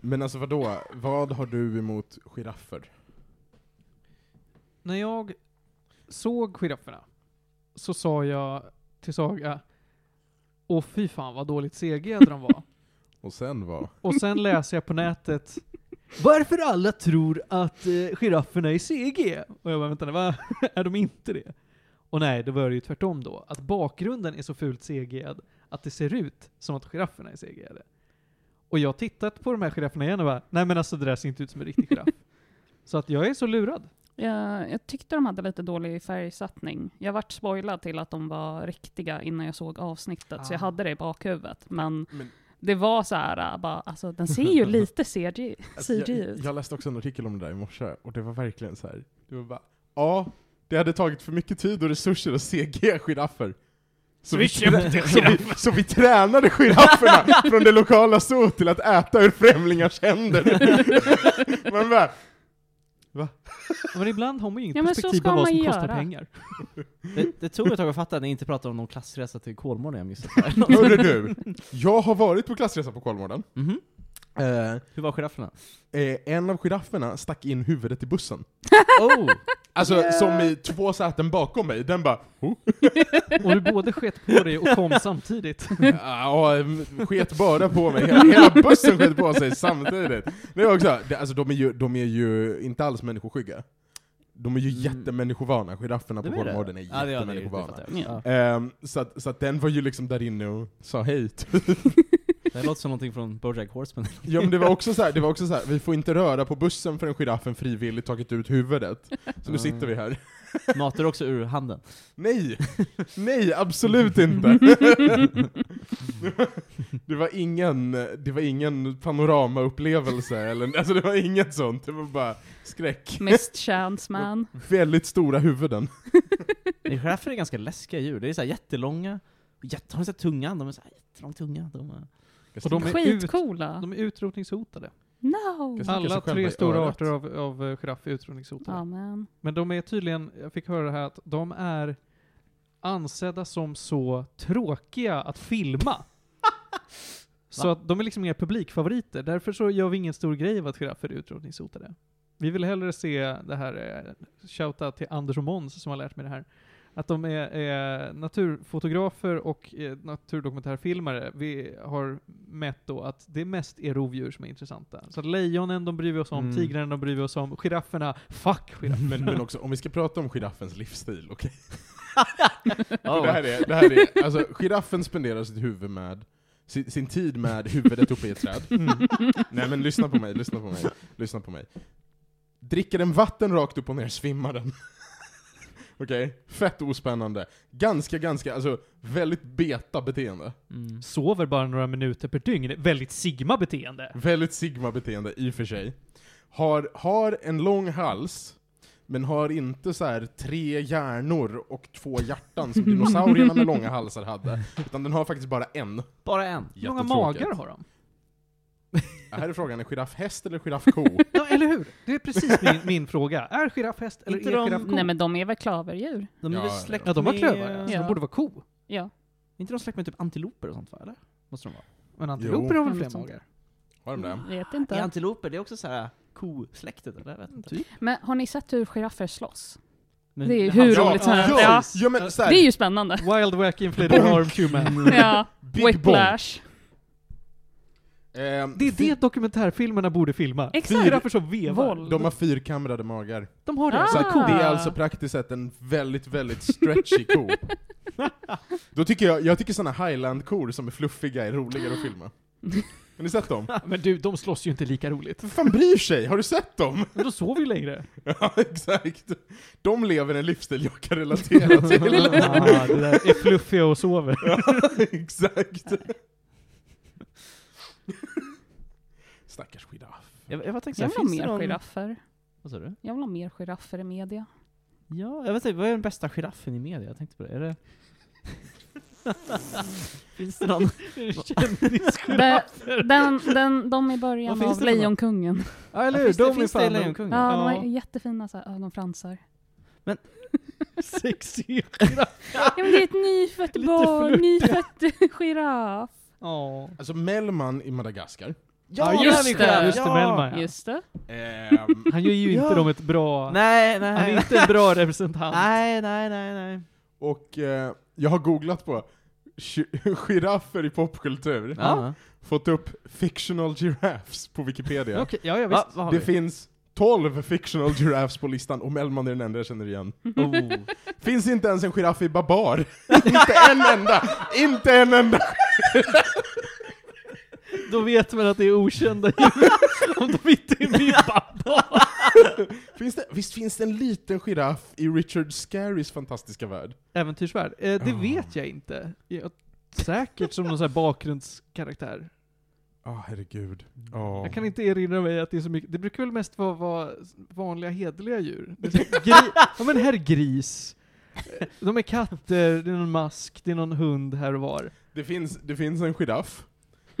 Men alltså vadå? Vad har du emot giraffer? När jag såg girafferna så sa jag till Saga, åh fy fan vad dåligt CGade de var. Och sen vad? Och sen läser jag på nätet varför alla tror att eh, girafferna är CG? Och jag bara, vänta nu, va? är de inte det? Och nej, det var det ju tvärtom då. Att bakgrunden är så fult cg att det ser ut som att girafferna är cg Och jag har tittat på de här girafferna igen och bara, nej men alltså det där ser inte ut som en riktig giraff. så att jag är så lurad. Jag, jag tyckte de hade lite dålig färgsattning. Jag vart spoilad till att de var riktiga innan jag såg avsnittet, så jag Ah. hade det i bakhuvudet. Men Men, det var så här, äh, bara, alltså den ser ju lite CG, alltså, CG jag, ut. jag läste också en artikel om det där i morse, och det var verkligen så här. det var bara Ja, det hade tagit för mycket tid och resurser att CG giraffer. Så vi, köpte så, vi, så vi tränade girafferna från det lokala zoot till att äta ur främlingars händer. Man bara, Men ibland har man ju inget Ja, men så perspektiv ska på vad man som göra. kostar pengar. Det, det tog ett tag att fatta att ni inte pratade om någon klassresa till Kolmården jag missade. hörru du, jag har varit på klassresa på Kolmården. Mhm. Eh, Hur var girafferna? eh, en av girafferna stack in huvudet i bussen. Oh! Alltså som i två säten bakom mig, den bara oh. Och du både skett på dig och kom samtidigt. ah, mm, sket bara på mig, hela, hela bussen sket på sig samtidigt. Det är också, det, alltså, de, är ju, de är ju inte alls människoskygga. De är ju Mm. jättemänniskovana, girafferna på Det var det. Kolmården är Ja, det- ja, det- det jättemänniskovana. fattar jag. Ja. Ehm, så, att, så att den var ju liksom där inne och sa hej. typ. Det låter som någonting från Bojack Horseman. ja men det var också så här, det var också så här, vi får inte röra på bussen förrän giraffen frivilligt tagit ut huvudet. Så nu sitter vi här. Matar också ur handen. Nej! Nej, absolut inte! det var ingen, det var ingen panoramaupplevelse eller, alltså det var inget sånt, det var bara skräck. Missed chance man. Väldigt stora huvuden. Men Giraffer är ganska läskiga djur. Det är så här jättelånga, jätte, har ni sett tungan? De är så här jättelång tunga. De är... Och de är, ut, Skitcoola. de är utrotningshotade. No! Jag snackar Alla sig själva i tre stora örat. arter av, av eh, giraff är utrotningshotade. Amen. Men de är tydligen, jag fick höra det här, att de är ansedda som så tråkiga att filma. så Va? att de är liksom inga publikfavoriter. Därför så gör vi ingen stor grej av att giraffer är utrotningshotade. Vi vill hellre se det här, eh, shoutout till Anders och Måns som har lärt mig det här. Att de är eh, naturfotografer och eh, naturdokumentärfilmare. Vi har mätt då att det mest är rovdjur som är intressanta. Så att lejonen de bryr vi oss om, Mm. tigrarna de bryr vi oss om, girafferna, fuck giraffer. Men, men också, om vi ska prata om giraffens livsstil, okej? Ja, Det här är, det här är, alltså giraffen spenderar sitt huvud med, sin, sin tid med huvudet uppe i ett träd. Nej men lyssna på mig, lyssna på mig, lyssna på mig. Dricker den vatten rakt upp och ner svimmar den. Okej? Fett ospännande. Ganska, ganska, alltså väldigt beta-beteende. Mm. Sover bara några minuter per dygn. Väldigt sigma-beteende. Väldigt sigma-beteende i och för sig. Har, har en lång hals, men har inte så här tre hjärnor och två hjärtan som dinosaurierna med långa halsar hade. Utan den har faktiskt bara en. Bara en. Hur många magar har de? Ja, Här är frågan, är giraff häst eller giraffko? Ja, eller hur? Det är precis min, min fråga. Är giraffhäst eller Inte är de- giraffko? Nej men de är väl klaverdjur? De är Ja, väl ja, ja. släkt Ja, de har med- klövar, ja. så Ja. de borde vara ko. Ja. Är inte de släkt med typ antiloper och sånt va? Eller? Måste de vara? Men antiloper Jo. har väl Något fler sånt. magar? Har de det? Vet Är inte. antiloper, det är också så här kosläktet eller? Jag vet inte. Typ. Men har ni sett hur giraffer slåss? Men- Det är ju men hur han- ja, roligt som helst. ja, ja, men så här, Eh, Det är ju spännande. Wild Wack Inflated Arm Human. Ja. Big Whiplash. Bong. Ehm, Det är fi- det dokumentärfilmerna borde filma. Exakt. Giraffer som vevar. Våld. De har fyrkamrade magar. De har det. Ah. Så att det är Ah. alltså praktiskt sett en väldigt, väldigt stretchy ko. Då tycker jag, jag tycker såna highland-kor som är fluffiga är roligare att filma. Har ni sett dem? Men du, de slåss ju inte lika roligt. Vem fan bryr sig? Har du sett dem? Men de sover ju längre. Ja, exakt. De lever en livsstil jag kan relatera till. Ah, det där är fluffiga och sover. exakt. Stackars giraff. Jag, jag bara tänkte Jag vill ha såhär, finns det mer någon... giraffer. Vad sa du? Jag vill ha mer giraffer i media. Ja, jag vet inte, vad är den bästa giraffen i media? Jag tänkte på det. Är det... finns det någon... De, den, den, de i början Vad finns av det för något? Lejonkungen. Ja, eller finns det, finns det i Lejonkungen? Ja, de Mm. Ja. har jättefina så här, ögonfransar. sexiga. Ja men det är ett nyfött Lite barn, flörtiga. nyfött giraff. Ja. Alltså Mellman i Madagaskar, Ja, Ja, där just är vi det. själva. Just det, Ja. Melma, ja. Just det. Ehm, Han gör ju inte Ja. dem ett bra... Nej, Han är nej. inte en bra representant. Nej, nej, nej, nej. och eh, jag har googlat på gi- giraffer i popkultur. Ja. Fått upp fictional giraffes på Wikipedia. Okej, ja, ja, Va, visst. vad har Det vi? finns 12 fictional giraffes på listan, och Mellman är den enda jag känner igen. Oh. Finns inte ens en giraff i Babar. inte en enda! Inte en enda! Då vet man att det är okända djur om de inte är med i Babar. Finns det, visst finns det en liten giraff i Richard Scarys fantastiska värld? Äventyrsvärld? Eh, det Ah. Ja. vet jag inte. Jag, säkert som någon sån här Ja, bakgrundskaraktär. Ah, herregud. Ah. Ja. Jag Ah. kan inte erinra mig att det är så mycket. Det brukar väl mest vara, vara vanliga hederliga djur? Det är så här, gri, ja men herr gris. Eh, De är katter, det är någon mask, det är någon hund här och var. Det, finns, det finns en giraff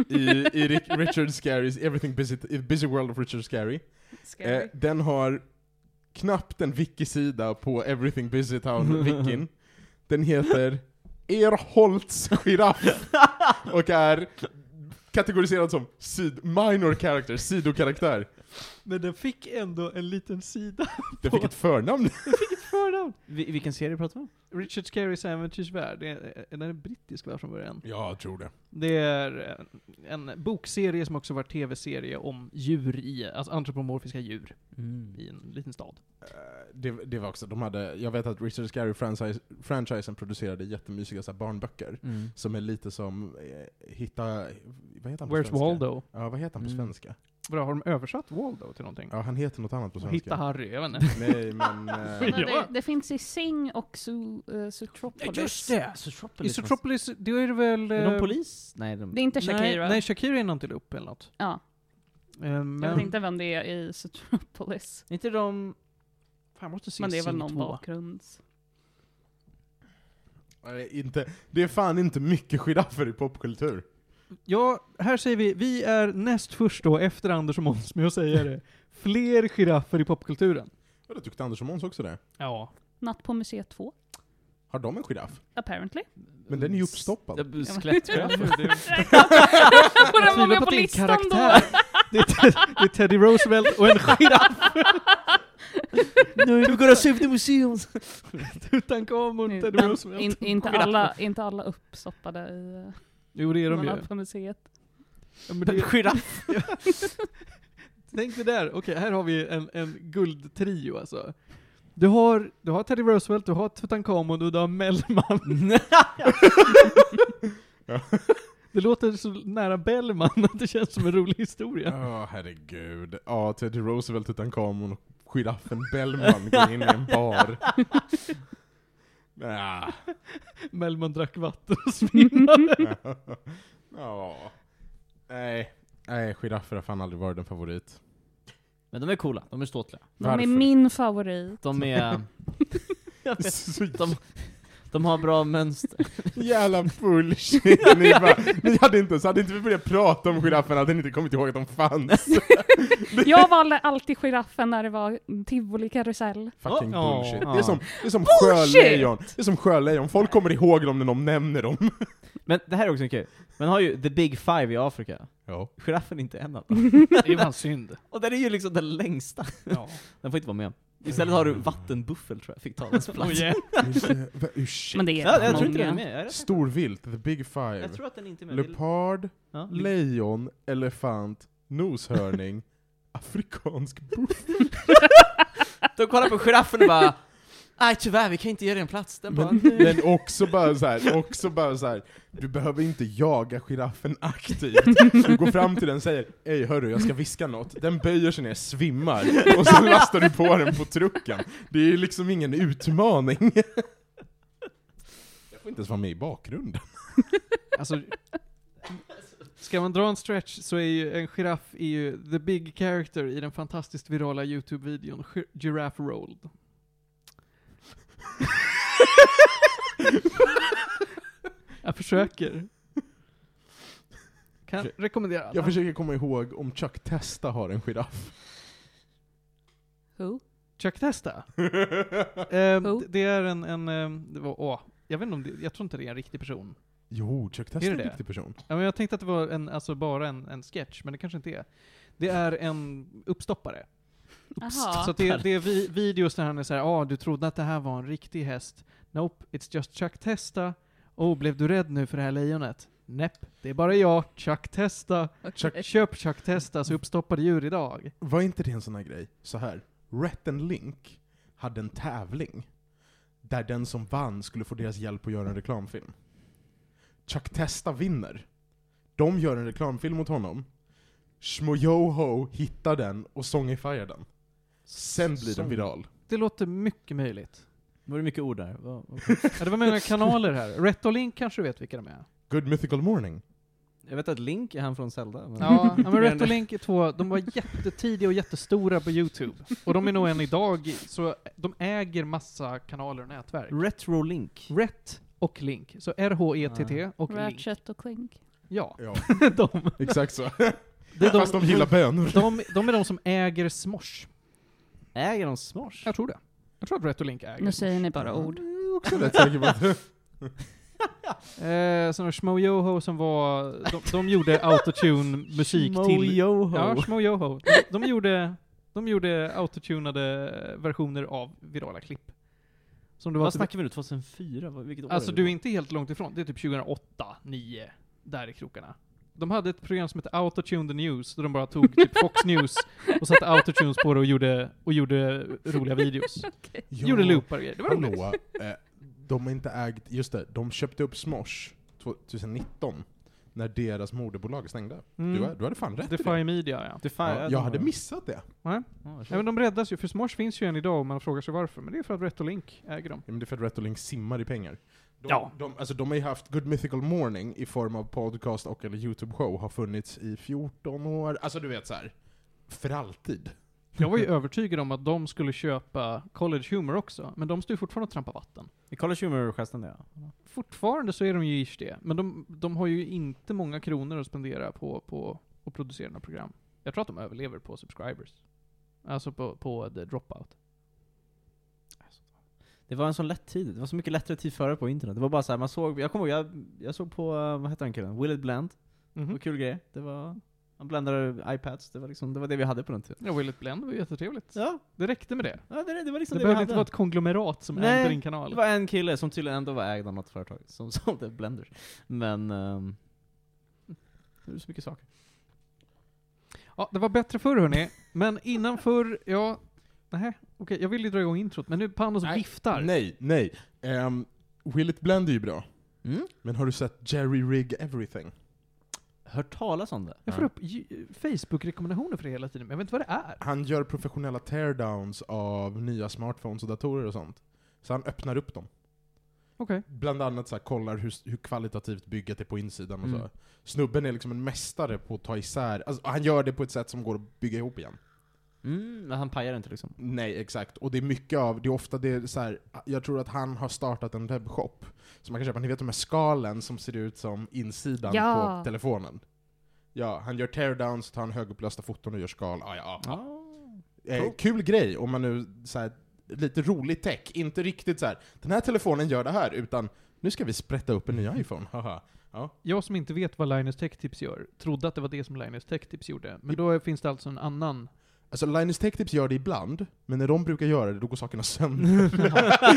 i, i Rick- Richard Scarys Everything Busy, i Busy World of Richard Scary. Eh, Scary. den har knappt en wiki-sida på Everything Busy Town-wikin. Den heter Erholts giraff och är kategoriserad som sid minor character, sidokaraktär. Men den fick ändå en liten sida Den fick ett förnamn. för den. Vi- Vilken serie pratar vi om? Richard Scarys Äventyrsvärld, det är, är den en brittisk värld från början? Ja, jag tror det. Det är eh, en bokserie som också var tv-serie om djur i, alltså antropomorfiska djur Mm. i en liten stad. Eh, Det, det var också, de hade, jag vet att Richard Scary franchise, franchisen producerade jättemysiga så här, barnböcker. Mm. Som är lite som, eh, hitta, vad heter han på Where's svenska? Waldo? Ja, vad heter han på Mm. svenska? Vadå, har de översatt Waldo till någonting? Ja, han heter något annat på svenska. Hitta Harry, jag vet inte. Nej, men... Men Eh, Ja. det, det finns i Sing och Su, eh, Zootropolis. det! Isotropolis, då är det väl... Är eh, de polis? Nej, de... Det är inte Shakira. Nej, nej Shakira är en antiloop eller något. Ja, Eh, Men... jag vet inte vem det är i Zootropolis. Inte de... Fan, jag måste se Men det är väl Sing någon 2. bakgrunds... nej, inte, det är fan inte mycket giraffer i popkultur. Ja, här säger vi, vi är näst först då, efter Anders och Måns med att säga det. Fler giraffer i popkulturen. Ja, det tyckte Anders och Måns också det. Ja. Natt på museet 2, Har de en giraff? apparently. Men den är ju uppstoppad. Ja, bu- Skelettgiraff. Och den var tvivlar med på på att det är en listan då! karaktär. Det är, Ted, det är Teddy Roosevelt och en giraff Nu går jag söver till museum! utan kameran. Teddy Men Roosevelt. in, inte, alla, inte alla uppstoppade i eh, jo, det är de ju. Natt på museet. Ja, men det, Giraff. tänk det där. Okej, här har vi en, en guldtrio alltså. Du har, du har Teddy Roosevelt, du har Tutankhamon och du har Mellman. Det låter så nära Bellman att det känns som en rolig Ja, historia. herregud. Ja, Teddy Roosevelt utan kameran och giraffen Bellman går in i en bar. Ja. Mellman drack vatten och svimmade. ja. Nej. Nej, giraffer har fan aldrig varit en favorit. Men de är coola, de är ståtliga. De Varför? är min favorit. De är... Så De, de har bra mönster. jävla bullshit. Ni, bara, ni hade inte, så hade inte vi börjat prata om girafferna hade ni inte kommit ihåg att de fanns. Jag valde alltid giraffen när det var tivoli-karusell. Fucking Ja. bullshit. Ja. Det är som, det är som Bullshit! sjölejon. Det är som sjölejon. Folk kommer ihåg dem när de nämner dem. Men det här är också kul. Man har ju the big five i Afrika. Ja. Giraffen är inte en av dem. Det är fan synd. Och den är ju liksom den längsta. Ja. Den får inte vara med. Istället har du vattenbuffel tror jag, fick ta dess plats. Oh, yeah. Men det är Ja, jag många. tror inte den är med. Jag är rätt- oh, Storvilt, the big five. Jag tror att den inte är med. Det är- Leopard, Ja. lejon, elefant, noshörning, afrikansk buff. De kollar på giraffen och bara Nej tyvärr, vi kan inte ge dig en plats. Den bara, Men, men också bara så här, också bara så här. du behöver inte jaga giraffen aktivt. Du går fram till den och säger Ej hörru, jag ska viska något. Den böjer sig ner, svimmar, och sen lastar du på den på trucken. Det är ju liksom ingen utmaning. Jag får inte ens vara med i bakgrunden. Alltså, ska man dra en stretch så är ju en giraff är ju the big character i den fantastiskt virala YouTube-videon Gi- Giraffe Rolled. Jag försöker. Kan rekommendera alla. Jag försöker komma ihåg om Chuck Testa har en giraff. Who? Chuck Testa. Ehm, Who? d- det är en, en ehm, det var, åh, jag vet inte om det, jag tror inte det är en riktig person. Jo, Chuck Testa Är är, det en det? riktig person. Ja, men jag tänkte att det var en, alltså bara en, en sketch, men det kanske inte är. Det är en uppstoppare. Jaha. Så att det, det är vi, videos när han är så här, ja ah, du trodde att det här var en riktig häst. Nope, it's just Chuck Testa. Oh, blev du rädd nu för det här lejonet? Näpp, det är bara jag, Chuck Testa. Chuck- Köp Chuck Testas uppstoppade djur idag. Var inte det en sån här grej? Så här. Rhett and Link hade en tävling där den som vann skulle få deras hjälp att göra en reklamfilm. Chuck Testa vinner. De gör en reklamfilm mot honom. Shmoyoho hittar den och songifierar den. Sen blir den Sång. viral. Det låter mycket möjligt. Var det mycket ord där? Vad- vad- Ja, det var många kanaler här. Rätt och Link kanske du vet vilka de är? Good Mythical Morning. Jag vet att Link är han från Zelda. Men... Ja, ja men Rätt och Link är två, de var jättetidiga och jättestora på YouTube. Och de är nog än idag, så de äger massa kanaler och nätverk. Retro Link. Rätt och Link. Så R-H-E-T-T och Link. Ratchet och Clink. Ja, Ja, de. exakt så. Det är de, Fast de gillar bönor. de, de är de som äger Smosh. Äger de Smosh? Jag tror det. Jag tror att Rätt och Link äger Nu säger ni bara ord. Jag är också rätt säker på att... Eh, sen har Shmoyoho som var... De, de gjorde autotune-musik till... Mojoho. Ja, Shmoyoho. De, de gjorde... De gjorde autotunade versioner av virala klipp. Som det var Vad typ- snackar vi nu? 2004? Vad- Vilket år Alltså är du är det? inte helt långt ifrån. Det är typ 2008, 9 där i krokarna. De hade ett program som hette Autotune the News, där de bara tog typ Fox News och satte autotunes på det och gjorde, och gjorde roliga videos. Gjorde loopar och grejer. Det var roligt. Hallå, eh, de har inte ägt, just det, de köpte upp Smosh 2019 när deras moderbolag stängde. Du, har- Mm. du hade fan rätt i det. Defy Media, ja. Defy, Ja, jag hade missat det. Ja, Nej, varsågod. men de räddas ju, för Smosh finns ju än idag och man frågar sig varför. Men det är för att Rätt och Link äger dem. Ja, men det är för att Retolink simmar i pengar. De, Ja. de, alltså, de har ju haft Good Mythical Morning i form av podcast och eller YouTube-show, har funnits i 14 år. Alltså du vet så här. för alltid. Jag var ju övertygad om att de skulle köpa College Humor också, men de står ju fortfarande och trampar vatten. Vi kollar Schumer-gesten där ja. Fortfarande så är de ju ish det, men de, de har ju inte många kronor att spendera på, på att producera några program. Jag tror att de överlever på subscribers. Alltså på, på the dropout. Det var en sån lätt tid. Det var så mycket lättare tid före på internet. Det var bara så här, man såg, jag kommer ihåg, jag, jag såg på, eh, vad hette den killen? Will it Blend. Det var kul grejer. Det var, han blandade iPads. Det var liksom, det var det vi hade på den tiden. Ja, Will It Blend var ju jättetrevligt. Ja, Det räckte med det. ja det, det var liksom Det, det, behövde vi hade. inte vara ett konglomerat som Nej, ägde din Det kanal. var en kille som tydligen ändå var ägd av något företag som sålde blenders. Men... ehm, det är så mycket saker. Ja, det var bättre förr hörni, men innan förr, ja... Nej, okej, jag ville ju dra igång introt, men nu Panos Nej, viftar. Nej, nej. Um, Will It Blend är ju bra, mm, men har du sett Jerry Rig Everything? Hört talas om det? Jag får upp ju- Facebook-rekommendationer för det hela tiden, men jag vet inte vad det är. Han gör professionella teardowns av nya smartphones och datorer och sånt. Så han öppnar upp dem. Okej. Bland annat så här, kollar hur, hur kvalitativt bygget är på insidan och Mm. så. Snubben är liksom en mästare på att ta isär, alltså, han gör det på ett sätt som går att bygga ihop igen. Mm, men han pajar inte liksom. Nej, exakt. Och det är mycket av, det är ofta det är så här, jag tror att han har startat en webbshop. Så man kan köpa, ni vet de här skalen som ser ut som insidan Ja. på telefonen. Ja, han gör teardowns, tar han högupplösta foton och gör skal. Ah, ja, ja. Eh, kul grej om man nu så här, lite rolig tech, inte riktigt så här. den här telefonen gör det här, utan nu ska vi sprätta upp en ny iPhone, haha. Ja. Jag som inte vet vad Linus Tech Tips gör, trodde att det var det som Linus Tech Tips gjorde, men då finns det alltså en annan... Alltså Linus Tech Tips gör det ibland, men när de brukar göra det då går sakerna sönder.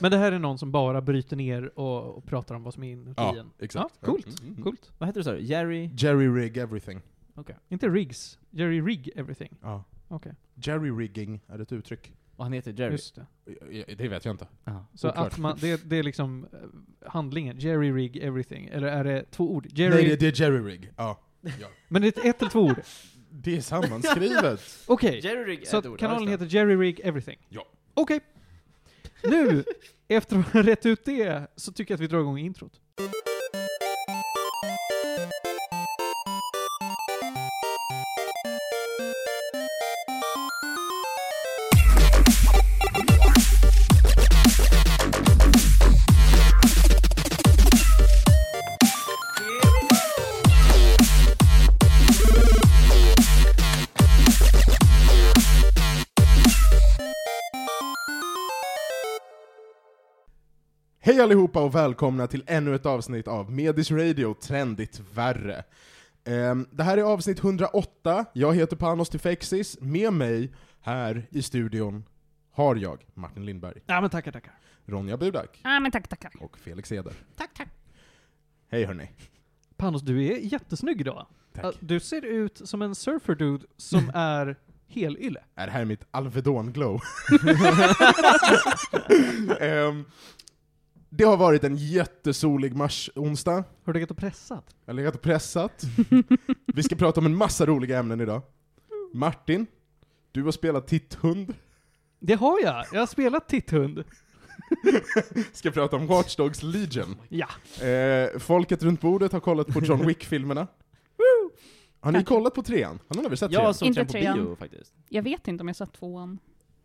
Men det här är någon som bara bryter ner och, och pratar om vad som är inuti en. Ja, coolt. Mm, mm, mm. Coolt. Vad heter du sa du? Jerry? Jerry rig everything. Inte Riggs. Jerry Rigg everything. Ja. Okej. Jerry rigging är ett uttryck. Och han heter Jerry? Just det. Det vet jag inte. Ja. Så Oklart. att man, det, det är liksom eh, handlingen. Jerry Rigg everything. Eller är det två ord? Jerry... Nej, det, det är Jerry rig. Ja. ja. Men det är ett eller två ord? Det är sammanskrivet. Okej. Jerry Rig Så att kanalen heter Jerry Rig Everything? Ja. Okej. Nu, efter att ha rätt ut det, så tycker jag att vi drar igång introt. Hej allihopa och välkomna till ännu ett avsnitt av Medis Radio, trendigt värre. Ehm, det här är avsnitt 108, jag heter Panos Tifexis, med mig här i studion har jag Martin Lindberg, Ja men tackar, tackar. Ronja Budak Ah, men tack, tackar. och Felix Eder. Tack, tack. Hej hörni. Panos, du är jättesnygg idag. Tack. Oh. Ja, Du ser ut som en surferdude som är helylle. Är det här mitt Alvedon-glow? Ehm, det har varit en jättesolig mars-onsdag. Har du legat och pressat? Jag har legat och pressat. Vi ska prata om en massa roliga ämnen idag. Martin, du har spelat Titthund. Det har jag! Jag har spelat Titthund. Ska prata om Watch Dogs Legion. Ja. Eh, folket runt bordet har kollat på John Wick-filmerna. Har ni Kanske. kollat på trean? Har någon av er sett trean? Jag såg Inte den på trean. bio faktiskt. Jag vet inte om jag satt tvåan.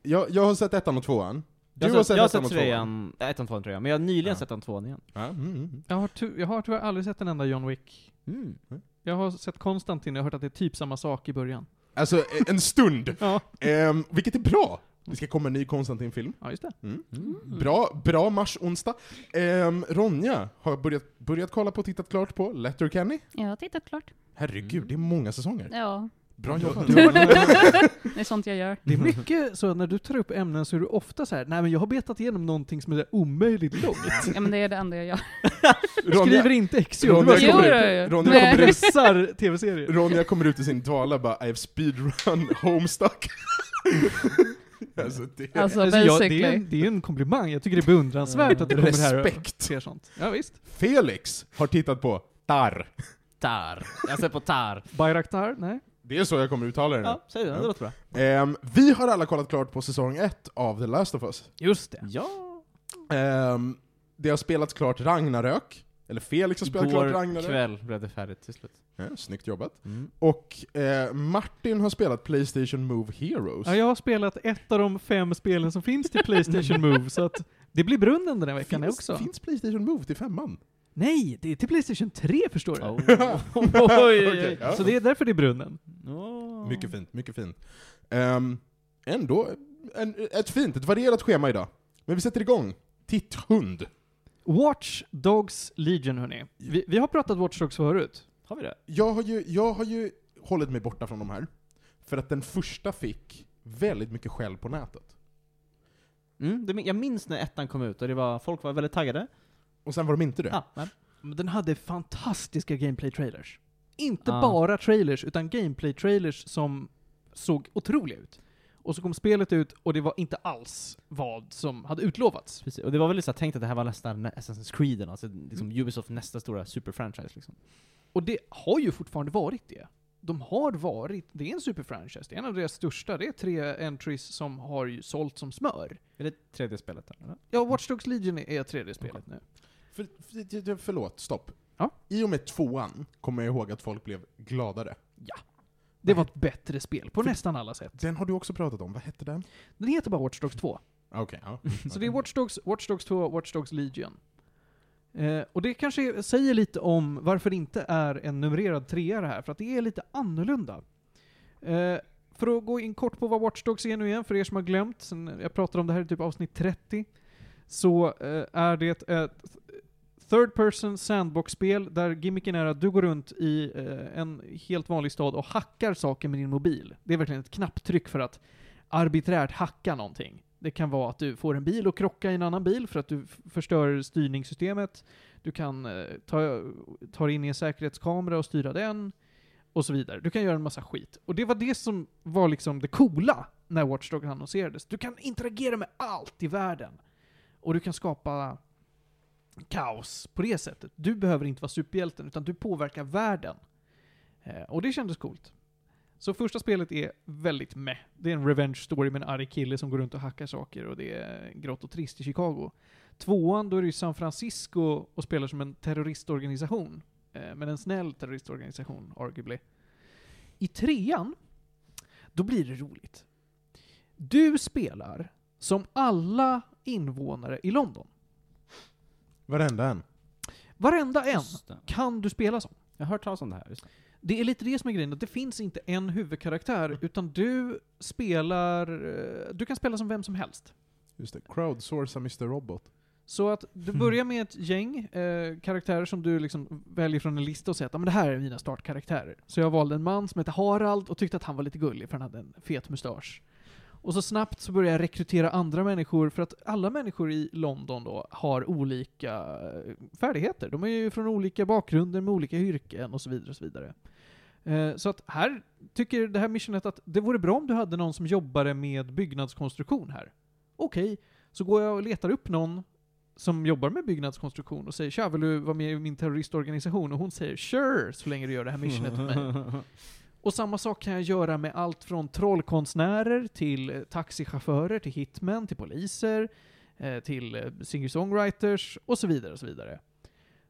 Jag, jag har sett ettan och tvåan. Du jag har har sett jag har ettan och sett trean, nej, ettan, tvåan, trean, men jag har nyligen Ja. sett den tvåan igen. Ja, mm, mm. Jag har, ty- jag har tyvärr aldrig sett en enda John Wick. Mm. Jag har sett Konstantin och jag har hört att det är typ samma sak i början. Alltså, eh, en stund! Ja, Ehm, vilket är bra! Det ska komma en ny Konstantin-film. ja just det. Mm. Mm. Bra, bra mars-onsdag. Ehm, Ronja har börjat, börjat kolla på och tittat klart på Letterkenny. Jag har tittat klart. Herregud, det är många säsonger. Ja, Bra jobbat. det är sånt jag gör. Det är mycket så att när du tar upp ämnen så är du ofta så här, nej men jag har betat igenom någonting som är så här omöjligt långt. Ja, men det är det enda jag gör. Jag skriver Ronja, inte Exio. Ronja, Jo, kommer, det ut, är- Ronja, Nej. kommer, ut, pressar tv-serier. Ronja kommer ut i sin dvala och bara I have speedrun homestuck. alltså, det är Alltså, Alltså, jag, det, är basically. en, det är en komplimang. Jag tycker det är beundransvärt att du kommer här och respekt. ser sånt. Ja, visst. Felix har tittat på Tar. Tar. Jag har sett på Tar. Bayraktar? Nej. Det är så jag kommer uttala det nu. Ja, säg det, Ja. det låter bra. Ehm, vi har alla kollat klart på säsong ett av The Last of Us. Just det. Ja. Ehm, det har spelats klart Ragnarök. Eller Felix har spelat klart Igår Ragnarök. kväll blev det färdigt till slut. Ja, snyggt jobbat. Mm. Och eh, Martin har spelat Playstation Move Heroes. Ja, jag har spelat ett av de fem spelen som finns till Playstation Move, så att det blir brunnen den här veckan finns, också. finns Playstation Move till femman? Nej, det är till Playstation 3 förstår du. oj, oj, Okej, ja. Så det är därför det är brunnen. Åh. Mycket fint, mycket fint. Ehm, ändå en, ett fint, ett varierat schema idag. Men vi sätter igång. Titthund. Watch Dogs Legion hörni. Vi, vi har pratat Watch Dogs förut. Har vi det? Jag har, ju, jag har ju hållit mig borta från de här, för att den första fick väldigt mycket skäll på nätet. Mm, det? min- Jag minns när ettan kom ut och det var, folk var väldigt taggade. Och sen var de inte det. Ja, men. Men den hade fantastiska gameplay-trailers. Inte Ah. bara trailers, utan gameplay-trailers som såg otroliga ut. Och så kom spelet ut och det var inte alls vad som hade utlovats. Precis. Och det var väl så här tänkt att det här var nästan Assassin's Creed, alltså liksom Ubisofts nästa stora superfranchise liksom. Och det har ju fortfarande varit det. De har varit, det är en superfranchise, det är en av deras största, det är tre entries som har ju sålt som smör. Är det tredje spelet där? Eller? Ja, Watch Dogs Legion är tredje spelet nu. För, för, för- förlåt, stopp. Ja. I och med tvåan kommer jag ihåg att folk blev gladare. Det var ett bättre spel på nästan alla sätt. Den har du också pratat om, vad hette den? Den heter bara Watch Dogs 2. Ah, Okej, ja. Så det är Watch Dogs, Watch Dogs 2, Watch Dogs Legion. Eh, och det kanske säger lite om varför det inte är en numrerad trea det här, för att det är lite annorlunda. Eh, för att gå in kort på vad Watch Dogs är nu igen, för er som har glömt, sen jag pratade om det här i typ avsnitt 30, så eh, är det ett third person sandbox-spel där gimmicken är att du går runt i eh, en helt vanlig stad och hackar saker med din mobil. Det är verkligen ett knapptryck för att arbiträrt hacka någonting. Det kan vara att du får en bil och krocka i en annan bil för att du f- förstör styrningssystemet. Du kan eh, ta, ta in i en säkerhetskamera och styra den. Och så vidare. Du kan göra en massa skit. Och det var det som var liksom det coola när Watchdog annonserades. Du kan interagera med allt i världen. Och du kan skapa kaos på det sättet. Du behöver inte vara superhjälten, utan du påverkar världen. Eh, och det kändes coolt. Så första spelet är väldigt meh. Det är en revenge story med en arg kille som går runt och hackar saker och det är grått och trist i Chicago. Tvåan, då är det ju San Francisco och spelar som en terroristorganisation. Eh, men en snäll terroristorganisation, arguably. I trean, då blir det roligt. Du spelar som alla invånare i London. Varenda en. Varenda en Just det. kan du spela som. Jag har hört talas om det här. Just det. Det är lite det som är grejen, att det finns inte en huvudkaraktär, utan du spelar... eh, Du kan spela som vem som helst. Just det, crowdsourca Mr. Robot. Så att du börjar med ett gäng eh, karaktärer som du liksom väljer från en lista och säger att "Ja, men det här är mina startkaraktärer. Så jag valde en man som hette Harald och tyckte att han var lite gullig för han hade en fet mustasch. Och så snabbt så började jag rekrytera andra människor för att alla människor i London då har olika eh, färdigheter. De är ju från olika bakgrunder med olika yrken och så vidare och så vidare. Eh, Så att här tycker det här missionet att det vore bra om du hade någon som jobbade med byggnadskonstruktion här. Okej, så går jag och letar upp någon som jobbar med byggnadskonstruktion och säger tja, vill du vara med i min terroristorganisation? Och hon säger sure, så länge du gör det här missionet med mig. Och samma sak kan jag göra med allt från trollkonstnärer till eh, taxichaufförer, till hitmen, till poliser, eh, till eh, singer-songwriters och så vidare och så vidare.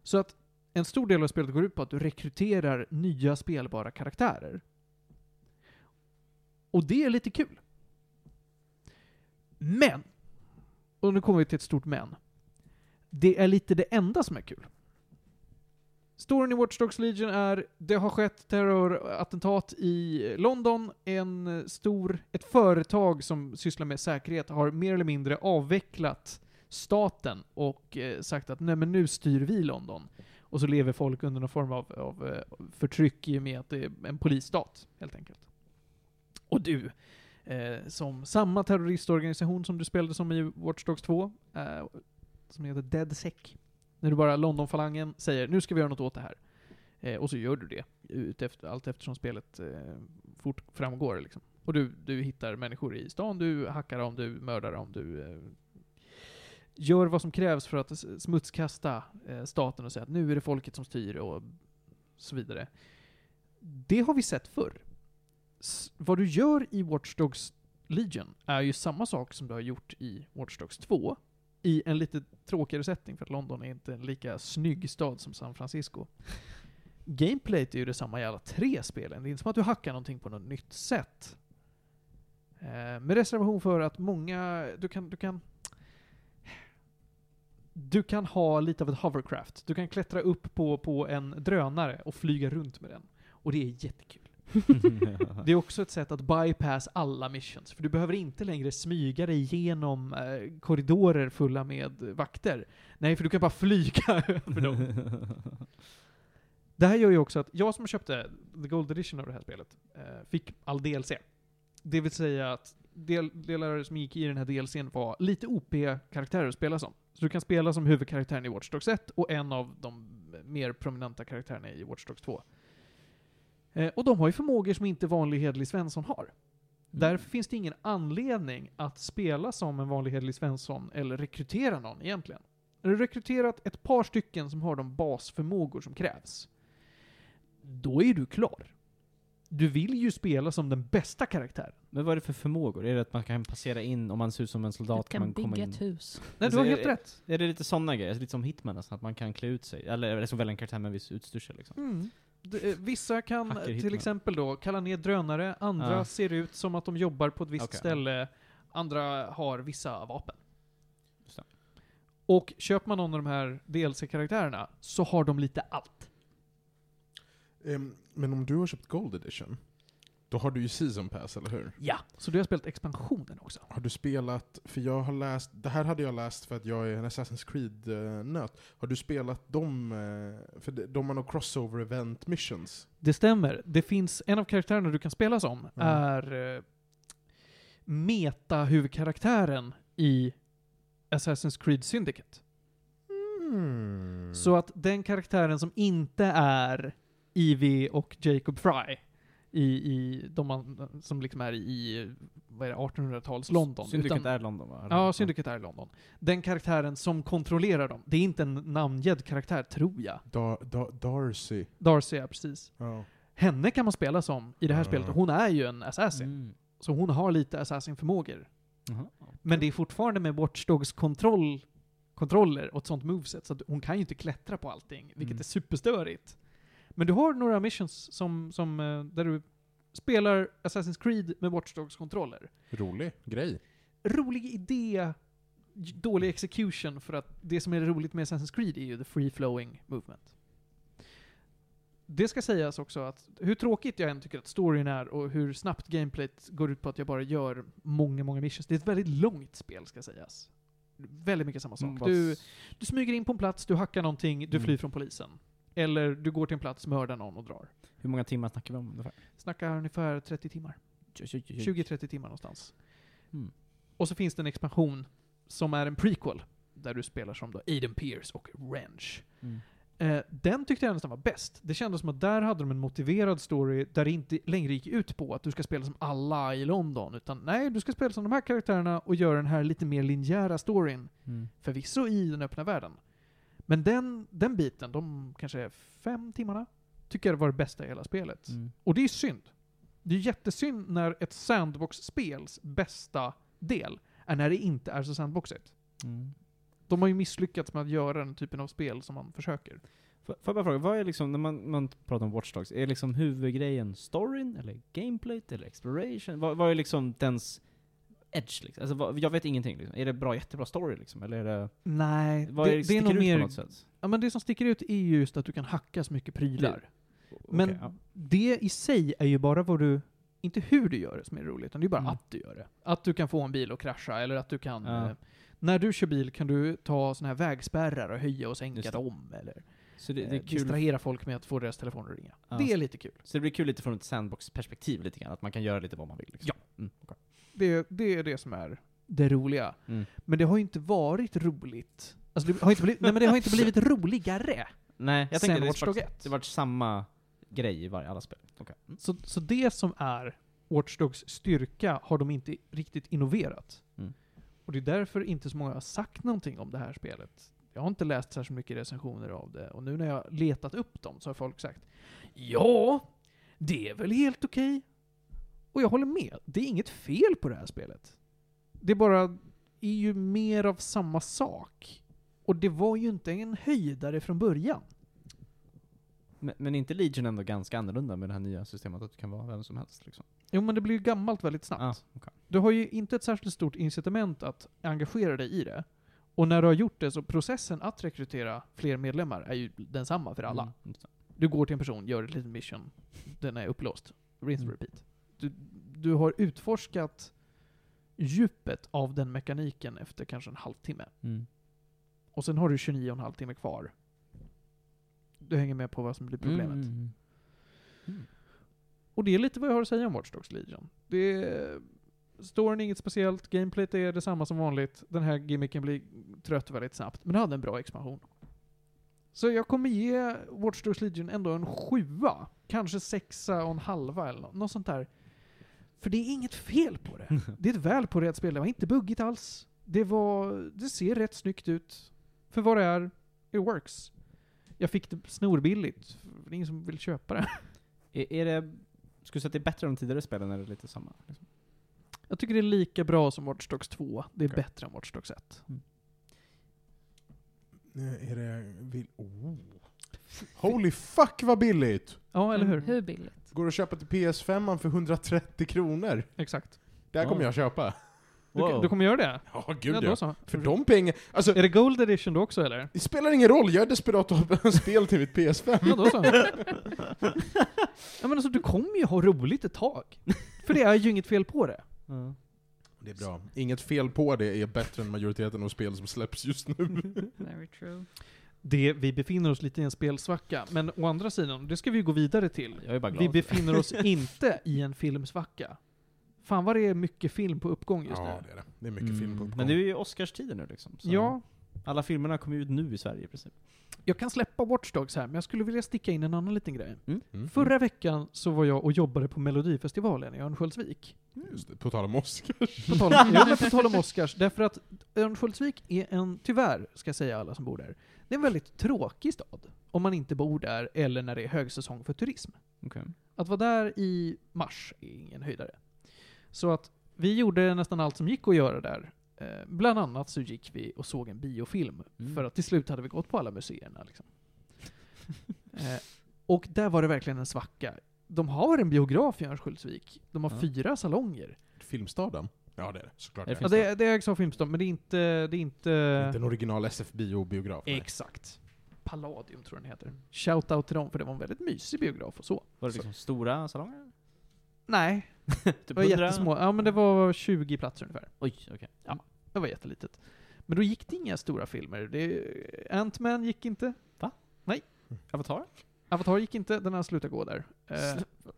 Så att en stor del av spelet går ut på att du rekryterar nya spelbara karaktärer. Och det är lite kul. Men! Och nu kommer vi till ett stort men. Det är lite det enda som är kul. Storyn i Watch Dogs Legion är, det har skett terrorattentat i London. En stor, ett företag som sysslar med säkerhet har mer eller mindre avvecklat staten och eh, sagt att nej men nu styr vi London. Och så lever folk under någon form av, av eh, förtryck i och med att det är en polisstat, helt enkelt. Och du, eh, som samma terroristorganisation som du spelade som i Watch Dogs 2, eh, som heter DeadSec, när du bara Londonfalangen säger nu ska vi göra något åt det här. Eh, och så gör du det, ut efter, allt eftersom spelet eh, fort framgår. Liksom. Och du, du hittar människor i stan, du hackar dem, du mördar dem, du eh, gör vad som krävs för att s- smutskasta eh, staten och säga att nu är det folket som styr och så vidare. Det har vi sett förr. S- vad du gör i Watch Dogs Legion är ju samma sak som du har gjort i Watch Dogs 2 i en lite tråkigare setting för att London är inte en lika snygg stad som San Francisco. Gameplayt är ju detsamma i alla tre spelen. Det är inte som att du hackar någonting på något nytt sätt. Eh, med reservation för att många... Du kan, du kan... Du kan ha lite av ett hovercraft. Du kan klättra upp på, på en drönare och flyga runt med den. Och det är jättekul. Det är också ett sätt att bypass alla missions, för du behöver inte längre smyga dig igenom eh, korridorer fulla med eh, vakter. Nej, för du kan bara flyga över dem. Det här gör ju också att jag som köpte The Gold Edition av det här spelet eh, fick all DLC. Det vill säga att del, delar som gick i den här DLCn var lite OP-karaktärer att spela som. Så du kan spela som huvudkaraktären i Watch Dogs 1 och en av de mer prominenta karaktärerna i Watch Dogs 2. Eh, och de har ju förmågor som inte vanlig hederlig Svensson har. Därför finns det ingen anledning att spela som en vanlig hederlig Svensson eller rekrytera någon egentligen. Har du rekryterat ett par stycken som har de basförmågor som krävs, då är du klar. Du vill ju spela som den bästa karaktären. Men vad är det för förmågor? Är det att man kan passera in, om man ser ut som en Du soldat kan kan man komma bygga in? ett hus. Nej, du har Alltså, helt är- rätt. Är det lite sådana grejer? Alltså, lite som Hitman nästan, att man kan klä ut sig? Eller, eller som välja en karaktär med en viss utstyrsel liksom? Mm. D- eh, Vissa kan Hacker eh, till Hitman. exempel då kalla ner drönare, andra Ah. ser ut som att de jobbar på ett visst Okej. ställe, andra har vissa vapen. Just det. Och köper man någon av de här DLC-karaktärerna så har de lite allt. Ehm, men om du har köpt Gold Edition, då har du ju Season Pass, eller hur? Ja. Så du har spelat expansionen också. Har du spelat, för jag har läst, det här hade jag läst för att jag är en Assassin's Creed-nöt. Har du spelat de, eh, för de- de har nog crossover event missions? Det stämmer. Det finns, en av karaktärerna du kan spela som Mm. är eh, meta-huvudkaraktären i Assassin's Creed Syndicate. Så att den karaktären som inte är Evie och Jacob Fry i, i de an- som liksom är i, vad är det, 1800-tals London. Syndikat utan- är London va? Ja, Syndicate är i London. Den karaktären som kontrollerar dem. Det är inte en namngedd karaktär, tror jag. Dar, Dar, Darcy. Darcy, ja precis. Ja. Henne kan man spela som i det här Mm. spelet. Hon är ju en assassin. Mm. Så hon har lite assassin-förmågor. Jaha. Men det är fortfarande med Watch Dogs kontroll, kontroller och ett sånt moveset, så att hon kan ju inte klättra på allting, vilket Mm. är superstörigt. Men du har några missions som, som, eh, där du spelar Assassin's Creed med Watch Dogs kontroller. Rolig grej. Rolig idé, j- dålig execution, för att det som är roligt med Assassin's Creed är ju the free flowing movement. Det ska sägas också att hur tråkigt jag än tycker att storyn är och hur snabbt gameplayt går ut på att jag bara gör många, många missions. Det är ett väldigt långt spel ska sägas. väldigt mycket samma sak. Mm, bara Du, s- du smyger in på en plats, du hackar någonting, du Mm. flyr från polisen. Eller du går till en plats, mördar någon och drar. Hur många timmar snackar vi om ungefär? Snackar ungefär 30 timmar. 20-30 timmar någonstans. Mm. Och så finns det en expansion som är en prequel. Där du spelar som då Aiden Pierce och Wrench. Mm. Eh, den tyckte jag nästan var bäst. Det kändes som att där hade de en motiverad story där det inte längre gick ut på att du ska spela som alla i London. Utan nej, du ska spela som de här karaktärerna och göra den här lite mer linjära storyn. Mm. Förvisso i den öppna världen. Men den, den biten, de kanske fem timmarna, tycker jag var det bästa i hela spelet. Mm. Och det är synd. Det är jättesynd när ett sandbox-spels bästa del är när det inte är så sandboxigt. Mm. De har ju misslyckats med att göra den typen av spel som man försöker. Får får jag bara fråga, vad är liksom, när man, man pratar om Watch Dogs, är liksom huvudgrejen storyn, eller gameplayt, eller exploration? Vad, vad är liksom dens edge liksom? Alltså, vad, jag vet ingenting liksom. Är det bra, jättebra story liksom? Eller är det, Nej, vad är det, sticker ut på något sätt? Ja, men det som sticker ut är ju just att du kan hacka så mycket prylar. Men Okej, ja. det i sig är ju bara vad du... Inte hur du gör det som är roligt, utan det är bara Mm. att du gör det. Att du kan få en bil att krascha, eller att du kan... Ja. Eh, när du kör bil kan du ta såna här vägspärrar och höja och sänka Just det. dem, eller Så det, det eh, är kul distrahera folk med att få deras telefoner att ringa. Ja. Det är lite kul. Så det blir kul lite från ett sandbox-perspektiv lite grann, att man kan göra lite vad man vill. Liksom. Ja. Mm, okej. Det, det är det som är det roliga. Mm. Men det har ju inte varit roligt. Alltså det har inte blivit, nej men det har inte blivit roligare Nej, jag sen tänkte det, Watch Dogs faktiskt, 1. det var samma grej i varje, alla spel. Okej. Mm. Så, så det som är Watch Dogs styrka har de inte riktigt innoverat. Mm. Och det är därför inte så många har sagt någonting om det här spelet. Jag har inte läst särskilt mycket recensioner av det, och nu när jag har letat upp dem så har folk sagt Ja, det är väl helt okej. Och jag håller med, det är inget fel på det här spelet. Det bara är ju mer av samma sak. Och det var ju inte en höjdare från början. Men, men inte Legion ändå ganska annorlunda med det här nya systemet att du kan vara vem som helst liksom? Jo men det blir ju gammalt väldigt snabbt. Ah, okej. Du har ju inte ett särskilt stort incitament att engagera dig i det. Och när du har gjort det så processen att rekrytera fler medlemmar är ju densamma för alla. Mm, just det. Du går till en person, gör ett litet mission, den är upplåst. Rinse Mm. repeat. Du, du har utforskat djupet av den mekaniken efter kanske en halvtimme. Mm. Och sen har du 29 och en halv timme kvar. Du hänger med på vad som blir problemet. Mm, mm, mm. Och det är lite vad jag har att säga om Watch Dogs Legion. Det är... Storyn är inget speciellt, gameplayt är detsamma som vanligt. Den här gimmicken blir trött väldigt snabbt, men den hade en bra expansion. Så jag kommer ge Watch Dogs Legion ändå en sjua. Kanske sexa och en halva eller nå- något sånt där. För det är inget fel på det. Det är ett väl på rätt spel. Det var inte buggigt alls. Det var... Det ser rätt snyggt ut. För vad det är, it works. Jag fick det snorbilligt. för Det är ingen som vill köpa det. Är, är det, skulle du säga att det är bättre än de tidigare spelen eller är det lite samma? Liksom? Jag tycker det är lika bra som Watch Dogs 2. Det är Okej. bättre än Watch Dogs 1. Är det... Vill, oh. Holy fuck vad billigt! Ja, eller Mm, hur? Hur billigt? Går att köpa till PS5 för 130 kronor. Exakt. Det här kommer Ja. jag köpa. Du, du kommer göra det? Ja, ja, gud då ja. så. För de pengarna... Alltså, Är det Gold Edition då också eller? det spelar ingen roll, jag är desperat att ha spel till mitt PS5. Ja, då så. ja, men alltså, du kommer ju ha roligt ett tag. För det är ju inget fel på det. Ja. Det är bra. Inget fel på det är bättre än majoriteten av spel som släpps just Mm, nu. Very true. det. Vi befinner oss lite i en spelsvacka, men å andra sidan, det ska vi gå vidare till. Jag är bara glad. Vi befinner oss inte i en filmsvacka. Fan vad det är mycket film på uppgång just Ja, nu. det är det. Det är mycket film på Mm. uppgång. Men det är ju Oscarstider nu liksom. så Ja, Alla filmerna kommer ju ut nu i Sverige i princip. jag kan släppa Watch Dogs här, men jag skulle vilja sticka in en annan liten grej. Mm. Förra veckan så var jag och jobbade på Melodifestivalen i Örnsköldsvik. Mm, Just det, på tal om Oscar. På tal om, ja, men på tal om Oscars, därför att Örnsköldsvik är en, tyvärr ska jag säga alla som bor där, det är en väldigt tråkig stad. Om man inte bor där eller när det är högsäsong för turism. Okej. Att vara där i mars är ingen höjdare. Så att vi gjorde nästan allt som gick att göra där. Eh, Bland annat så gick vi och såg en biofilm, Mm. för att till slut hade vi gått på alla museerna. Liksom. Eh, och där var det verkligen en svacka. De har en biograf i Örnsköldsvik. De har Ja. fyra salonger. Filmstaden? Ja, det är det. Såklart Är det det är Ja, det. finns Eh, det, det ägs av Filmstaden, men det är inte... Det är inte, Inte en original SF-biobiograf. nej. exakt. Palladium tror jag den heter. Shoutout till dem, för det var en väldigt mysig biograf och så. Var det liksom stora salonger? Nej, Typ det var jättesmå. Ja, men det var 20 platser ungefär. Oj, okej. Det var jättelitet. Men då gick det inga stora filmer. Det- Ant-Man gick inte. Va? Nej. Avatar? Avatar gick inte. Den har slutat gå där. Eh,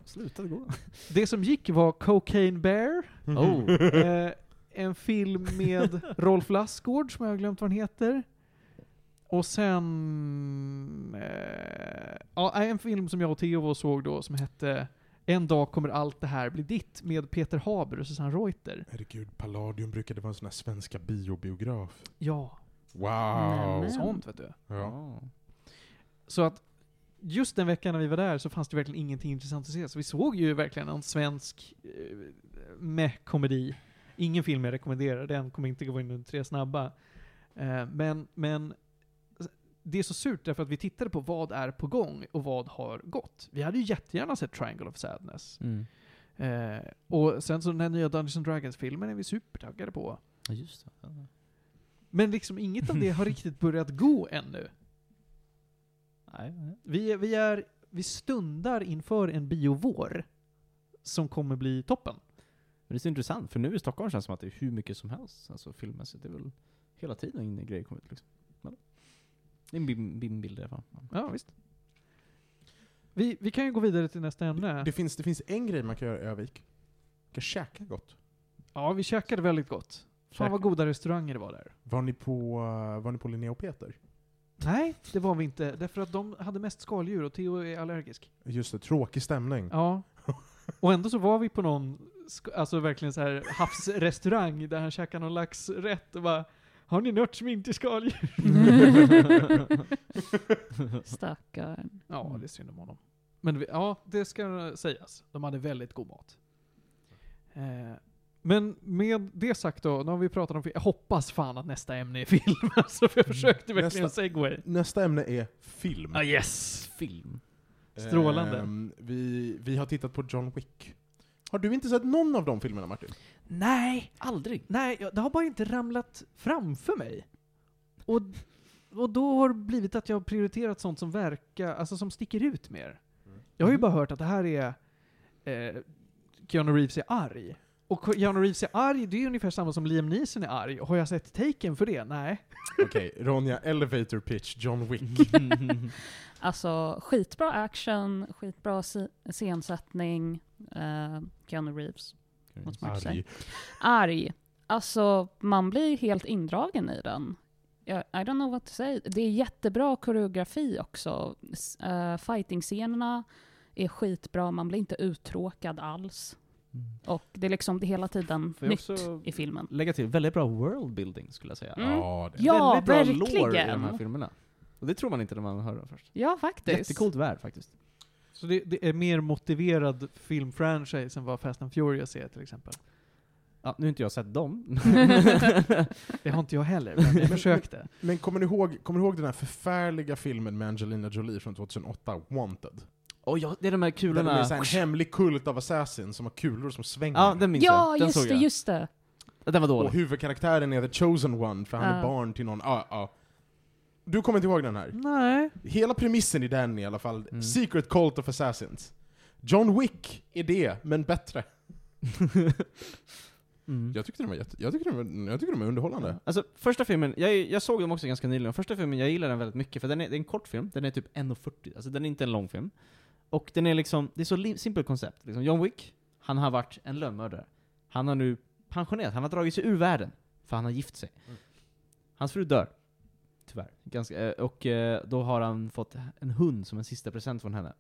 Sluta gå. det som gick var Cocaine Bear. Mm. Oh. Eh, en film med Rolf Lassgård, som jag har glömt vad den heter. Och sen... Eh, ja, en film som jag och Theo var och såg då som hette En dag kommer allt det här bli ditt med Peter Haber och Susanne Reuter. Herregud, Palladium brukade vara en sån här svenska biobiograf. Ja, Wow! Nämen. sånt vet du. Ja. Ja. Så att just den veckan när vi var där så fanns det verkligen ingenting intressant att se. Så vi såg ju verkligen en svensk eh, meh-komedi. Ingen film jag rekommenderar, den kommer inte gå in under tre snabba. Eh, men, men det är så surt därför att vi tittade på vad är på gång och vad har gått. Vi hade ju jättegärna sett Triangle of Sadness. Mm. Eh, och sen så den här nya Dungeons and Dragons-filmen är vi supertaggade på. ja, just det. Ja. Men liksom inget av det har riktigt börjat gå ännu. Nej, nej. Vi, vi, är, vi stundar inför en biovår som kommer bli toppen. Men det är så intressant, för nu i Stockholm känns det som att det är hur mycket som helst, alltså filmmässigt. Det är väl hela tiden en grej kommer ut liksom. Men, det är min, min bild i alla fall. Ja, visst. Vi, vi kan ju gå vidare till nästa ämne. Det, finns, det finns en grej man kan göra i Övik. Man kan käka gott. Ja, vi käkade väldigt gott. Fan vad goda restauranger det var där. Var ni på, eh, var ni på Linnea och Peter? Nej, det var vi inte. Därför att de hade mest skaldjur och Theo är allergisk. Just det, tråkig stämning. Ja. Och ändå så var vi på någon, sk- alltså verkligen så här havsrestaurang där han käkade någon laxrätt och bara Har ni något som inte är skaldjur? Stackarn. Ja, det är synd om honom. Men vi, ja, det ska sägas. De hade väldigt god mat. Eh, men med det sagt då, nu har vi pratat om film. Jag hoppas fan att nästa ämne är film. Alltså, för jag försökte verkligen Nästa. segway. Nästa ämne är film. Ah, yes! Film. Strålande. Ehm, vi, vi har tittat på John Wick. Har du inte sett någon av de filmerna Martin? Nej, Aldrig. nej, jag- det har bara inte ramlat framför mig. Och, och då har det blivit att jag har prioriterat sånt som verkar, alltså som sticker ut mer. Jag har ju bara hört att det här är eh, Keanu Reeves är arg. Och Keanu Reeves är arg, det är ungefär samma som Liam Neeson är arg. Har jag sett taken för det? Nej. Okej, Ronja, elevator pitch, John Wick. Alltså skitbra action, skitbra si- scensättning. Eh, Keanu Reeves. Måste man ju säga. Arg. Arg. Alltså man blir helt indragen i den. Jag, I don't know what to say. Det är jättebra koreografi också. S- eh, Fighting-scenerna är skitbra, man blir inte uttråkad alls. Och det är liksom det är hela tiden Får jag nytt också i filmen. Mm. lägga till, väldigt bra worldbuilding skulle jag säga. Mm. Ja, det. Ja, väldigt bra lore i de här verkligen. filmerna. Och det tror man inte när man hör dem först. Ja, faktiskt. Jättecoolt värld faktiskt. Så det, det är mer motiverad filmfranchise än vad Fast and Furious är till exempel. Ja, nu har inte jag sett dem. Det har inte jag heller, men jag försökte. Men kommer ni, ihåg, kommer ni ihåg den här förfärliga filmen med Angelina Jolie från 2008, Wanted? Oj, ja, det är de här Där det kulorna. är så här en hemlig kult av assassins som har kulor som svänger. Ja, den minns Ja, jag. Den just såg det, jag. just det. Ja, Den var Och dålig. huvudkaraktären är the chosen one, för han är Ja. barn till någon. Ah, ah. Du kommer inte ihåg den här? Nej. Hela premissen i den i alla fall, Mm. Secret Cult of Assassins. John Wick är det, men bättre. Mm. Jag tyckte den var, jätte, jag tyckte den var, jag tyckte den var underhållande. Alltså första filmen, jag, jag såg dem också ganska nyligen, första filmen, jag gillar den väldigt mycket för den är, det är en kort film, den är typ 1.40, alltså den är inte en lång film. Och den är liksom, det är så lim- simpelt koncept. Liksom John Wick, han har varit en lönnmördare. Han har nu pensionerat, han har dragit sig ur världen, för han har gift sig. Mm. Hans fru dör. Tyvärr. Ganska, eh, och eh, då har han fått en hund som en sista present från henne.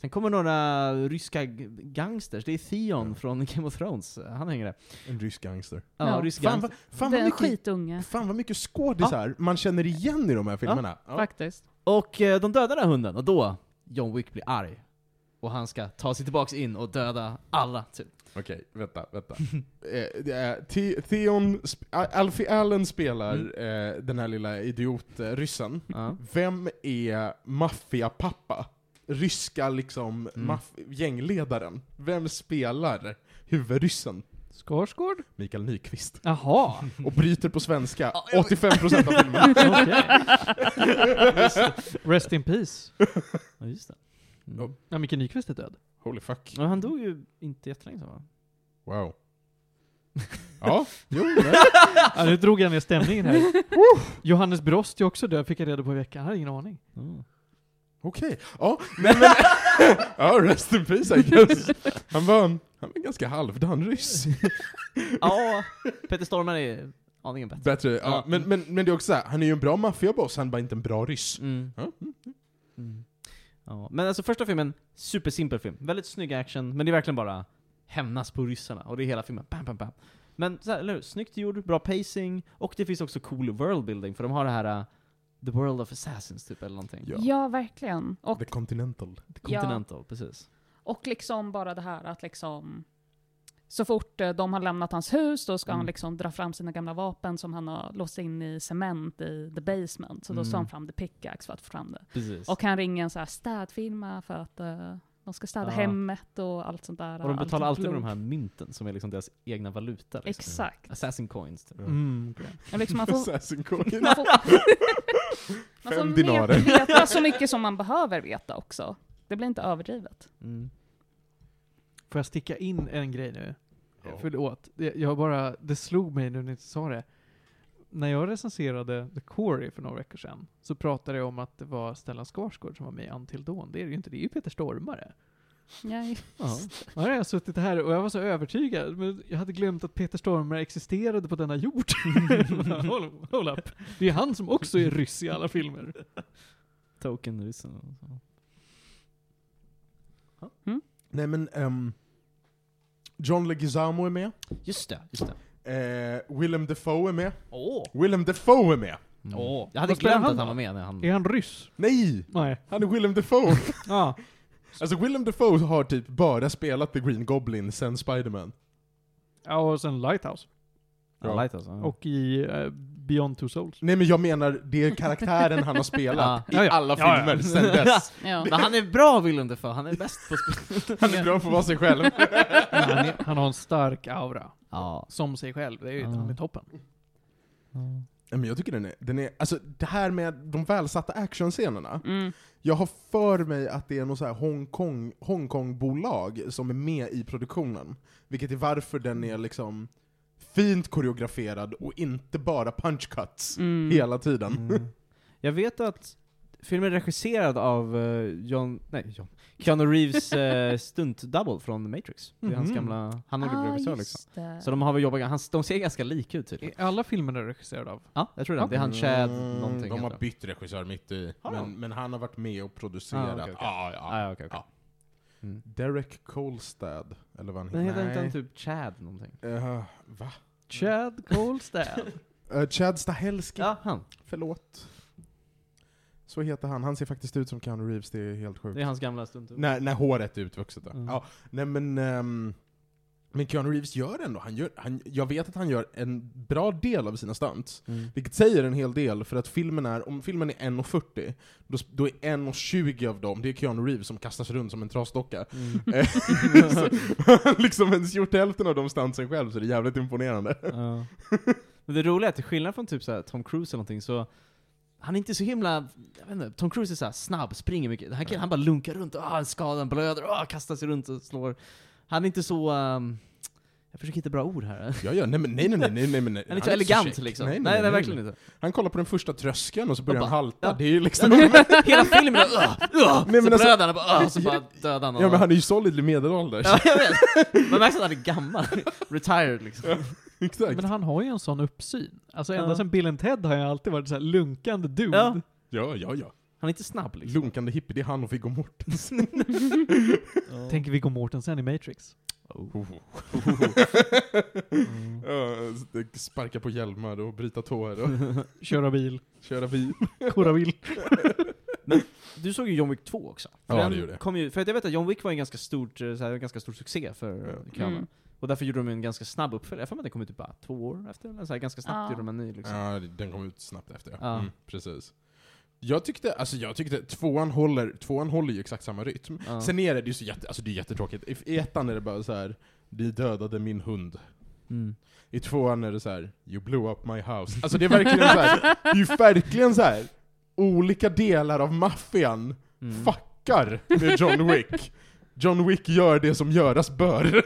Sen kommer några ryska g- gangsters, det är Theon Ja. från Game of Thrones, han hänger där. En rysk gangster. Ja, Ja. rysk Fan, gangster. vad- fan, vad Den mycket, skitunge, fan vad mycket skådisar man känner igen i de här filmerna. Ja. faktiskt. Och eh, de dödar den här hunden, och då John Wick blir arg. Och han ska ta sig tillbaks in och döda alla, typ. Okej, vänta, vänta. eh, det är Thi- Theon, sp- A- Alfie Allen spelar eh, den här lilla idiotryssen. Ja. Vem är maffiapappa? Ryska liksom Mm. maff- gängledaren. Vem spelar huvudryssen? Skarsgård? Mikael Nyqvist. Jaha. Och bryter på svenska Ja, jag- 85% av filmen. Rest in peace. ja, just det. Ja, Micke Nyqvist är död. Holy fuck. Men han dog ju inte jättelänge sedan va? Wow. Ja, jo, nej. Ja, nu drog jag ner stämningen här. Johannes Brost är också död, fick jag reda på i veckan. Jag hade ingen aning. Mm. okej. Ja, nej men... ja, rest in peace I guess. Han var en, han var en ganska halvdan ryss. Ja, Peter Stormare är aningen bättre. Bättre, ja. Ja. Men, men, men det är också så här, han är ju en bra maffiaboss, han är bara inte en bra ryss. Mm. Ja. Mm. Ja. Men alltså första filmen, supersimpel film. Väldigt snygg action, men det är verkligen bara hämnas på ryssarna. Och det är hela filmen. Bam, bam, bam. Men så här, eller hur? Snyggt gjord, bra pacing, och det finns också cool worldbuilding, för de har det här uh, The World of Assassins typ, eller någonting. Ja. Ja, verkligen. Och, The Continental. Continental, precis. och liksom bara det här att liksom... Så fort eh, de har lämnat hans hus, då ska han Mm. liksom dra fram sina gamla vapen som han har låst in i cement i the basement. Så då Mm. tar han fram the pickaxe för att få fram det. precis. Och han ringer en så här städfirma för att eh, de ska städa Ja. hemmet och allt sånt där. Och de betalar allt alltid med de blod. här mynten som är liksom deras egna valuta. Liksom. Exakt. Assassin coins. Typ. Mm. Och liksom man alltså, får, Assassin Coin. man får, man Fem får dinarer. veta, veta så mycket som man behöver veta också. Det blir inte överdrivet. Mm. Får jag sticka in en grej nu? Ja. Förlåt. Det- Jag bara, det slog mig nu när ni sa det. När jag recenserade The Quarry för några veckor sedan så pratade jag om att det var Stellan Skarsgård som var med i Until Dawn. Det är det ju inte, det är ju Peter Stormare. Jag, Ja. Ja, jag har suttit här och jag var så övertygad, men jag hade glömt att Peter Stormare existerade på denna jord. hold, hold up. Det är han som också är ryss i alla filmer. Token ryssen. och så. Nej men, ehm, John Leguizamo är med. Just det, just det. Eh, Willem Dafoe är med. Åh! Willem Dafoe är med! Mm. Åh. Jag hade Vad spelar glömt han att han då? var med när han... Är han ryss? Nej! Nej. Han är Willem Dafoe! Ja. alltså Willem Dafoe har typ bara spelat The Green Goblin sen Spiderman. Ja, och sen Lighthouse. Ja. Light alltså. ja. Och i eh, Beyond Two Souls. Nej men jag menar, det är karaktären han har spelat Ja, i ja. alla Ja, ja. filmer sen dess. ja. Men han är bra Willem Dafoe, han är bäst på spel. Han är bra på att vara sig själv. Men Han, är, han har en stark aura. Ja. Som sig själv. Det är ju Ja. han är toppen. Nej, men jag tycker den är, den är, alltså det här med de välsatta actionscenerna. Mm. Jag har för mig att det är något så här Hongkong, Hongkongbolag som är med i produktionen. Vilket är varför den är liksom fint koreograferad och inte bara punchcuts Mm. hela tiden. Jag vet att filmen är regisserad av eh, John... Nej, John. Keanu Reeves uh, stunt-double från Matrix. Det är hans Mhm. gamla... Han är Ah, regissör liksom. just det. Så de har väl jobbat... Han, de ser ganska lika ut tydligen. Är alla filmerna regisserade av? Ja, jag tror det. Det är han Chad någonting. Mm, De heter har han. bytt regissör mitt i, Har de? men, men han har varit med och producerat. Ah, okej, okej. Ah, ja. Ah, ja, okej, okej. Ja. Derek Kolstad, eller vad han Men heter inte Nej. han typ Chad någonting? Eh, va? Chad Colstad. Eh, Chad Stahelski, Ja, han. förlåt. Så heter han. Han ser faktiskt ut som Keanu Reeves, det är helt sjukt. Det är hans gamla typ. stunt När, när håret är utvuxet då. Mm. Ja, nej men... ehm, men Keanu Reeves gör ändå, han gör, han, jag vet att han gör en bra del av sina stunts. Mm. Vilket säger en hel del, för att filmen är, om filmen är 1.40, då, s- då är 1.20 av dem, det är Keanu Reeves som kastas runt som en trasdocka. Mm. Eh, så, han liksom ens gjort hälften av de stuntsen själv, så det är jävligt imponerande. Ja. Men det roliga är att till skillnad från typ så här Tom Cruise eller någonting så han är inte så himla, jag vet inte, Tom Cruise är så här snabb, springer mycket. Han, kan, han bara lunkar runt, ah, han skadar, han blöder, ah, kastar sig runt och slår. Han är inte så, ehm, jag försöker hitta bra ord här. Han är Ja, ja, nej men nej nej nej nej nej nej. inte så elegant liksom. Nej, nej, nej. verkligen inte. Han kollar på den första tröskeln och så börjar Och han bara, halta, ja. det är ju liksom... Hela filmen är uh, uh, Nej, men så alltså- blöder han och bara, ah, och så bara dödar han. Ja men han är ju solid i medelålders. Ja, jag vet. Man märker att han är gammal. Retired liksom. Exakt. Men han har ju en sån uppsyn. Alltså Ja. ända sedan Bill and Ted har jag alltid varit så här lunkande dude. Ja. Ja, ja, ja. Han är inte snabb liksom. Lunkande hippie, det är han och Viggo Mortensen. Tänker Viggo Mortensen i Matrix. Oh. Mm. Ja, Sparka på hjälmar och bryta tår och Köra bil. köra bil. Kora bil. Du såg ju John Wick 2 också. Ja, För den det gjorde jag. Kom ju, för att jag vet att John Wick var en ganska, stort, eh, så här, en ganska stor succé för Ja. eh, Kurosawa. Mm. Och därför gjorde de en ganska snabb uppföljare. Jag har för mig att den kom ut typ bara två år efter. Eller så här, ganska snabbt Ja. gjorde de en ny liksom. Ja, den kom ut snabbt efter. Ja. Mm, precis. Jag tyckte, alltså jag tyckte tvåan håller, tvåan håller ju exakt samma rytm. Ja. Sen är det ju så jätte, alltså det är jättetråkigt. I i ettan är det bara så här. ni dödade min hund. Mm. I tvåan är det så här. you blew up my house. Alltså det är verkligen så här. det är ju verkligen så här. olika delar av maffian Mm. fuckar med John Wick. John Wick gör det som göras bör.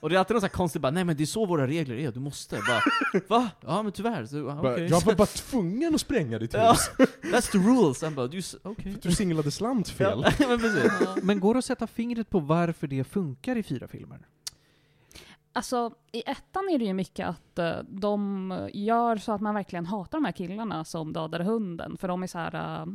Och det är alltid någon sån här konstig bara, nej men det är så våra regler är, du måste. Bara, va? Ja men tyvärr. Så, ah, Bara, okej. Jag var bara tvungen att spränga ditt hus. Ja, That's the rules. Han bara, du, s- okej. Du singlade slant fel. Ja, men precis. Men går det att sätta fingret på varför det funkar i fyra filmer? Alltså, i ettan är det ju mycket att eh, de gör så att man verkligen hatar de här killarna som dödade hunden, för de är så här... Uh,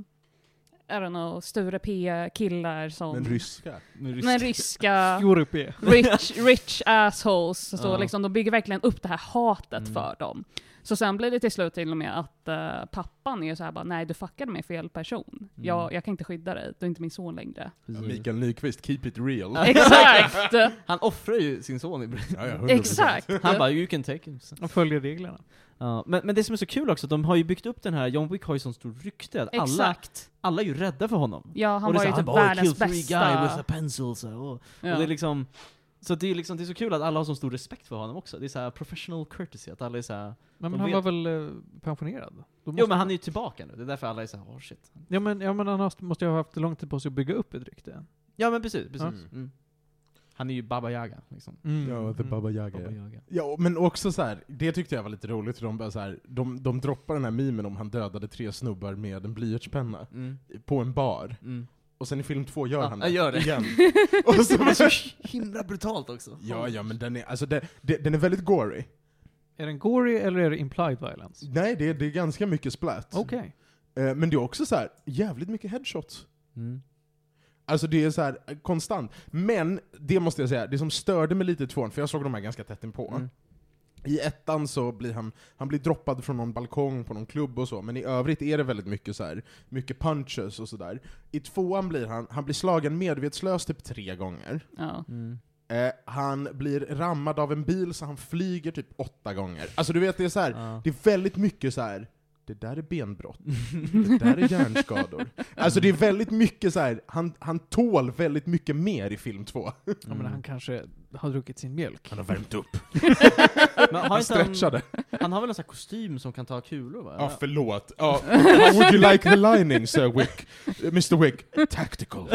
I don't know, Sture P-killar som... Men ryska. Men men ryska Europe. rich, rich assholes. Så Ja. liksom, de bygger verkligen upp det här hatet Mm. för dem. Så sen blir det till slut till och med att eh, pappan är så här bara, nej du fuckade med fel person. Mm. Jag, jag kan inte skydda dig, du är inte min son längre. Mikael Nyqvist, keep it real. Ja. Exakt! Mm. Han offrar ju sin son i början. Ja, ja, 100%. Exakt! Han bara, you can take him. Så- De följer reglerna. Ja, men, men det som är så kul också, de har ju byggt upp den här, John Wick har ju sån stor rykte att alla, Exakt. alla är ju rädda för honom. Ja, han Och det är var så ju här, typ bara, "Oh, I världens killed three guy with a bästa. pencil, så, här, åh. Ja. Och det är liksom, så det är liksom, det är så kul att alla har sån stor respekt för honom också. Det är så här professional courtesy, att alla är så här, Men De han vet- var väl eh, pensionerad? Då måste- Jo men han är ju tillbaka nu, det är därför alla är så här, oh shit. ja, men, ja, men han har- måste ju ha haft lång tid på sig att bygga upp ett rykte. Ja men precis, precis. Mm. Mm. Han är ju Baba Yaga liksom. Mm. Ja, the Mm. Baba Yaga. Baba Yaga. Ja, men också så här, det tyckte jag var lite roligt, för de, bara så här, de, de droppar den här mimen om han dödade tre snubbar med en blyertspenna Mm. på en bar, Mm. och sen i film två gör Ja, han jag gör det. igen. och så, Det är så himla brutalt också. ja, ja, men den är, alltså, den, den den är väldigt gory. Är den gory eller är det implied violence? Nej, det, det är ganska mycket splat. Okej. Eh, men det är också så här, jävligt mycket headshots. Mm. Alltså det är så här eh, konstant. Men, det måste jag säga, det som störde mig lite i tvåan, för jag såg de här ganska tätt inpå. Mm. I ettan så blir han, han blir droppad från någon balkong på någon klubb och så, men i övrigt är det väldigt mycket så här, mycket punches och sådär. I tvåan blir han, han blir slagen medvetslös typ tre gånger. Ja. Mm. Eh, han blir rammad av en bil så han flyger typ åtta gånger. Alltså du vet, det är så här, Ja. det är väldigt mycket så här. det där är benbrott, det där är hjärnskador. Alltså det är väldigt mycket så här. Han, han tål väldigt mycket mer i film två. Ja, Mm. men han kanske har druckit sin mjölk. har värmt upp. Men har Han inte han, stretchade. han har väl en sån här kostym som kan ta kulor va? Ja, förlåt. Ja. Would you like the lining, Sir Wick? Mr Wick, tactical.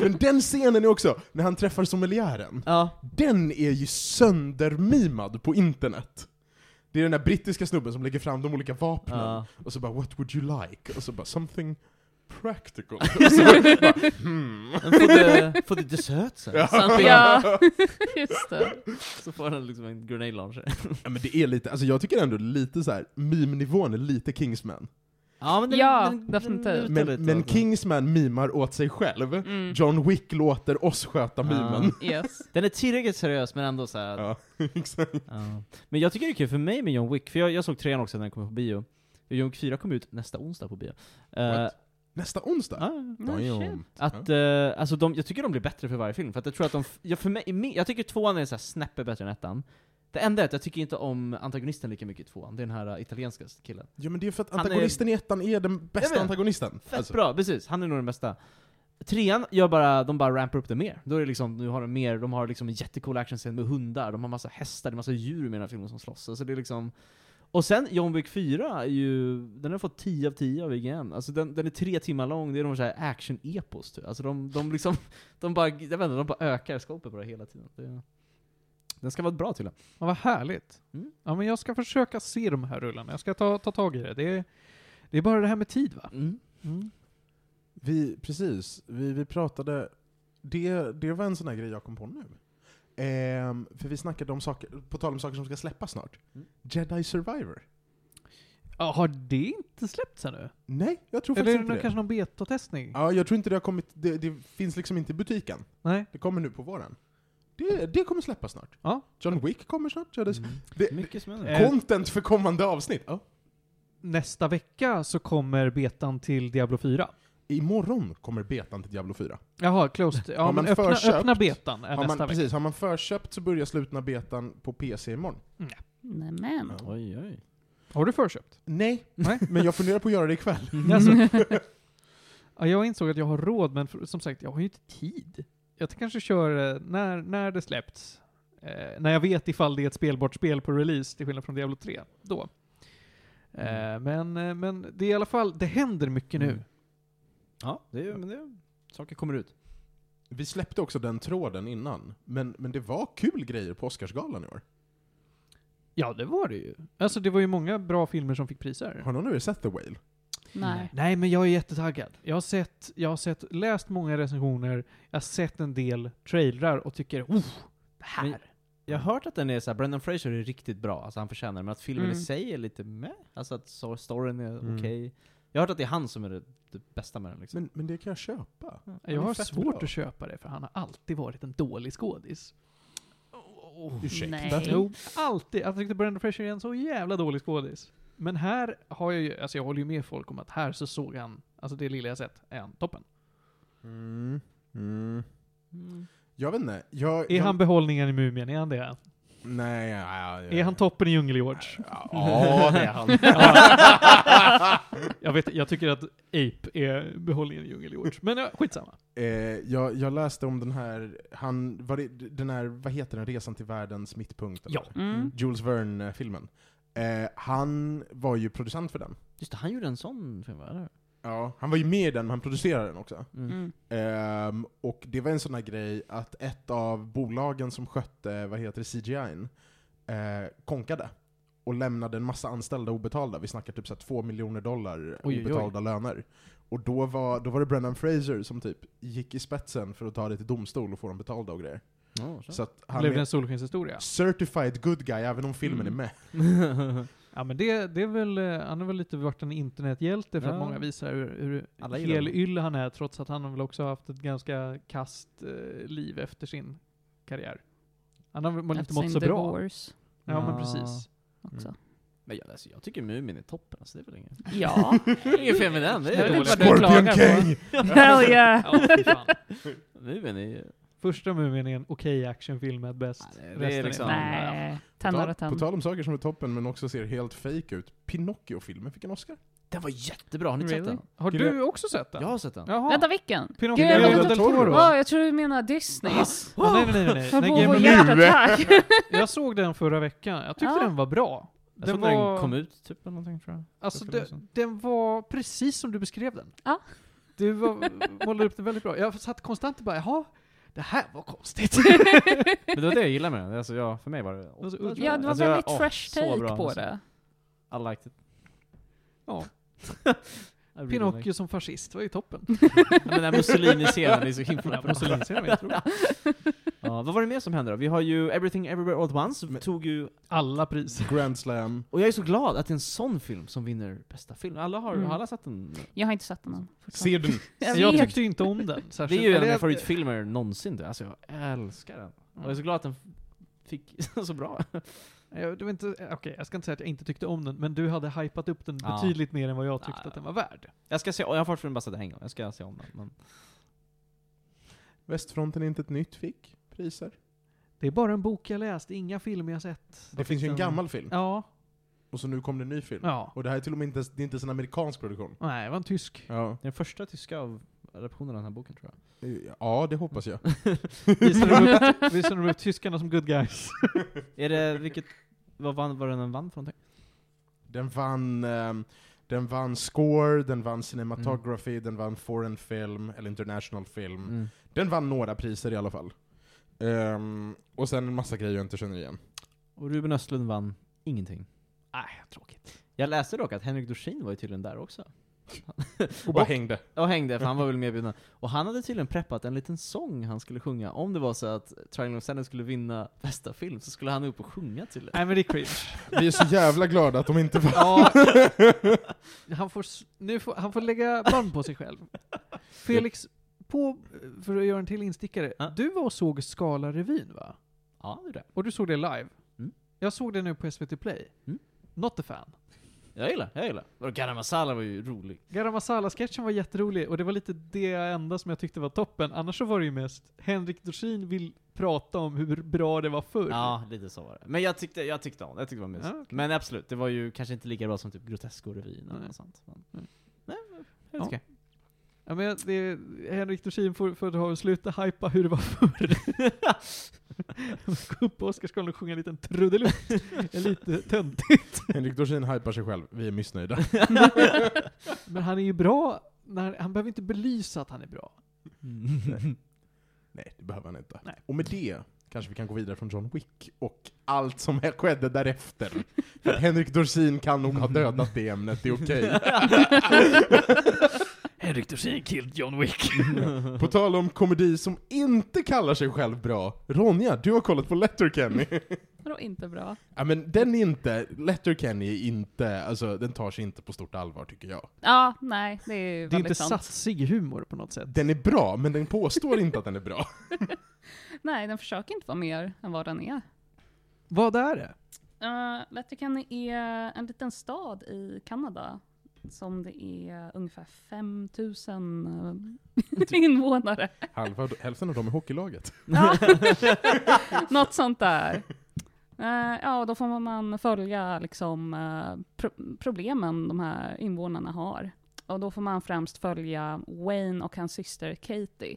Men den scenen är också, när han träffar sommeliären, ja. den är ju söndermimad på internet. Det är den där brittiska snubben som lägger fram de olika vapnen, Ja. och så bara 'What would you like?' och så bara 'Something practical' och så bara, hmm. Men Får det, får det dessert sen? Ja. Sen ja. ja, just det. Så får han liksom en grenade launcher. ja, men det är lite, alltså jag tycker ändå lite så här, meme-nivån är lite Kingsman. Ja, men Ja, definitivt. lutar Men, lite alltså. men åt- Kingsman mimar åt sig själv. Mm. John Wick låter oss sköta mimen. Yes. Den är tillräckligt seriös men ändå så här. Ja, exakt. Ja. Men jag tycker det är kul för mig med John Wick, för jag, jag såg trean också när den kom på bio. John Wick 4 kom ut nästa onsdag på bio. Eh, What? Nästa onsdag? ja. No Oh, shit. Att, eh, alltså de, jag tycker de blir bättre för varje film, för att jag tror att de, f- ja, för mig, i min- jag tycker tvåan är så här snäppet bättre än ettan. Det enda är att jag tycker inte om antagonisten lika mycket i tvåan, det är den här eh, italienska killen. Ja men det är för att Han är- antagonisten i ettan är den Jag bästa vet. antagonisten. Alltså, Fett bra, precis. Han är nog den bästa. Trean gör bara, de bara rampar upp det mer. Då är det liksom, nu har de mer, de har liksom en jättecool actionscen med hundar, de har massa hästar, det är massa djur med den här filmen som slåss. Alltså det är liksom... Och sen John Wick 4 är ju, den har fått 10 av 10 av IGN. Alltså den, den är tre timmar lång, det är de så här action-epos typ. Alltså de, de liksom, de bara, jag vet inte, de bara ökar skåpet på det hela tiden. Det, är- den ska vara bra till Ja, vad härligt. Mm. Ja, men jag ska försöka se de här rullarna. Jag ska ta, ta tag i det. Det är, det är bara det här med tid va? mm. Vi, precis, vi, vi pratade, det, det var en sån här grej jag kom på nu. Ehm, för vi snackade om saker, på tal om saker som ska släppas snart. Mm. Jedi Survivor. Ja, har det inte släppts ännu? Nej, jag tror Eller faktiskt är det någon, inte det. kanske någon betatestning? Ja, jag tror inte det har kommit, det, det finns liksom inte i butiken. Nej? Det kommer nu på våren. Det, det kommer släppas snart. Ja. Mm. John Wick kommer snart. Jedi Sur- Det- Det, Mm. Mycket som händer. Eh, Content för kommande avsnitt. Ja. Nästa vecka så kommer betan till Diablo 4. Imorgon kommer betan till Diablo 4. Jaha, closed. Ja, Har man men öppna, förköpt? öppna betan är Har man, nästa vecka. precis, har man förköpt så börjar slutna betan på PC imorgon. Mm. Nämen. Oj, oj. Har du förköpt? Nej, Nej. men jag funderar på att göra det ikväll. Alltså, ja, jag insåg att jag har råd, men för, som sagt, jag har ju inte tid. Jag kanske kör eh, när, när det släppts. Eh, när jag vet ifall det är ett spelbart spel på release, till skillnad från Diablo 3. Då. Eh, men, eh, men det är i alla fall, det händer mycket nu. Ja, det är, men det är, saker kommer ut. Vi släppte också den tråden innan, men, men det var kul grejer på Oscarsgalan i år. Ja, det var det ju. Alltså det var ju många bra filmer som fick priser. Har någon av er sett The Whale? Nej. Nej, men jag är jättetaggad. Jag har sett, jag har sett, läst många recensioner, jag har sett en del trailrar och tycker oh, det här. Men- Jag har hört att den är såhär, Brendan Fraser är riktigt bra, alltså han förtjänar det, men att filmen i Mm. sig är lite med. Alltså att so- storyn är Mm. okej. Jag har hört att det är han som är det, det bästa med den liksom. Men, men det kan jag köpa. Ja. jag är har fett svårt bra. att köpa det för han har alltid varit en dålig skådis. Oh. Ursäkta? Nej. Jo, alltid. Jag tyckte Brendan Fraser är en så jävla dålig skådis. Men här har jag ju, alltså jag håller ju med folk om att här så såg han, alltså det lilla jag sett, är han toppen. Mm. Mm. Jag vet inte. Jag, Är jag, han behållningen i Mumien? Är han det? Nej, ja, ja, ja. Är han toppen i Djungel-George? Ja, ja, det är han. Jag vet jag tycker att Ape är behållningen i Djungel-George. Men ja, skitsamma. Eh, jag, jag läste om den här, han, var det, den här, vad heter den, Resan till världens mittpunkt? eller? Ja. Mm. Jules Verne-filmen. Eh, han var ju producent för den. Just det, han gjorde en sån film, va? Eller? Ja. Han var ju med i den, men han producerade den också. Mm. Mm. Ehm, och det var en sån här grej att ett av bolagen som skötte, vad heter det, CGI'n, eh, konkade. Och lämnade en massa anställda obetalda. Vi snackar typ så här två miljoner dollar Oj, oj, oj. obetalda löner. Och då var, då var det Brendan Fraser som typ gick i spetsen för att ta det till domstol och få dem betalda och grejer. Ja, så. Så att han Blev det är en solskenshistoria? certified good guy även om filmen Mm. är med. Ja men det, det är väl, eh, han har väl lite varit en internethjälte för att Ja. många visar hur, hur Alla gillar honom. helylle han är trots att han väl också har haft ett ganska kast eh, liv efter sin karriär. Han har väl inte That's mått in så the bra. Wars Ja men Ja. precis. Mm. också. men jag, alltså, jag tycker Mumin är toppen, alltså, det är väl inget. Ja. Inget fel med den, det Jag är vet inte dåligt. vad du klagar på. Hell yeah. Ja, fy fan. Mumin är ju... Första Mumien är en okej actionfilm at best. Ja, det- det är Resten liksom- fan- Nej. På Ten tal- out of På ten. tal om saker som är toppen men också ser helt fake ut. Pinocchio-filmen fick en Oscar. Den var jättebra, har ni inte Really? sett Har Skulle du också sett den? den? Jag har sett den. Jaha. Vänta, vilken? Pinocchio Gud, jag del vet inte. Toro. Ja, jag tror du menar Ah, Disneys. Ja, nej, nej, nej, nej. Jag Nej, får Game vår of- hjärtattack. Jag såg den förra veckan. Jag tyckte Ja. den var bra. Jag såg Den när var, den kom ut, typ, eller någonting tror jag. alltså, för länge den, sedan. den var precis som du beskrev den. Ja. Du var, målade upp den väldigt bra. Jag satt konstant och bara jaha, det här var konstigt. Men det var det jag gillade med den. Alltså, jag, för mig var det... Alltså, åtta, tror Ja, jag. det var Alltså, jag- väldigt åh, fresh så take bra, på alltså. det. I liked it. Ja. I really liked Pinocchio it. som fascist var ju toppen. Men Den där Mussolini-scenen är så himla Ja, bra. Mussolini-scenen var jättebra. Ja, vad var det mer som hände då? Vi har ju Everything Everywhere All At Once, Men- tog ju... Alla priser. Grand Slam. Och jag är så glad att det är en sån film som vinner bästa film. Alla har, Mm. har alla sett den? Jag har inte sett den än. fortfarande. Ser den? Jag Jag vet. tyckte ju inte om den. Det Särskilt. är ju en av Eller mina jag- favoritfilmer någonsin. du. Alltså jag älskar den. Och jag är så glad att den fick så bra. Jag, det var inte, okej, jag ska inte säga att jag inte tyckte om den, men du hade hypat upp den Ja. betydligt mer än vad jag tyckte Ja, ja. att den var värd. Jag ska se, och jag har fortfarande bara sett den en gång. Jag ska se om den. Men Västfronten är inte ett nytt fick priser. Det är bara en bok jag läst, inga filmer jag sett. Det finns ju en gammal film, Ja, och så nu kom det en ny film. ja. Och det här är till och med inte, ens- det är inte ens en amerikansk produktion. Nej, det var en tysk. Ja, den första tyska av adaptionen av den här boken tror jag. ja det hoppas jag. Visade de upp, visade de upp tyskarna som good guys? Är det, vilket, vad vann, var den vann för någonting? Den vann, ehm, den vann score, den vann cinematography, den vann foreign film, eller international film. Mm. Den vann några priser i alla fall. Ehm, och sen en massa grejer jag inte känner igen. Och Ruben Östlund vann ingenting. Nej, tråkigt. Ah, Jag läste dock att Henrik Dorsin var ju tydligen där också. Och bara hängde. Och hängde, för han var väl medbjuden. Och han hade tydligen preppat en liten sång han skulle sjunga. Om det var så att Triangle of Sadness skulle vinna bästa film så skulle han upp och sjunga till det. Nej men det är cringe. Vi är så jävla glada att de inte vann. Ja, han, får, s- nu får, han får lägga band på sig själv. Felix, på, för att göra en till instickare. Ja. Du var och såg Skala-revyn va? Ja, det är det. Och du såg det live? Mm. Jag såg det nu på SVT Play. Mm. Not a fan. Jag gillar, jag gillar. Och Garam Masala var ju rolig. Garam Masala-sketchen var jätterolig och det var lite det enda som jag tyckte var toppen. Annars så var det ju mest Henrik Dorsin vill prata om hur bra det var förr. Ja, lite så var det. Men jag tyckte, jag tyckte om det. Jag tyckte det var mysigt. Ja, okej. Men absolut, det var ju kanske inte lika bra som typ Grotesco-revyn eller Nej. något sånt. Mm. Men, Nej, men helt Ja. okej. Ja, men jag- det, Henrik Dorsin får, får ha sluta hypa hur det var förr. Gå upp på Oscarsgalan och sjunga en liten trudelutt. Det är lite töntigt. Henrik Dorsin hypar sig själv, vi är missnöjda. Men han är ju bra, när, han behöver inte belysa att han är bra. Nej, det behöver han inte. Nej. Och med det kanske vi kan gå vidare från John Wick och allt som här skedde därefter. För att Henrik Dorsin kan nog ha dödat det ämnet, det är okej. Henrik Dorsin killed John Wick. På tal om komedi som inte kallar sig själv bra. Ronja, du har kollat på Letterkenny. Vadå inte bra? ja men den är inte, Letterkenny är inte, alltså den tar sig inte på stort allvar tycker jag. Ja, nej, det är ju Det är inte väldigt sant. satsig humor på något sätt. Den är bra, men den påstår inte att den är bra. Nej, den försöker inte vara mer än vad den är. Vad är det? Uh, Letterkenny är en liten stad i Kanada som det är ungefär 5000 invånare. Halva, hälften av dem är hockeylaget. Ja. Något sånt där. Eh, ja, och då får man följa liksom, eh, pro- problemen de här invånarna har. Och då får man främst följa Wayne och hans syster Katie,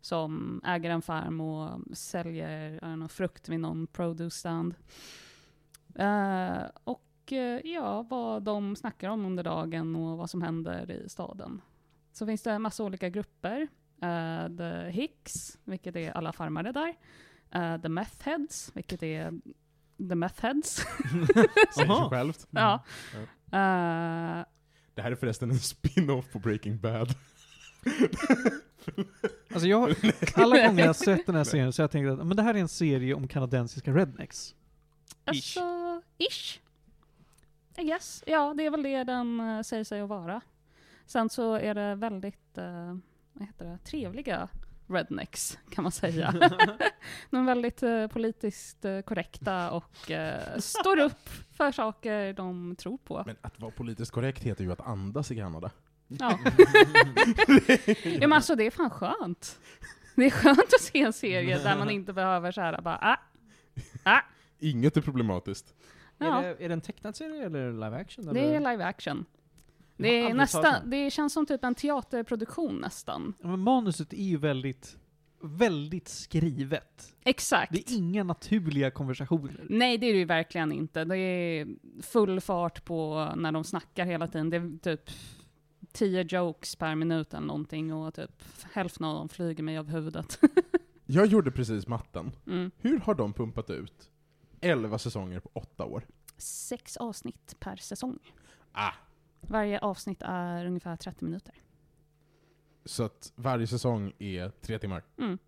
som äger en farm och säljer I don't know, frukt vid någon produce stand. Eh, och eh, ja, vad de snackar om under dagen och vad som händer i staden. Så finns det en massa olika grupper. Eh, the Hicks, vilket är alla farmare där. Eh, the Meth Heads, vilket är The Meth Heads. Säger sig Aha. självt. ja. Eh, Det här är förresten en spin-off på Breaking Bad. Alltså jag, har- alla gånger jag har sett den här serien så har jag tänkt att men det här är en serie om kanadensiska rednecks. alltså, ish. I guess. Ja, det är väl det den eh, säger sig att vara. Sen så är det väldigt, eh, vad heter det, trevliga rednecks kan man säga. De är väldigt eh, politiskt eh, korrekta och eh, står upp för saker de tror på. Men att vara politiskt korrekt heter ju att andas i Kanada. Ja. ja men alltså det är fan skönt. Det är skönt att se en serie där man inte behöver så här bara ah, Inget är problematiskt. ja. Är, det, är det en tecknad serie eller live action? Det är eller? live action. Jag Det, har är aldrig hört nästan, om det känns som typ en teaterproduktion nästan. Ja, Men manuset är ju väldigt, väldigt skrivet. Exakt. Det är inga naturliga konversationer. Nej, det är det ju verkligen inte. Det är full fart på när de snackar hela tiden. Det är typ tio jokes per minut eller någonting och typ hälften av dem flyger mig av huvudet. Jag gjorde precis matten. Mm. Hur har de pumpat ut 11 säsonger på 8 år? Sex avsnitt per säsong. Ah. Varje avsnitt är ungefär 30 minuter. Så att varje säsong är tre timmar. Mm.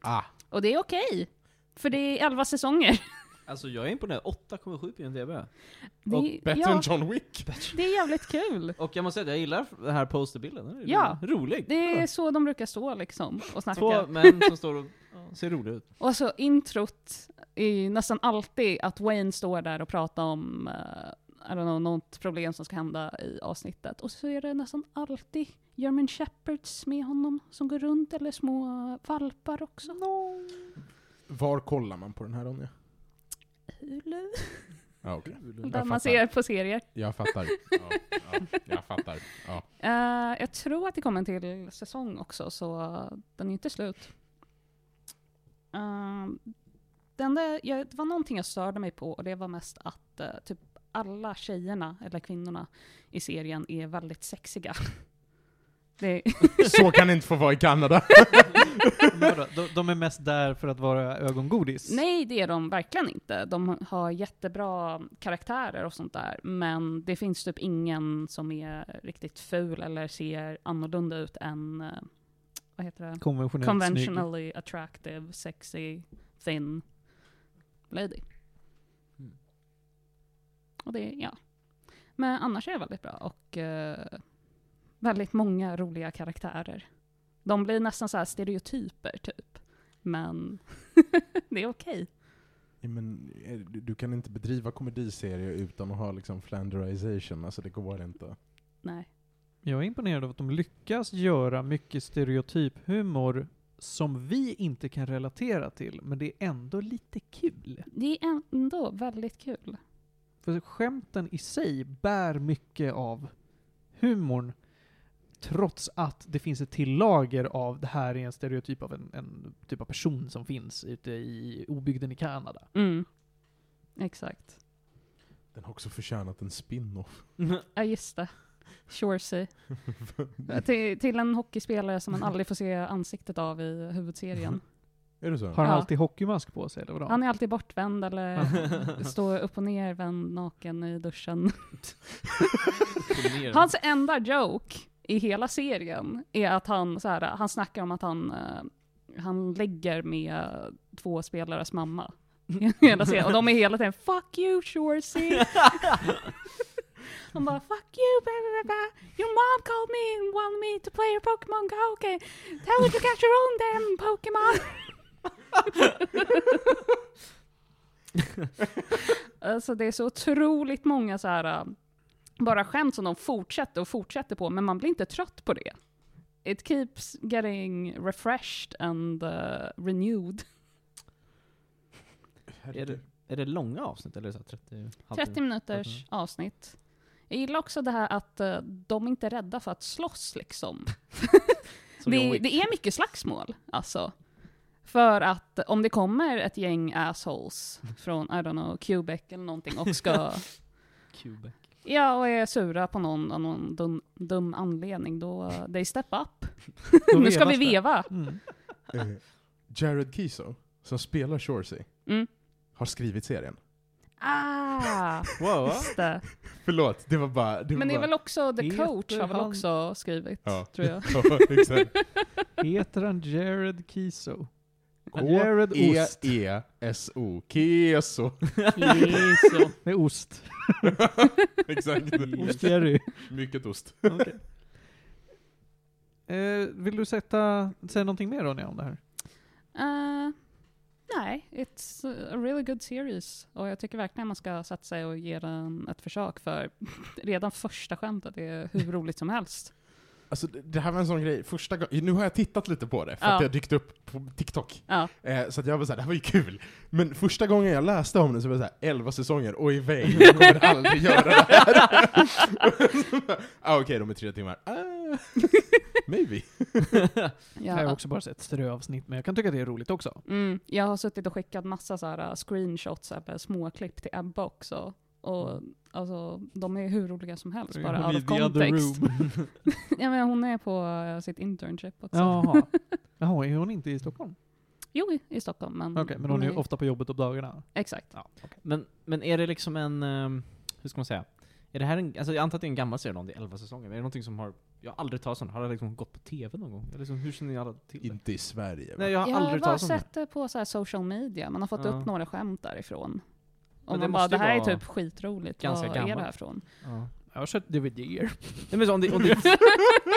Ah. Och det är okej. För det är 11 säsonger. Alltså jag är imponerad. 8,7 på IMDB. Det Och är, bättre ja, än John Wick. det är jävligt kul. Och jag måste säga att jag gillar den här posterbilden. Den är Ja. Rolig. Det är så de brukar stå liksom och snacka. Två män som står och ja, ser roliga ut. Och så introt är ju nästan alltid att Wayne står där och pratar om uh, I don't know, något problem som ska hända i avsnittet. Och så är det nästan alltid German Shepherds med honom som går runt, eller små valpar också. Var kollar man på den här Ronja? Hulu. Ja, Ah, okej. Där fattar. man ser på serier. Jag fattar. Ja, ja, jag fattar. Ja. Eh, jag tror att det kommer en till säsong också, så den är inte slut. Eh, det, enda, jag, det var någonting jag störde mig på, och det var mest att eh, typ alla tjejerna, eller kvinnorna, i serien är väldigt sexiga. Det, Så kan det inte få vara i Kanada. Men vadå, de, de är mest där för att vara ögongodis. nej, det är de verkligen inte. De har jättebra karaktärer och sånt där, men det finns typ ingen som är riktigt ful eller ser annorlunda ut än, eh, vad heter det? Konventionellt snygg. conventionally attractive, sexy, thin lady. Mm. Och det, ja. Men annars är det väldigt bra och eh, väldigt många roliga karaktärer. De blir nästan så här stereotyper typ. Men det är okej. Ja, men, eh, du- du kan inte bedriva komediserier utan att ha liksom flanderization, alltså det går inte. Nej. Jag är imponerad av att de lyckas göra mycket stereotyp humor som vi inte kan relatera till, men det är ändå lite kul. Det är ändå väldigt kul. För skämten i sig bär mycket av humorn, trots att det finns ett till lager av det här är en stereotyp av en, en typ av person som finns ute i obygden i Kanada. Mm. Exakt. Den har också förtjänat en spin-off. Ja, just det. Shorsey. till, till en hockeyspelare som man aldrig får se ansiktet av i huvudserien. Är det så? Har han Ja. alltid hockeymask på sig eller vadå? Han är alltid bortvänd eller står upp och ner vänd naken i duschen. Hans enda joke i hela serien är att han, så här, han snackar om att han, eh, han lägger med två spelares mamma. i hela serien. Och de är hela tiden 'Fuck you Shorsey' Han bara 'Fuck you, blah, blah, blah, blah. your mom called me and wanted me to play your Pokémon Go, okay. Tell her to catch your own damn Pokémon' Alltså det är så otroligt många så här eh, bara skämt som de fortsätter och fortsätter på, men man blir inte trött på det. It keeps getting refreshed and eh, renewed. Är det, är det långa avsnitt eller så här 30? 30 Mm-hmm. minuters avsnitt. Jag gillar också det här att eh, de är inte är rädda för att slåss liksom. Som John Det, Wick. det är mycket slagsmål, alltså. För att om det kommer ett gäng assholes från, I don't know, Quebec eller någonting och ska Quebec. Ja, och är sura på någon av någon dum, dum anledning, då eh, they step up. Då nu ska vi vevas det. veva. Mm. Eh, Jared Kiso, som spelar Shorsey, Mm. har skrivit serien. Ah, Wow, va? just det. Förlåt, det var bara... Det var Men det är bara... väl också, The Heter Coach har väl han- också skrivit, Ja. tror jag. Ja, exakt. Heter han Jared Kiso? E Jared Ost. E K-E-E-S-O. Keso. Kiso. Det är ost. Exakt. Ost-Jerry. Mycket ost. Okej. Eh, vill du sätta, säga någonting mer Ronja om det här? Eh, nej, it's a really good series. Och jag tycker verkligen man ska sätta sig och ge den ett försök, för redan första skämtet är hur roligt som helst. Alltså, det- det här var en sån grej, första gången, nu har jag tittat lite på det, för Ja. att det har dykt upp på TikTok. Ja. Eh, så att jag var såhär, det här var ju kul. Men första gången jag läste om det så var det såhär, 11 säsonger, och i väg, jag kommer aldrig göra det här. ah, Okej, de är tre timmar. Ah, maybe. Jag har Ja. också bara sett ströavsnitt, men jag kan tycka det är roligt också. Mm, jag har suttit och skickat massa så här uh, screenshots, eller småklipp till Ebba också. Och alltså, de är hur roliga som helst, bara Hon out i of The Other context. Room. Ja, men hon är på eh, sitt internship också. Jaha. Jaha, är hon inte i Stockholm? Jo, i- i Stockholm. Men, Okej, men hon är ju ofta på jobbet på dagarna. Exakt. Men, men är det liksom en, ehm, hur ska man säga? Är det här en, alltså jag antar att det är en gammal serie, om det är 11 säsonger, men är det någonting som har, jag har aldrig talat om det. Har det liksom gått på TV någon gång? Eller liksom, hur känner ni alla till det? Inte i Sverige. va? Nej jag har Jag har aldrig bara talat om det. sett det på så här social media, man har fått Ja. upp några skämt därifrån. Och Men det man bara, måste det ju här är vara typ skitroligt, ganska vad är det gammalt." här från? Ja. Jag har sett DVD-er. Nej men så, om, det, om, det,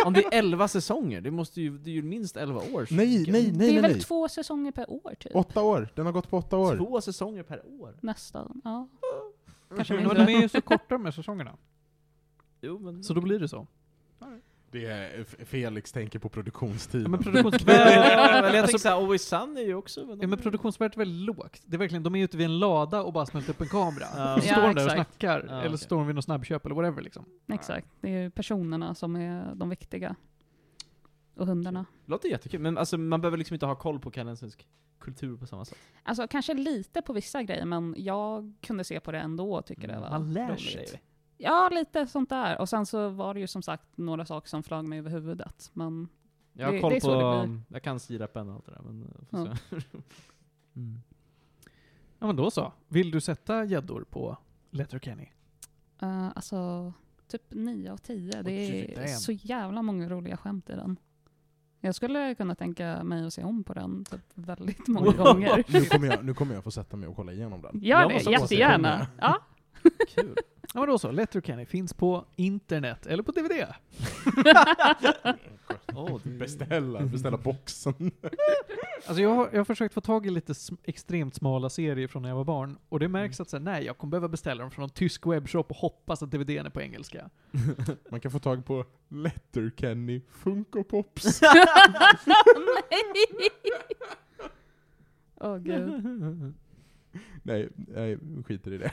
om det är 11 säsonger, det måste ju, det är ju minst 11 år. Nej, nej, det nej, är nej. väl nej. två säsonger per år typ? Åtta år, den har gått på åtta år. Två säsonger per år? Mm. Nästan, ja. Kanske Men mindre. de är ju så korta med säsongerna. Jo men... Så då blir det så. Det är F- Felix tänker på Ja, produktionstiden. men men, produktionsvärdet jag tänkte såhär, Always Sun är ju också... Alltså- ja, men produktionsvärdet är väldigt lågt. Det är verkligen, de är ute vid en lada och bara smält upp en kamera. Ja. Och så står Ja, de där och exakt. snackar. Ja, Eller okej. så står de vid något snabbköp eller whatever liksom. Exakt, det är ju personerna som är de viktiga. Och hundarna. Låter jättekul, men alltså, man behöver liksom inte ha koll på kanadensisk kultur på samma sätt. Alltså kanske lite på vissa grejer, men jag kunde se på det ändå och tycker det Mm. var Man lär roligt. sig. Ja, lite sånt där. Och sen så var det ju som sagt några saker som flög mig över huvudet. Men Jag har Det- koll det är så på, ehm, det blir. jag kan sirapen och allt det där men... eh, får Ja. se. Mm. Ja men då så. Vill du sätta gäddor på Letterkenny? eh, alltså, typ 9 av 10. Det Oj, damn. är så jävla många roliga skämt i den. Jag skulle kunna tänka mig att se om på den typ väldigt många Wow. gånger. Nu, kommer jag, nu kommer jag få sätta mig och kolla igenom den. Gör Jag det, måste jättegärna. återkomma. Ja. Kul. Ja men då så, Letterkenny finns på internet, eller på DVD. Åh, Mm. det- Beställa, beställa boxen. Alltså jag har, jag har försökt få tag i lite sm- extremt smala serier från när jag var barn, och det märks att så här, nej, jag kommer behöva beställa dem från en tysk webbshop och hoppas att DVDn är på engelska. Man kan få tag på Letterkenny Funko Pops. Nej! Åh gud. nej, nej, skiter i det.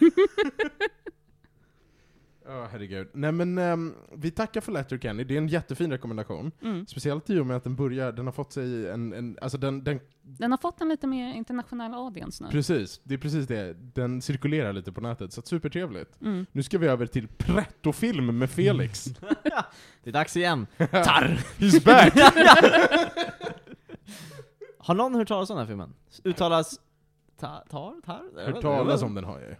Ja, herregud. Nej men, ehm, vi tackar för Letterkenny, det är en jättefin rekommendation. Mm. Speciellt i och med att den börjar, den har fått sig en, en alltså den, den Den har fått en lite mer internationell audience nu. precis, det är precis det, den cirkulerar lite på nätet, så att supertrevligt. Mm. Nu ska vi över till pretto-film med Felix. Det är dags igen. Tarr! He's back! Har någon hört talas om den här filmen? Uttalas... Ta, tar? Tar? Hört talas om den har jag ju.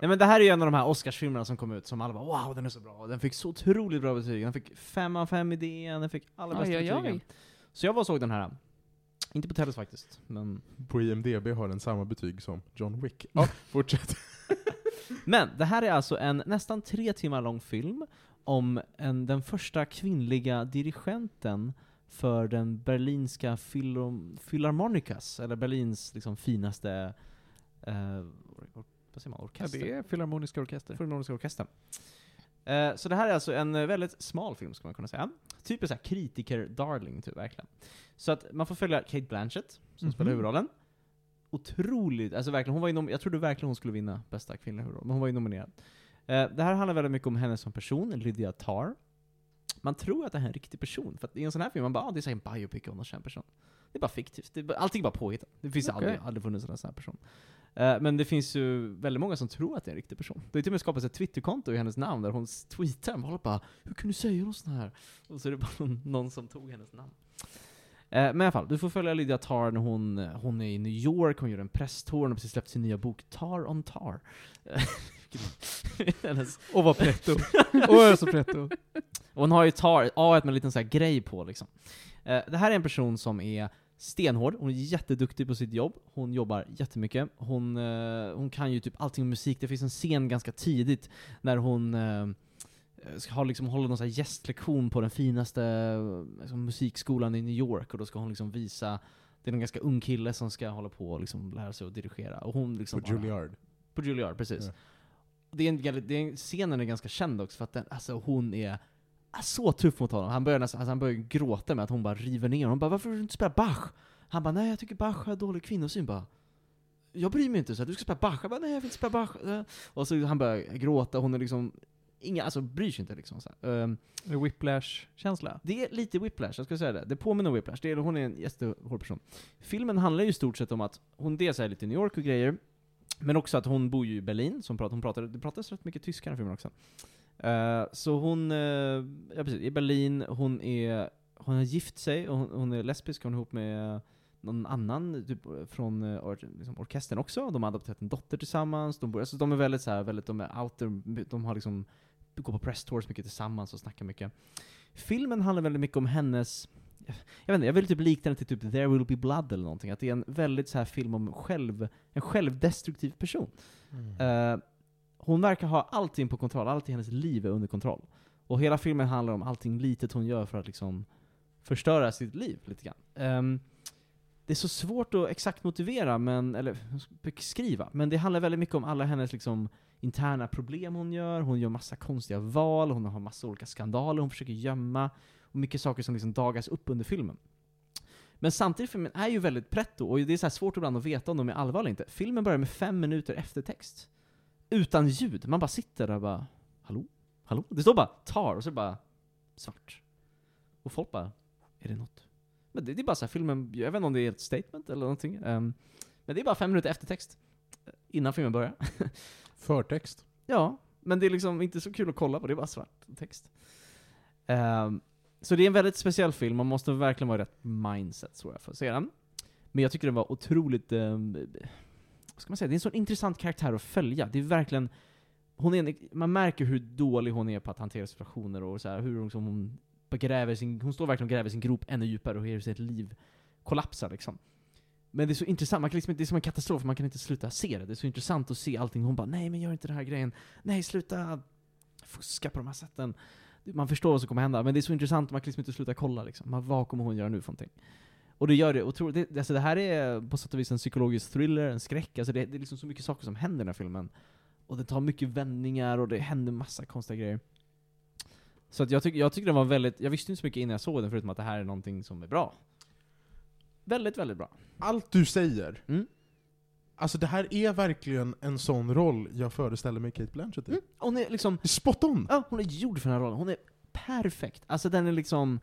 Nej men det här är ju en av de här Oscarsfilmerna som kom ut som alla bara wow den är så bra, den fick så otroligt bra betyg, den fick 5 av 5 i DN, den fick alla bästa Oj, oj, betygen. oj. Så jag var och såg den här. Inte på Tellus faktiskt, men... På IMDB har den samma betyg som John Wick. Ja, fortsätt. Men det här är alltså en nästan tre timmar lång film om en, den första kvinnliga dirigenten för den berlinska Philo- Philharmonicas, eller Berlins liksom finaste eh, or, or, vad säger man, Ja, orkester. det är Filharmoniska Orkester. Filharmoniska orkestern. Eh, så det här är alltså en eh, väldigt smal film, ska man kunna säga. Typ en sån här kritiker-darling, typ, verkligen. Så att man får följa Kate Blanchett, som Mhm. spelar huvudrollen. Otroligt, alltså verkligen, hon var ju nom- jag trodde verkligen hon skulle vinna bästa kvinnliga huvudroll, men hon var ju nominerad. Eh, det här handlar väldigt mycket om henne som person, Lydia Tarr. Man tror att det här är en riktig person, för att i en sån här film, man bara ah, det är så här en biopic om någon känd person. Det är bara fiktivt, det är bara, allting är bara påhittat. Det finns Okej. aldrig, aldrig funnits en sån här person. Eh, Men det finns ju väldigt många som tror att det är en riktig person. Det har till och med skapats ett twitterkonto i hennes namn där hon s- tweetar och bara Hur kan du säga något sånt här? Och så är det bara någon, någon som tog hennes namn. Eh, Men i alla fall, du får följa Lydia Tarr när hon, hon är i New York, hon gör en presstour, hon har precis släppt sin nya bok Tar on Tar. Eh, vilket- hennes- Och var pretto. Och så pretto. och hon har ju tar, A med en liten så här grej på liksom. Eh, det här är en person som är stenhård, hon är jätteduktig på sitt jobb, hon jobbar jättemycket, hon, eh, hon kan ju typ allting om musik, det finns en scen ganska tidigt när hon eh, ska ha liksom, håller någon så här gästlektion på den finaste eh, liksom, musikskolan i New York och då ska hon liksom visa, det är en ganska ung kille som ska hålla på och liksom lära sig att dirigera. Och hon liksom På bara- Juilliard. på Juilliard, precis. Ja. Det är en, gall- det är en, scenen är ganska känd också för att den, alltså hon är så tuff mot honom. Han börjar, nästan, alltså han börjar gråta med att hon bara river ner honom. Hon bara 'Varför vill du inte spela Bach?' Han bara 'Nej, jag tycker Bach har dålig kvinnosyn' bara 'Jag bryr mig inte' så här, 'Du ska spela Bach' Jag bara 'Nej, jag vill inte spela Bach' Eh, Och så han börjar gråta, hon är liksom Inga, alltså bryr sig inte liksom. Så här. Ehm, Whiplash-känsla. det är lite Whiplash, jag ska säga det. Det påminner om Whiplash. Det är, hon är en jättehård person. Filmen handlar ju i stort sett om att hon dels är lite i New York och grejer, men också att hon bor ju i Berlin, som pratar, hon pratar, det pratas rätt mycket tyska i den här filmen också. Eh, så hon, eh, ja precis, i Berlin, hon är, hon har gift sig, och hon, hon är lesbisk, hon är ihop med någon annan typ, från eh, or, liksom orkestern också, de har adopterat en dotter tillsammans, de, bor, alltså, de är väldigt så här, väldigt, de är outer, de har liksom, går på press tours mycket tillsammans och snackar mycket. Filmen handlar väldigt mycket om hennes jag vet inte, jag vill typ likna den till typ There Will Be Blood eller någonting. Att det är en väldigt så här film om själv, en självdestruktiv person. Mm. Eh, hon verkar ha allting på kontroll, allt i hennes liv är under kontroll. Och hela filmen handlar om allting litet hon gör för att liksom förstöra sitt liv lite grann. Ehm, det är så svårt att exakt motivera, men, eller beskriva, men det handlar väldigt mycket om alla hennes liksom interna problem hon gör, hon gör massa konstiga val, hon har massa olika skandaler hon försöker gömma, och mycket saker som liksom dagas upp under filmen. Men samtidigt, filmen är ju väldigt pretto, och det är så här svårt ibland att veta om de är allvar eller inte. Filmen börjar med fem minuter eftertext. Utan ljud. Man bara sitter där och bara Hallå? Hallå? Det står bara tar, och så är det bara svart. Och folk bara Är det något? Men det, det är bara så här, filmen, jag vet inte om det är ett statement eller någonting. ehm, men det är bara fem minuter eftertext. eh, Innan filmen börjar. Förtext. Ja, men det är liksom inte så kul att kolla på, det är bara svart text. Ehm, så det är en väldigt speciell film, man måste verkligen vara i rätt mindset tror jag för att se den. Men jag tycker den var otroligt... ehm, vad ska man säga? Det är en sån intressant karaktär att följa. Det är verkligen... Hon är en, man märker hur dålig hon är på att hantera situationer och så här, hur hon, liksom, hon gräver sin... Hon står verkligen och gräver sin grop ännu djupare och hur sitt liv kollapsar liksom. Men det är så intressant, man kan liksom, inte- det är som en katastrof, man kan inte sluta se det. Det är så intressant att se allting. Hon bara 'Nej men gör inte den här grejen' nej sluta fuska på de här sätten. Man förstår vad som kommer hända, men det är så intressant, man kan liksom inte sluta kolla liksom. Man, vad kommer hon göra nu för någonting? Och det gör det otroligt, det, alltså det här är på sätt och vis en psykologisk thriller, en skräck, alltså det, det är liksom så mycket saker som händer i den här filmen. Och det tar mycket vändningar och det händer massa konstiga grejer. Så att jag, tyck, jag tycker den var väldigt, jag visste inte så mycket innan jag såg den förutom att det här är någonting som är bra. Väldigt, väldigt bra. Allt du säger Mm. Alltså det här är verkligen en sån roll jag föreställer mig Kate Blanchett i. Mm. Hon är liksom, Det är Spot on! ja, hon är gjord för den här rollen. Hon är perfekt. Alltså den är liksom,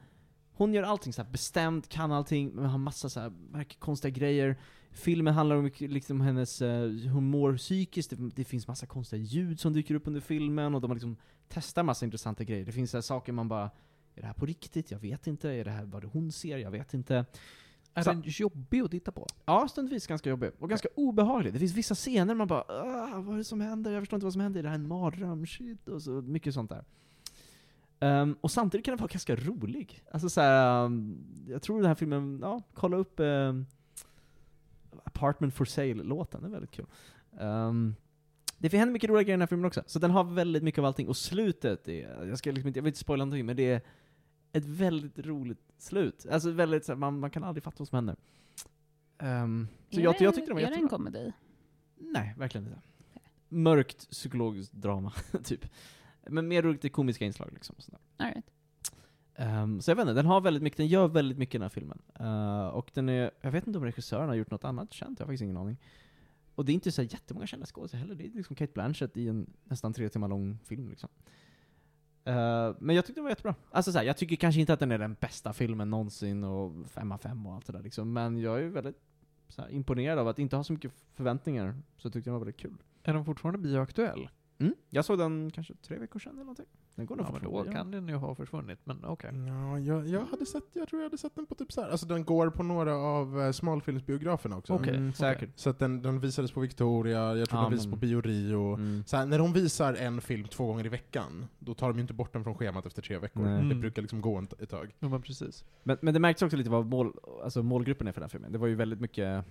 hon gör allting så här bestämt, kan allting, men har massa så här verkligen konstiga grejer. Filmen handlar om mycket liksom hennes, eh, hur hon mår psykiskt, det, det finns massa konstiga ljud som dyker upp under filmen och de har liksom testar massa intressanta grejer. Det finns så här saker man bara, är det här på riktigt? Jag vet inte. Är det här vad hon ser? Jag vet inte. Är Så- den jobbig att titta på? Ja, stundvis ganska jobbig. Och ganska obehaglig. Det finns vissa scener man bara "Ah, vad är det som händer? Jag förstår inte vad som händer. Är det här en mardröm? Shit. Och så mycket sånt där. Ehm, och samtidigt kan den vara ganska rolig. Alltså så här, ehm, jag tror den här filmen, ja, kolla upp ehm, Apartment for Sale-låten, den är väldigt kul. Ehm, det händer mycket roliga grejer i den här filmen också, så den har väldigt mycket av allting. Och slutet, är, jag, ska liksom inte, jag vill inte spoila någonting, men det är ett väldigt roligt slut. Alltså väldigt, så här, man, man kan aldrig fatta vad som händer. Ehm, så Är jag, det- jag tyckte den var Är det en jättebra. komedi? Nej, verkligen inte. Mörkt psykologiskt drama, typ. Men mer lite komiska inslag liksom. Och sånt där. All right. Ehm, så jag vet inte, den har väldigt mycket, den gör väldigt mycket i den här filmen. Eh, och den är, jag vet inte om regissören har gjort något annat känt, jag har faktiskt ingen aning. Och det är inte så här jättemånga kända skådespelare heller, det är liksom Kate Blanchett i en nästan tre timmar lång film liksom. Eh, men jag tyckte den var jättebra. Alltså så här, jag tycker kanske inte att den är den bästa filmen någonsin och fem av fem och allt det där liksom, men jag är väldigt så här, imponerad av att inte ha så mycket förväntningar, så tyckte jag den var väldigt kul. Är den fortfarande bioaktuell? Mm. Jag såg den kanske tre veckor sedan eller någonting. Den går nog Ja, men fortfarande då igen. kan den ju ha försvunnit, men okej. Ja, jag, jag, hade sett, jag tror jag hade sett den på typ så här. Alltså den går på några av eh, smalfilmsbiograferna också. Okej. Mm, säkert. Så att den, den visades på Victoria, jag tror Ja, den visades men- på Bio Rio. Mm. Så här, när de visar en film två gånger i veckan, då tar de ju inte bort den från schemat efter tre veckor. Nej. Det Mm. brukar liksom gå en t- ett tag. Jo men precis. Men, men det märks också lite vad mål, alltså målgruppen är för den här filmen. Det var ju väldigt mycket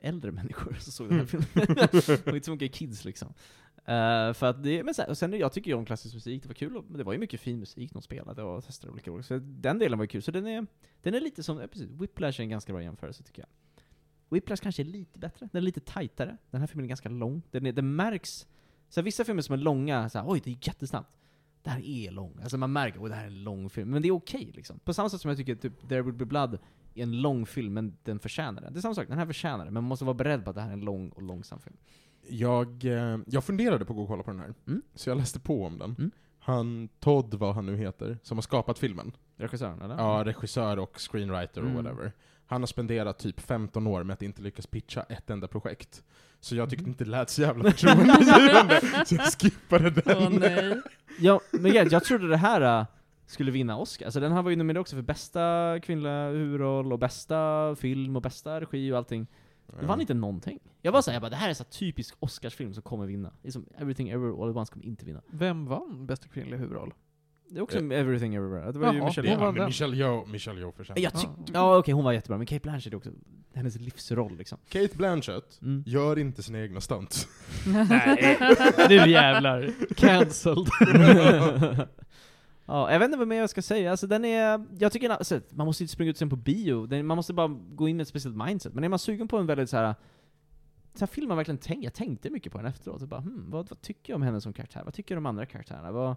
äldre människor som såg den här filmen. och inte så mycket kids liksom. Eh, för att det, men så här, och sen jag tycker ju om klassisk musik, det var kul, och, men det var ju mycket fin musik de spelade och testade olika roller. Så den delen var ju kul. Så den är, den är lite som, ja, precis, Whiplash är en ganska bra jämförelse tycker jag. Whiplash kanske är lite bättre, den är lite tajtare. Den här filmen är ganska lång. Den, är, den märks, så här, vissa filmer som är långa, så här, oj det är jättesnabbt. Det här är lång. Alltså man märker, oh, det här är en lång film. Men det är okej liksom. På samma sätt som jag tycker typ There Would Be Blood är en lång film, men den förtjänar det. Det är samma sak, den här förtjänar det, men man måste vara beredd på att det här är en lång och långsam film. Jag, eh, jag funderade på att gå och kolla på den här, Mm. så jag läste på om den. Mm. Han Todd, vad han nu heter, som har skapat filmen. Regissören eller? Ja, regissör och screenwriter och Ah. Mm. whatever. Han har spenderat typ 15 år med att inte lyckas pitcha ett enda projekt. Så jag Mm. tyckte inte det lät så jävla förtroendeingivande, så jag skippade den. Åh nej. ja men jag, jag trodde det här äh, skulle vinna Oscar. Alltså den här var ju nominerad också för bästa kvinnliga huvudroll och bästa film och bästa regi och allting. Det vann inte någonting. Jag var såhär, jag bara det här är så här typisk Oscarsfilm som kommer vinna. Liksom Everything Ever All At Once kommer inte vinna. Vem vann bästa kvinnliga huvudroll? Det är också Everything Everywhere. Det var ju Jaha. Michelle Det är Hon han, vann med den. Michelle Yeoh, Michelle Yeoh för sen. Jag tyck- ja okej, hon var jättebra, men Kate Blanchett är också hennes livsroll liksom. Kate Blanchett Mm. gör inte sina egna stunts. nu jävlar. Cancelled. ja, jag vet inte vad mer jag ska säga, alltså den är, jag tycker den- alltså, man måste inte springa ut sen på bio, den, man måste bara gå in med ett speciellt mindset. Men är man sugen på en väldigt så här så här film man verkligen tänkt, jag tänkte mycket på den efteråt, och bara hmm, vad, vad tycker jag om henne som karaktär? Vad tycker jag om de andra karaktärerna? Vad,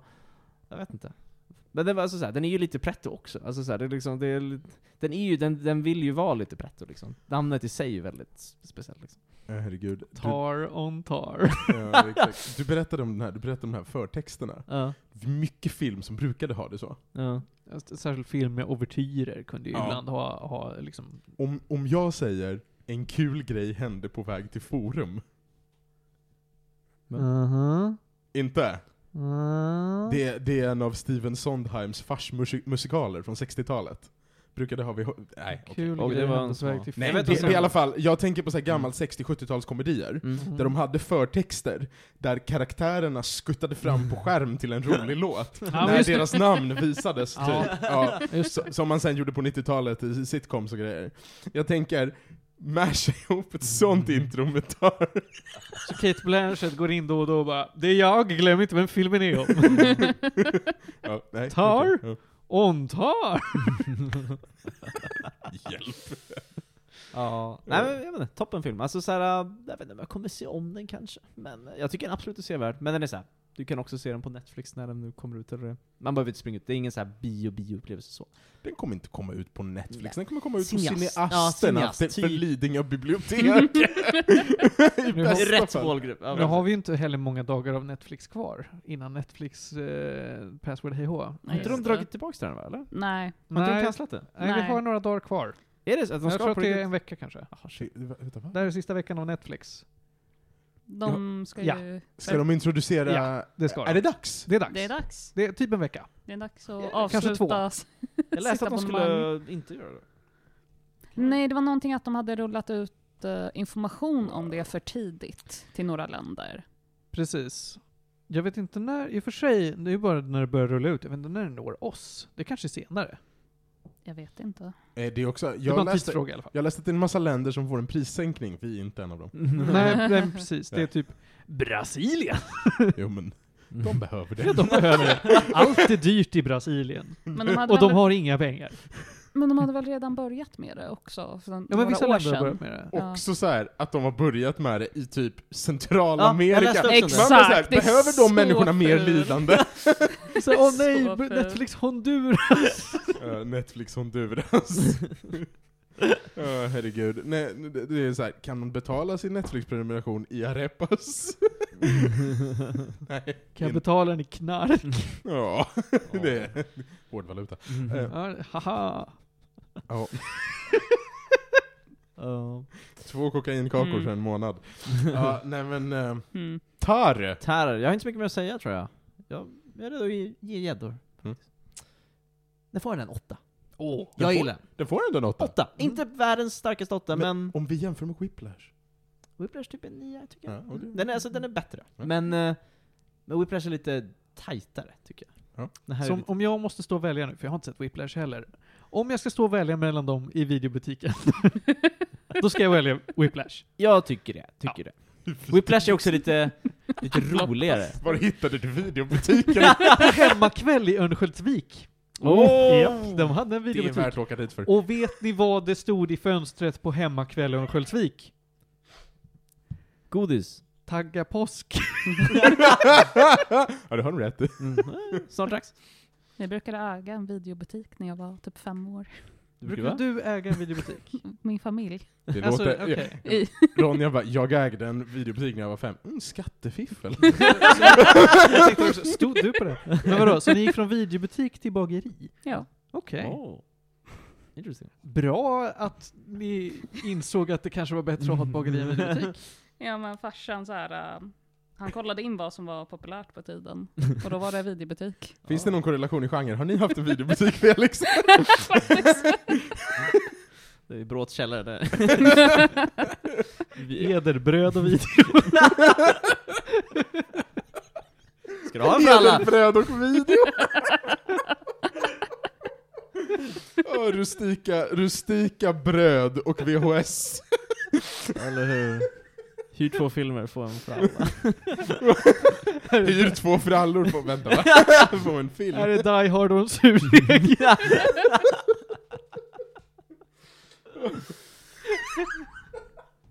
jag vet inte. Men den, var alltså så här, den är ju lite pretto också, alltså så här, det är liksom, det är, lite- den är ju, den, den vill ju vara lite pretto liksom. Namnet i sig är ju väldigt speciellt liksom. Ja, Eh, herregud. Du, Tar on tar. ja, exakt. du berättade om den här, du berättade om de här förtexterna. Ja, Mycket film som brukade ha det så. ja. Särskilt film med ouvertyrer kunde ju Ja. ibland ha, ha liksom... Om, om jag säger en kul grej hände på väg till forum. Men- Inte? Det, det är en av Steven Sondheims farsmusikaler från 60-talet. Brukade ha vi... Nej, okej. Kul Och det grej, var en Hennes väg smak. till Nej, Jag det, vet Mm. det vad som- är i alla fall, jag tänker på så här gammalt 60-70-talskomedier. Mm. Där de hade förtexter där karaktärerna skuttade fram på skärm till en rolig låt. Ja, men när just- deras namn visades, typ. Ja. Ja. Just Så, som man sen gjorde på 90-talet i sitcoms och grejer. Jag tänker, masha ihop ett sånt Mm. intro med tar. Så Kate Blanchett går in då och då och bara Det är jag, glöm inte vem filmen är om. Ja, nej, Tar? okej, On tar! ja. Hjälp. Ja, nej men jag vet inte, äh, toppenfilm. Alltså såhär, jag vet inte om jag kommer se om den kanske. Men jag tycker den är absolut är sevärd. Men den är såhär, Du kan också se den på Netflix när den nu kommer ut. Eller, man behöver inte springa ut, det är ingen så här bio-bio-upplevelse så. Den kommer inte komma ut på Netflix, den kommer komma ut på Cineast. Ja, cineasterna Cineast. till- för Typ. Lidingö bibliotek. Mm. I Nu har- bästa Rätt fall. målgrupp. Ja, Nu verkligen. har vi ju inte heller många dagar av Netflix kvar innan Netflix eh, Password Hej Hå. Har Nej, inte just de det. dragit tillbaka den va? Eller? Nej. Har inte de Nej. cancelat den? Nej, vi Nej. har några dagar kvar. Är det så? Att de Jag ska tror att på det är riktigt? en vecka kanske. Jaha, shit. Shit, vänta, va? Det här är sista veckan av Netflix. De ska Ja. ju... Ska de introducera... Ja, det ska är det de. dags? Det är dags. Det är dags. Det är typ en vecka. Det är dags Ja, att kanske två. avsluta. Jag läste att de sitt skulle inte göra det. Nej, det var någonting att de hade rullat ut eh, information om det för tidigt till några länder. Precis. Jag vet inte när, i och för sig, det är ju bara när det börjar rulla ut. Jag vet inte när det når oss. Det kanske är senare. Jag vet inte. Eh, Det är också, Det är bara jag, en läste, tidsfråga i alla fall. jag läste att det är en massa länder som får en prissänkning, vi är inte en av dem. Nej, nej, precis. Det är Nej. typ Brasilien. Jo men, de behöver det. Ja, de behöver det. Allt är dyrt i Brasilien. Men de hade, Och de väl, har inga pengar. men de hade väl redan börjat med det också? För Ja, några men vissa år länder har sedan. börjat med det. Också så här att de har börjat med det i typ Ja, jag Centralamerika. läste också det. Man bara så här, Exakt, det är behöver så de människorna mer fult. lidande? Så, åh Så nej, fult. Netflix Honduras. Eh, Netflix Honduras. Ja, herregud. Nej, det det är så här, kan man betala sin Netflix-prenumeration i arepas? Nej. Kan jag inte. betala den i knark? Ja, det är hårdvaluta. Eh, Ja, haha. ja, Ja. två kokainkakor Mm. för en månad. Ja, nej men, eh, Mm. tar! Terror. Jag har inte så mycket mer att säga tror jag. Jag, jag är redo att ge- ge gäddor. Mm. Den får den en åtta. Åh. Den Jag får- gillar den. Den får ändå en åtta. Åtta. Inte världens starkaste åtta, men... Om vi jämför med Whiplash. Whiplash typ en nia, tycker Ja, jag. och det- Den, är, alltså, den är bättre. Ja. Men, eh, men Whiplash är lite tajtare, tycker jag. Ja. Den här är Som lite... om jag måste stå och välja nu, för jag har inte sett Whiplash heller. Om jag ska stå och välja mellan dem i videobutiken, då ska jag välja Whiplash. Jag tycker det. Tycker det. Whiplash är också lite, lite roligare. Var hittade du videobutiken? Hemmakväll i Örnsköldsvik. Åh! Japp, de hade en det är videobutik. värt att åka dit för. Och vet ni vad det stod i fönstret på Hemmakväll i Örnsköldsvik? Godis. Tagga påsk. ja, det har du rätt i. Mm. Snart dags. Jag brukade äga en videobutik när jag var typ fem år. Brukar du äga en videobutik? Min familj. Det Alltså, låter, okej. I- Ronja bara, jag ägde en videobutik när jag var fem. Mm, skattefiffel. Jag tänkte också, Stod du på det? Men vadå, så ni gick från videobutik till bageri? Ja. Okej. Oh. Interesting. Bra att ni insåg att det kanske var bättre att ha ett bageri än en videobutik. ja, men farsan så här, äh, han kollade in vad som var populärt på tiden. Och då var det videobutik. Finns det någon korrelation i genre? Har ni haft en videobutik Felix? Det är Bråts källare där. Vi- Ederbröd och video. Ska du ha en bralla? bröd och video! Åh, rustika, rustika bröd och VHS. Eller hur? Hyr två filmer, få en fralla. Hyr två frallor på, vänta va? På en film. Här är Die Hard och en surdeg.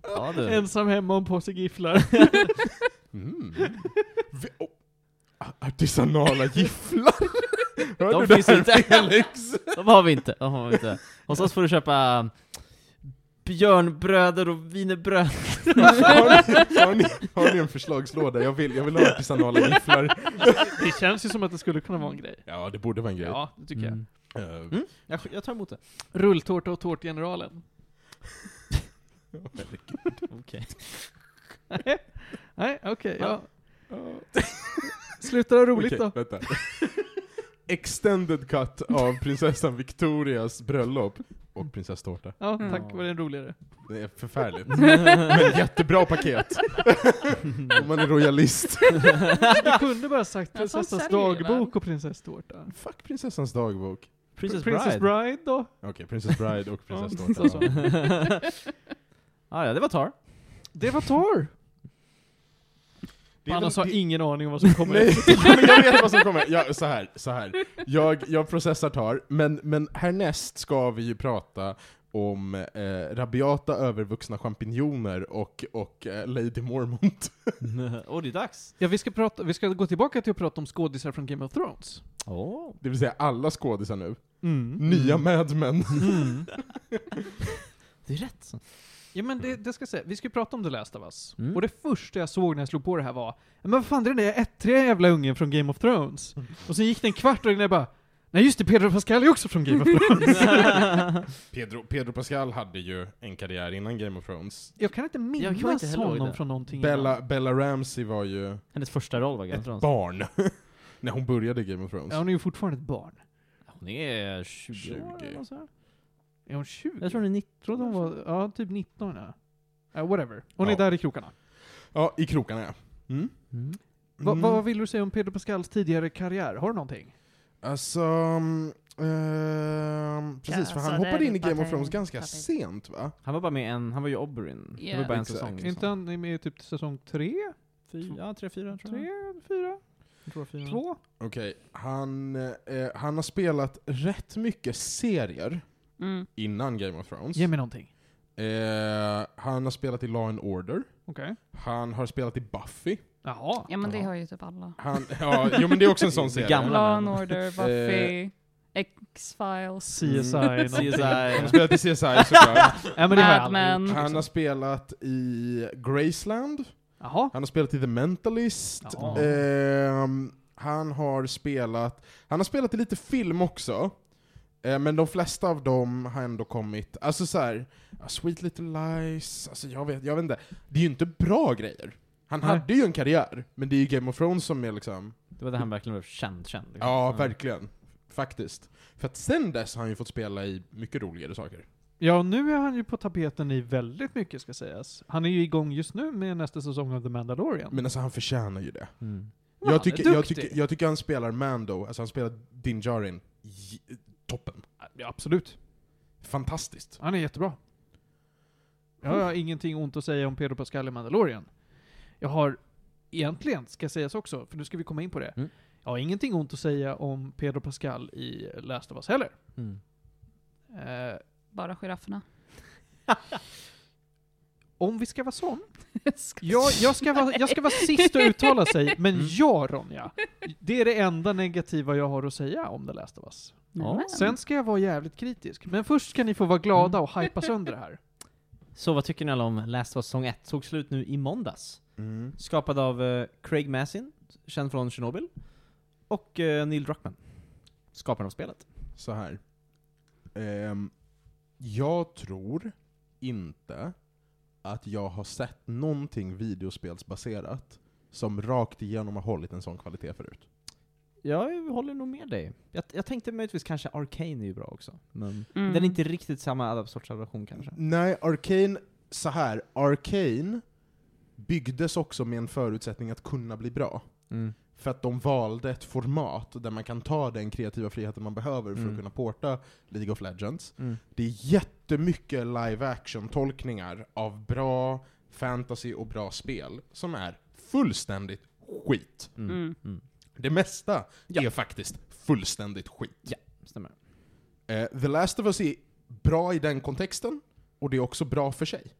Ja du. Ensam hemma och en påse gifflar. Mm. Vi- oh. Artisanala gifflar! Hör De du det finns här, inte. Felix? De har vi inte. De har vi inte. Hos oss får du köpa um, björnbröder och wienerbröd. har, ni, har, ni, har ni en förslagslåda? Jag vill, jag vill ha artisanala gifflar. Det känns ju som att det skulle kunna vara en grej. Ja, det borde vara en grej. Ja, det tycker jag. Mm. Eh, Jag, jag tar emot det. Rulltårta och Tårtgeneralen. Okej. Nej, okej. ja. ja. Sluta ha roligt Okej, då. Vänta. Extended cut av prinsessan Victorias bröllop och prinsesstårta. Ja, Mm. tack. Var det en roligare? Det är förfärligt. Men jättebra paket. Om man är royalist. Du kunde bara sagt Ja, sånt prinsessans säljer ju, dagbok va? och prinsesstårta. Fuck prinsessans dagbok. Princess Pr- Princess Bride. Bride då? Okej, Princess Bride och prinsesstårta. Ja, så, så. ah, ja, det var tar. Det var Tar! Det är väl- Annars alltså, har det- ingen aning om vad som kommer. Nej, men jag vet vad som kommer. Jag, så här, så här. Jag, jag processar tar, men, men härnäst ska vi ju prata om eh, rabiata övervuxna champinjoner och, och eh, Lady Mormont. Åh, det är dags! Ja, vi ska, prata, vi ska gå tillbaka till att prata om skådisar från Game of Thrones. Åh! Det vill säga alla skådisar nu. Mm. Nya Mad Men. Mm. Det är rätt. Ja men det, det ska jag säga, vi ska ju prata om The Last of Us. Mm. Och det första jag såg när jag slog på det här var Men vad fan det är den där ettriga jävla ungen från Game of Thrones? Och sen gick det en kvart och jag bara Nej just det, Pedro Pascal är också från Game of Thrones. Pedro, Pedro Pascal hade ju en karriär innan Game of Thrones. jag kan inte minnas Jag kommer inte heller ihåg honom det. från någonting Bella, innan. Bella Ramsey var ju Hennes första roll var Game ett of Thrones. barn när hon började Game of Thrones. Ja, hon är ju fortfarande ett barn. Hon är 20, år 20. eller nåt sånt här. Är hon 20? Jag tror hon är 19. trodde hon var, ja typ 19 ja. Ja, whatever. Hon är Ja. där i krokarna. Ja, i krokarna ja. Mm. Mm. Va, Mm. Vad vill du säga om Pedro Pascals tidigare karriär? Har du någonting? Alltså, mm, ehm, precis, för Alltså, han det är hoppade in i ditt Game of parti. Thrones ganska Parti. sent va? Han var bara med en, han var ju Oberyn. Det var Yeah. bara en Exakt. säsong. Är Liksom. inte han med i typ säsong tre? Fy- ja, tre, fyra tror jag. Tre? Fyra? jag. tror fyra. Två? Okej, han, eh, han har spelat rätt mycket serier Mm. innan Game of Thrones. Ge mig någonting. Eh, han har spelat i Law and Order. Okej. Han har spelat i Buffy. Jaha. Ja men det Ja. har ju typ alla. Han, ja, jo men det är också en sån Det serie. gamla. Law men- and Order, Eh. Buffy, X-Files, CSI Mm. någonting. Han har CSI. spelat i CSI såklart. Ja, men det har jag Mad aldrig gjort. Men. Han har spelat i Graceland. Jaha. Han har spelat i The Mentalist. Ja. Ehm, han har spelat Han har spelat i lite film också. Eh, men de flesta av dem har ändå kommit, alltså så här, ja, Sweet Little Lies, alltså jag vet, jag vet inte. Det är ju inte bra grejer. Han Nej. hade ju en karriär, men det är ju Game of Thrones som är liksom, Det var där han verkligen blev känd, känd. liksom. ja verkligen. Faktiskt. För att sen dess har han ju fått spela i mycket roligare saker. Ja, och nu är han ju på tapeten i väldigt mycket ska sägas. Han är ju igång just nu med nästa säsong av The Mandalorian. Men alltså han förtjänar ju det. Mm. Han är Jag tycker, jag, duktig. tycker, jag tycker han spelar Mando, alltså han spelar Din Djarin, j- toppen. Ja, absolut. Fantastiskt. Han är jättebra. Jag har Mm. ingenting ont att säga om Pedro Pascal i Mandalorian. Jag har, egentligen, ska sägas också, för nu ska vi komma in på det. Mm. Jag har ingenting ont att säga om Pedro Pascal i Last of Us heller. Mm. Eh, bara girafferna. om vi ska vara sån, Jag skojar. Jag, jag, ska vara, jag ska vara sist att uttala sig, men Mm. ja Ronja. Det är det enda negativa jag har att säga om The Last of Us. Nämen. Sen ska jag vara jävligt kritisk, men först ska ni få vara glada och hypa sönder det här. Så vad tycker ni alla om Last of Us säsong 1? Såg slut nu i måndags. Mm. Skapad av eh, Craig Massin, känd från Chernobyl. Och eh, Neil Druckmann. Skaparen av spelet. Så här. Ehm, jag tror inte att jag har sett någonting videospelsbaserat som rakt igenom har hållit en sån kvalitet förut. Jag håller nog med dig. Jag, jag tänkte möjligtvis kanske Arcane är ju bra också. Men Mm. den är inte riktigt samma sorts adaption kanske. Nej, Arcane, så här. Arcane byggdes också med en förutsättning att kunna bli bra. Mm. För att de valde ett format där man kan ta den kreativa friheten man behöver för Mm. att kunna porta League of Legends. Mm. Det är jättemycket live action-tolkningar av bra fantasy och bra spel som är fullständigt skit. Mm. Mm. Mm. Det mesta Ja. är faktiskt fullständigt skit. Stämmer. Eh, The Last of Us är bra i den kontexten, och det är också bra för sig.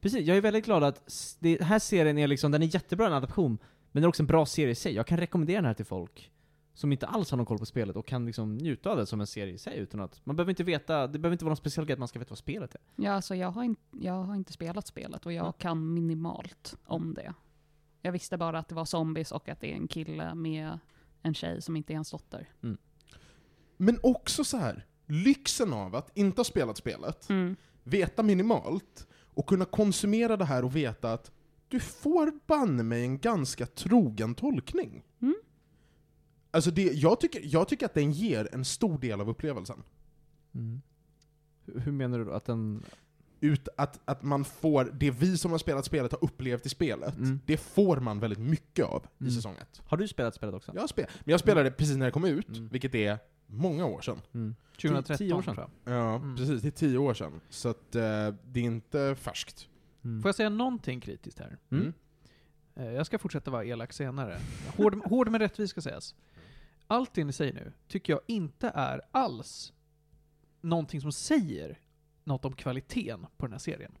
Precis, jag är väldigt glad att s- det, den här serien är liksom, den är jättebra en adaption, men den är också en bra serie i sig. Jag kan rekommendera den här till folk som inte alls har någon koll på spelet och kan liksom njuta av det som en serie i sig utan att, man behöver inte veta, det behöver inte vara någon speciell grej att man ska veta vad spelet är. Ja, alltså jag har, in, jag har inte spelat spelet och jag Mm. kan minimalt om det. Jag visste bara att det var zombies och att det är en kille med en tjej som inte är hans dotter. Men också så här, lyxen av att inte ha spelat spelet, veta minimalt och kunna konsumera det här och veta att du får banne mig en ganska trogen tolkning. Mm. Alltså det, jag, tycker, jag tycker att den ger en stor del av upplevelsen. Hur, hur menar du då? Att den... Ut att, att man får, det vi som har spelat spelet har upplevt i spelet, Mm. det får man väldigt mycket av i Mm. säsong ett. Har du spelat spelet också? Jag har spel, men jag spelade precis när det kom ut, Mm. vilket är många år sedan. Mm. 2013 Tio år sedan. tror jag. Ja, Mm. precis. Det är tio år sedan. Så att, eh, det är inte färskt. Mm. Får jag säga någonting kritiskt här? Mm. Eh, Jag ska fortsätta vara elak senare. Hård, hård men rättvis ska sägas. Allt det ni säger nu tycker jag inte är alls någonting som säger något om kvaliteten på den här serien.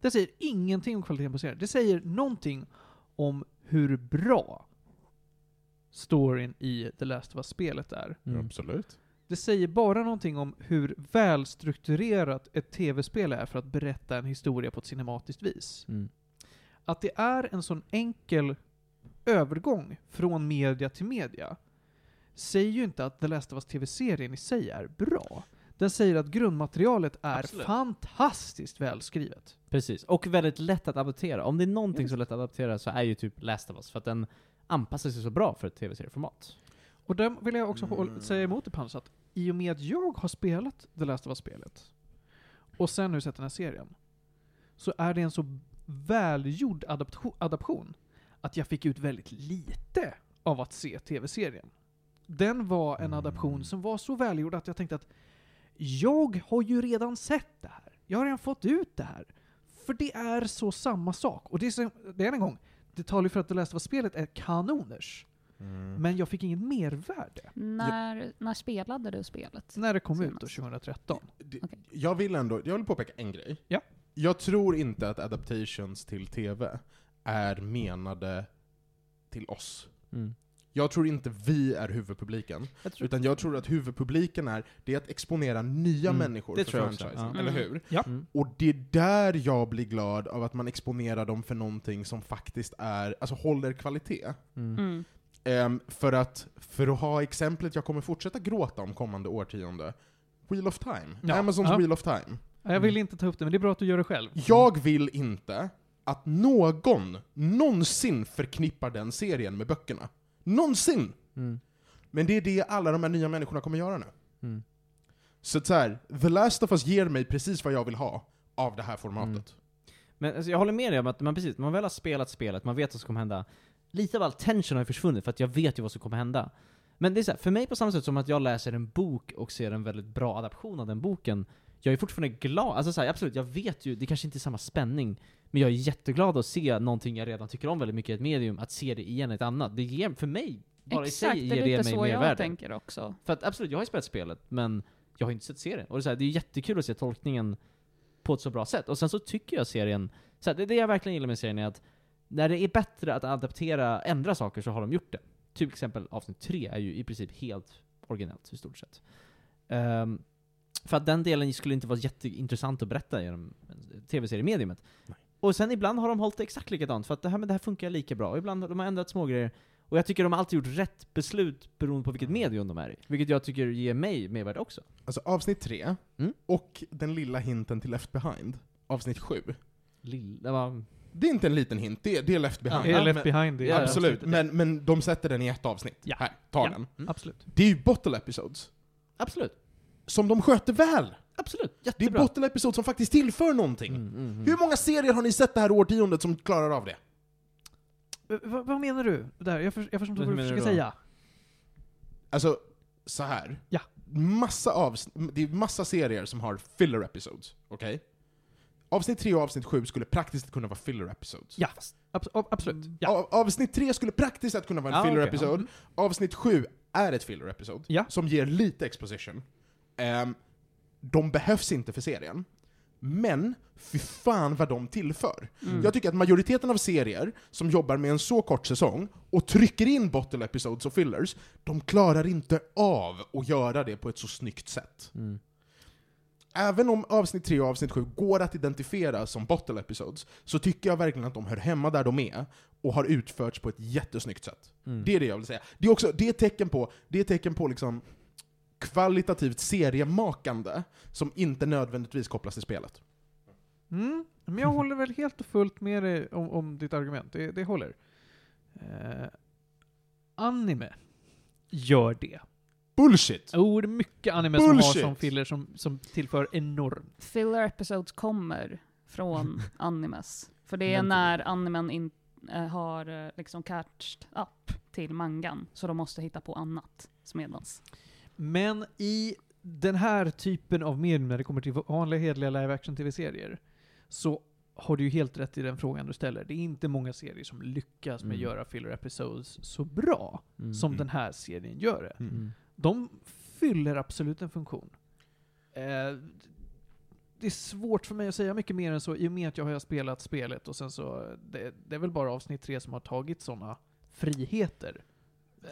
Det säger ingenting om kvaliteten på serien. Det säger någonting om hur bra storyn i The Last of Us-spelet är. Mm. Absolut. Det säger bara någonting om hur välstrukturerat ett tv-spel är för att berätta en historia på ett cinematiskt vis. Mm. Att det är en sån enkel övergång från media till media säger ju inte att The Last of Us TV-serien i sig är bra. Den säger att grundmaterialet är Absolut. fantastiskt välskrivet. Precis, och väldigt lätt att adaptera. Om det är någonting Ja, som är lätt att adaptera så är ju typ Last of Us, för att den anpassar sig så bra för ett tv-serieformat. Och där vill jag också håll- Mm. säga emot det Panos, att i och med att jag har spelat The Last of Us-spelet, och sen nu sett den här serien, så är det en så välgjord adaptio- adaption att jag fick ut väldigt lite av att se tv-serien. Den var en Mm. adaption som var så välgjord att jag tänkte att jag har ju redan sett det här. Jag har redan fått ut det här. För det är så samma sak. Och det är, så, det är än en gång, det talar ju för att The Last of Us-spelet är kanoners. Mm. Men jag fick inget mervärde. När, när spelade du spelet? När det kom Ser ut man. då 2013. Det- Okej. Jag vill ändå, jag vill påpeka en grej. Ja. Jag tror inte att adaptations till TV är menade till oss. Jag tror inte vi är huvudpubliken, Jag tror, utan jag tror att huvudpubliken är, det är att exponera nya Mm. människor Det för tror jag också, franchisen, ja. eller Mm. hur? mm. Och det är där jag blir glad av att man exponerar dem för någonting som faktiskt är, alltså håller kvalitet. Mm. Mm. Ehm, för, att, för att ha exemplet jag kommer fortsätta gråta om kommande årtionde, Wheel of Time. Ja. Amazons Ja. Wheel of Time. Ja, Jag vill inte ta upp det, men det är bra att du gör det själv. Jag vill inte att någon någonsin förknippar den serien med böckerna. Någonsin! Mm. Men det är det alla de här nya människorna kommer göra nu. Mm. Så att så här, The Last of Us ger mig precis vad jag vill ha av det här formatet. Men alltså, jag håller med dig om att man precis, man väl har spelat spelet, man vet vad som kommer hända. Lite av all tension har ju försvunnit för att jag vet ju vad som kommer hända. Men det är så här, för mig på samma sätt som att jag läser en bok och ser en väldigt bra adaption av den boken, jag är fortfarande glad, alltså så här, absolut, jag vet ju, det kanske inte är samma spänning, men jag är jätteglad att se någonting jag redan tycker om väldigt mycket i ett medium, att se det igen i ett annat. Det ger, för mig, bara Exakt, i sig, det ger är det, lite mig så mer jag värde. tänker också. För att absolut, jag har ju spelat spelet, men jag har inte sett serien. Och det är, så här, det är jättekul att se tolkningen på ett så bra sätt. Och sen så tycker jag serien, så här, det, det jag verkligen gillar med serien är att när det är bättre att adaptera, ändra saker så har de gjort det. Typ Till exempel avsnitt 3 är ju i princip helt originellt i stort sett. Ehm, för att den delen skulle inte vara jätteintressant att berätta genom en tv-seriemediumet. Nej. Och sen ibland har de hållit det exakt likadant, för att det här, men det här funkar lika bra. Och ibland har de har ändrat små grejer. Och jag tycker de har alltid gjort rätt beslut beroende på vilket medium de är i. Vilket jag tycker ger mig mervärde också. Alltså avsnitt tre, Mm. och den lilla hinten till Left Behind, avsnitt sju. Lilla, va? Det är inte en liten hint, det är, det är Left Behind. Mm. Är det left men, behind? det? Ja, ja. absolut, men, men de sätter den i ett avsnitt. Ja. Här, ta Ja. Mm. den. Absolut. Det är ju bottle episodes, Absolut. som de sköter väl! Absolut. Det är Jättebra. bottle episodes som faktiskt tillför någonting. Mm, mm, mm. Hur många serier har ni sett det här årtiondet som klarar av det? V vad- vad menar du? Där, jag, för, jag förstår inte Vad vad du menar du försöker då? säga. Alltså, så här. Ja. Massa avs- det är massa serier som har filler episodes, okej? Avsnitt 3 och avsnitt 7 skulle praktiskt sett kunna vara filler episodes. Ja, abs ab- absolut. Ja. Av- avsnitt 3 skulle praktiskt sett kunna vara en Ja, filler okej, episode. Avsnitt 7 är ett filler episode, Ja. som ger lite exposition. Ehm, de behövs inte för serien. Men, fy fan vad de tillför. Mm. Jag tycker att majoriteten av serier som jobbar med en så kort säsong och trycker in bottle episodes och fillers, de klarar inte av att göra det på ett så snyggt sätt. Mm. Även om avsnitt 3 och avsnitt 7 går att identifiera som bottle episodes, så tycker jag verkligen att de hör hemma där de är och har utförts på ett jättesnyggt sätt. Mm. Det är det jag vill säga. Det är också det är ett tecken på, det är ett tecken på liksom kvalitativt seriemakande som inte nödvändigtvis kopplas till spelet. Mm. Men jag håller väl helt och fullt med dig om, om ditt argument. Det, det håller. Eh, anime gör det. Bullshit! Jo, det är mycket anime som Bullshit. har som filler som, som tillför enormt. Filler episodes kommer från animes. För det är Men- när animen in, eh, har eh, liksom catched up till mangan. Så de måste hitta på annat medans. Men i den här typen av medium, när det kommer till vanliga hederliga live action tv-serier, så har du ju helt rätt i den frågan du ställer. Det är inte många serier som lyckas med att Mm. göra filler episodes så bra Mm. som den här serien gör det. Mm. De fyller absolut en funktion. Eh, det är svårt för mig att säga mycket mer än så i och med att jag har spelat spelet och sen så, det, det är väl bara avsnitt tre som har tagit sådana friheter.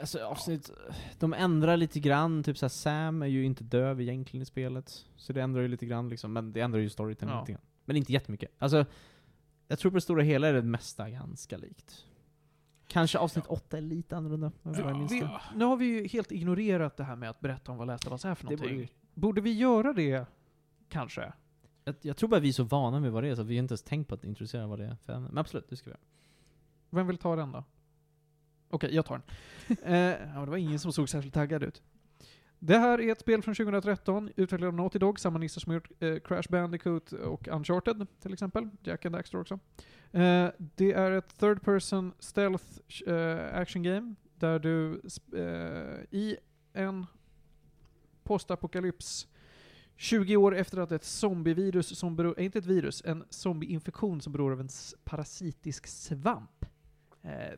Alltså avsnitt, de ändrar lite grann, typ såhär Sam är ju inte döv egentligen i spelet. Så det ändrar ju lite grann liksom, men det ändrar ju storytelling Ja. lite grann. Men inte jättemycket. Alltså, jag tror på det stora hela är det mesta ganska likt. Kanske avsnitt åtta är lite annorlunda, men vad jag minns Vi, det. nu har vi ju helt ignorerat det här med att berätta om vad Last of Us är för det någonting. borde- Borde vi göra det, kanske? jag, jag tror bara vi är så vana med vad det är så att vi inte ens tänkt på att introducera vad det är för ämne. Men absolut, det ska vi göra. Vem vill ta den då? Okej, jag tar den. eh, ja, det var ingen som såg särskilt taggad ut. Det här är ett spel från 2013, utvecklat av Naughty Dog, samma nisse som har gjort eh, Crash Bandicoot och Uncharted till exempel. Jack and Daxter också. Eh, det är ett third person stealth eh, action game där du sp- eh, i en postapokalyps 20 år efter att ett zombievirus som beror, eh, inte ett virus, en zombieinfektion som beror av en s- parasitisk svamp eh,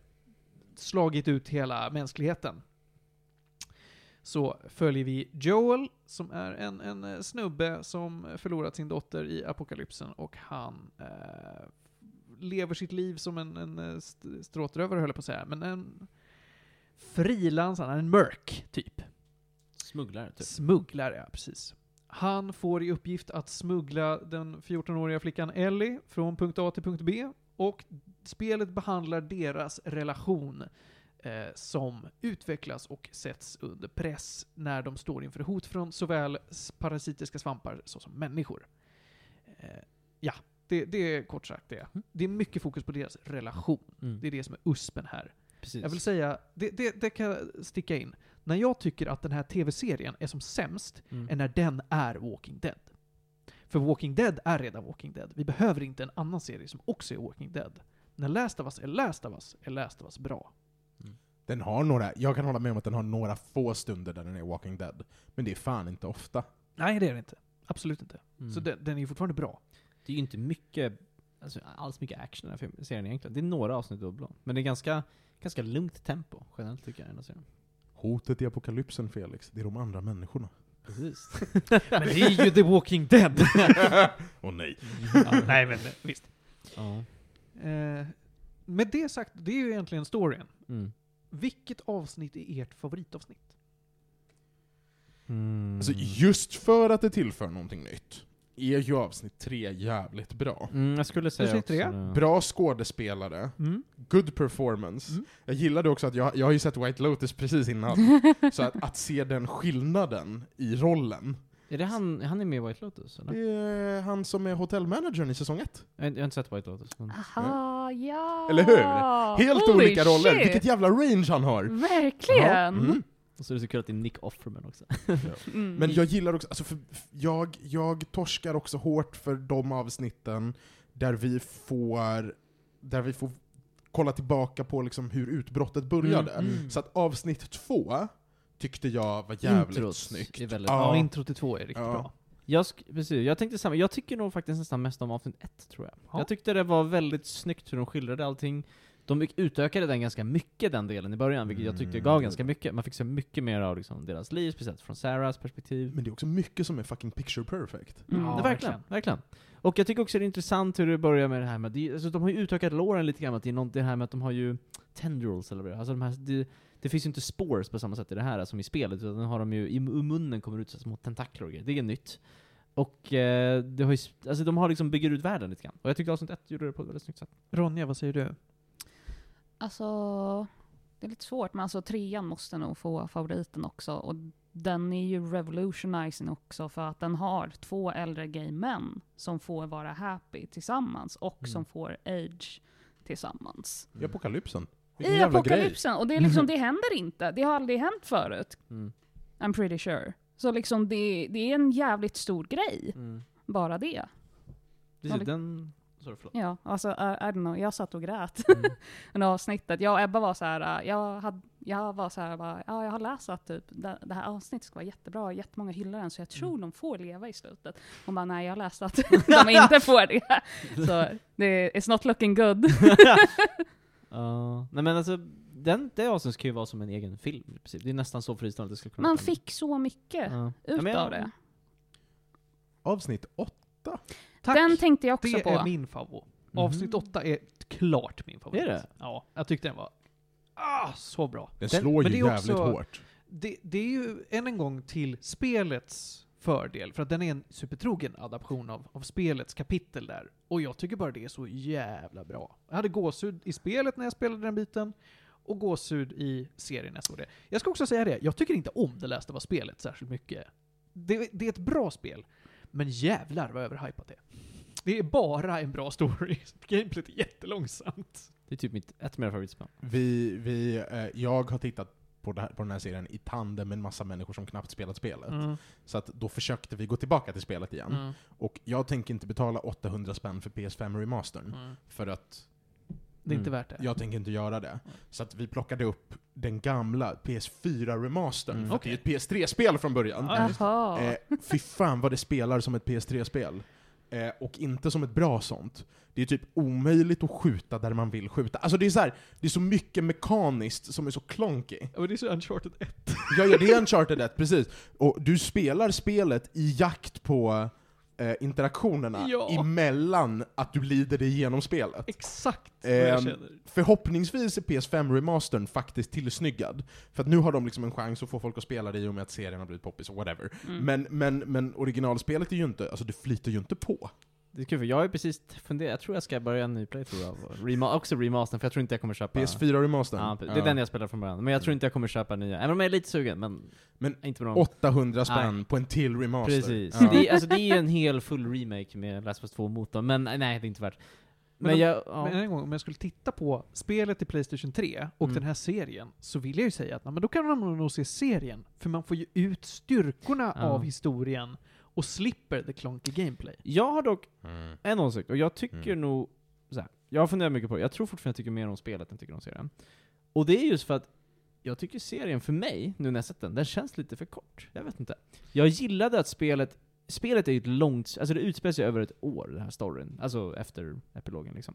slagit ut hela mänskligheten. Så följer vi Joel, som är en, en eh, snubbe som förlorat sin dotter i apokalypsen och han eh, lever sitt liv som en, en eh, st- stråtrövare höll jag på att säga, men en frilansare, en mörk typ. Smugglare, typ. Smugglare, ja precis. Han får i uppgift att smuggla den 14-åriga flickan Ellie från punkt A till punkt B och spelet behandlar deras relation eh, som utvecklas och sätts under press när de står inför hot från såväl s- parasitiska svampar såsom människor. Eh, ja, det, det är kort sagt det. Mm. Det är mycket fokus på deras relation. Mm. Det är det som är uspen här. Precis. Jag vill säga, det, det, det kan jag sticka in. När jag tycker att den här tv-serien är som sämst, Mm. är när den är Walking Dead. För Walking Dead är redan Walking Dead. Vi behöver inte en annan serie som också är Walking Dead. När Last of Us är Last of Us, är Last of Us bra. Den har några, jag kan hålla med om att den har några få stunder där den är Walking Dead. Men det är fan inte ofta. Nej, det är det inte. Absolut inte. Mm. Så den, den är ju fortfarande bra. Det är ju inte mycket, alltså, alls mycket action i den här filmen- serien egentligen. Det är några avsnitt dubbla. Men det är ganska, ganska lugnt tempo generellt tycker jag i den här serien. Hotet i apokalypsen Felix, det är de andra människorna. Precis. Men det är ju The Walking Dead! Åh nej. ja, nej, men eh, visst. ja. Eh, med det sagt, det är ju egentligen storyn. Mm. Vilket avsnitt är ert favoritavsnitt? Mm. Alltså just för att det tillför någonting nytt, är ju avsnitt tre jävligt bra. Mm, jag skulle säga Avsnitt tre. också det. Bra skådespelare, Mm. good performance. Mm. Jag gillade också att jag, jag har ju sett White Lotus precis innan, så att, att se den skillnaden i rollen. Är det han, han är med i White Lotus eller? Det är han som är hotellmanagern i säsong ett. Jag, har- jag har inte sett White Lotus. Ah. Men... Aha, ja! Eh, Eller hur? Helt Holy olika roller, shit. vilket jävla range han har! Verkligen! Ja, mm. Och så är det så kul att det är Nick Offerman också. Mm. Men jag gillar också, alltså för f- jag, jag torskar också hårt för de avsnitten där vi får, där vi får kolla tillbaka på liksom hur utbrottet började. Mm, mm. Så att avsnitt två tyckte jag var jävligt Introt snyggt. Är väldigt Ja. Ja, bra. intro till två är riktigt Ja. bra. Jag, sk- precis, jag tänkte samma. Jag tycker nog faktiskt nästan mest om avsnitt ett, tror jag. Ja. Jag tyckte det var väldigt snyggt hur de skildrade allting. De ut- utökade den ganska mycket, den delen i början, vilket jag tyckte Mm. gav ganska mycket. Man fick se mycket mer av liksom, deras liv, speciellt från Sarahs perspektiv. Men det är också mycket som är fucking picture perfect. Mm. Ja, Ja, verkligen, verkligen. Och jag tycker också det är intressant hur det börjar med det här med, det- alltså, de har ju utökat låren lite grann, att det är något, det här med att de har ju tendrils eller vad det är. Alltså de här, det, det finns ju inte spores på samma sätt i det här som i spelet, utan nu har de ju, i ur munnen kommer det ut så här små tentakler och grejer. Det är nytt. Och eh, det har ju, sp- alltså de har liksom bygger ut världen lite grann. Och jag tyckte avsnitt ett gjorde det på ett väldigt snyggt sätt. Ronja, vad säger du? Alltså, det är lite svårt, men alltså trean måste nog få favoriten också. Och den är ju revolutionizing också för att den har två äldre gay män som får vara happy tillsammans och Mm. som får age tillsammans. I apokalypsen. Vilken I jävla apokalypsen! Och det, är liksom, det händer inte. Det har aldrig hänt förut. Mm. I'm pretty sure. Så liksom det, det är en jävligt stor grej, Mm. bara det. Mm. Precis, Ja, typ den... Sorry, förlåt. Ja, alltså I, I don't know, jag satt och grät Mm. under avsnittet. Jag och Ebba var så här, äh, jag, hade, jag var så här, bara, ja jag har läst att typ, det, det här avsnittet ska vara jättebra, jättemånga hyllar den, så jag tror de får leva i slutet. Hon bara, nej jag läste att de inte får det. Så det, it's not looking good. Ja. nej men alltså, den, det avsnittet kan ju vara som en egen film i princip. Det är nästan så fristående att det skulle kunna Man vara. fick så mycket Ja. Ja, ut men jag- av det. Avsnitt åtta 8. Tack! Den tänkte jag också det på. är min favorit. Avsnitt Mhm. 8 är klart min favorit. Är det? Ja, jag tyckte den var ah, så bra. Den Den- slår men ju det är jävligt också- hårt. Det, det är ju än en gång till spelets fördel, för att den är en supertrogen adaption av, av spelets kapitel där. Och jag tycker bara det är så jävla bra. Jag hade gåshud i spelet när jag spelade den biten, och gåshud i serien när jag såg det. Jag ska också säga det, jag tycker inte om det lästa var spelet särskilt mycket. Det, det är ett bra spel, men jävlar vad överhypat det är. Det är bara en bra story. Gameplayt är jättelångsamt. Det är typ mitt, ett av mina favoritspel. Vi, vi, eh, jag har tittat på, det här, på den här serien i tandem med en massa människor som knappt spelat spelet. Så att då försökte vi gå tillbaka till spelet igen. Mm. Och jag tänker inte betala 800 spänn för PS5 Remastern. Mm. För att Det är inte Mm. värt det. jag tänker inte göra det. Mm. Så att vi plockade upp den gamla PS4 Remastern. Mm. För att det är ett PS3-spel från början. Ja, just Jaha. Eh, fy fan vad det spelar som ett PS3-spel. Eh, och inte som ett bra sånt. Det är typ omöjligt att skjuta där man vill skjuta. Alltså det är så här, det är så mycket mekaniskt som är så klonky. Ja, men det är så Uncharted 1. Ja, ja, det är Uncharted 1, precis. Och du spelar spelet i jakt på eh, interaktionerna Ja. emellan att du lider dig igenom spelet. Exakt vad jag Ehm, känner. Förhoppningsvis är PS5 Remastern faktiskt tillsnyggad. För att nu har de liksom en chans att få folk att spela det i och med att serien har blivit poppis och whatever. Mm. Men, men, men originalspelet är ju inte, alltså det flyter ju inte på. Det är kul för jag har ju precis funderat, jag tror jag ska börja en ny playthrough av rema- också remastern för jag tror inte jag kommer köpa... PS4 Remastern. Ja, det är den jag spelar från början. Men jag Mm. tror inte jag kommer köpa nya, även om jag är lite sugen. Men, Men inte med någon. 800 spänn på en till remaster. Precis. Ja. Det, är, alltså, det är ju en hel full remake med Last of Us 2 motorn, men nej, det är inte värt. Men, Men de- jag... Ja. Men än en gång, om jag skulle titta på spelet i Playstation 3 och Mm. den här serien, så vill jag ju säga att nej, men då kan man nog se serien, för man får ju ut styrkorna Ja. av historien och slipper the clunky gameplay. jag har dock Mm. en åsikt, och jag tycker Mm. nog så här, Jag har funderat mycket på det, jag tror fortfarande jag tycker mer om spelet än jag tycker om serien. Och det är just för att jag tycker serien för mig, nu när jag sett den, den känns lite för kort. Jag vet inte. Jag gillade att spelet, spelet är ju ett långt, alltså det utspelar sig över ett år, den här storyn. Alltså efter epilogen liksom.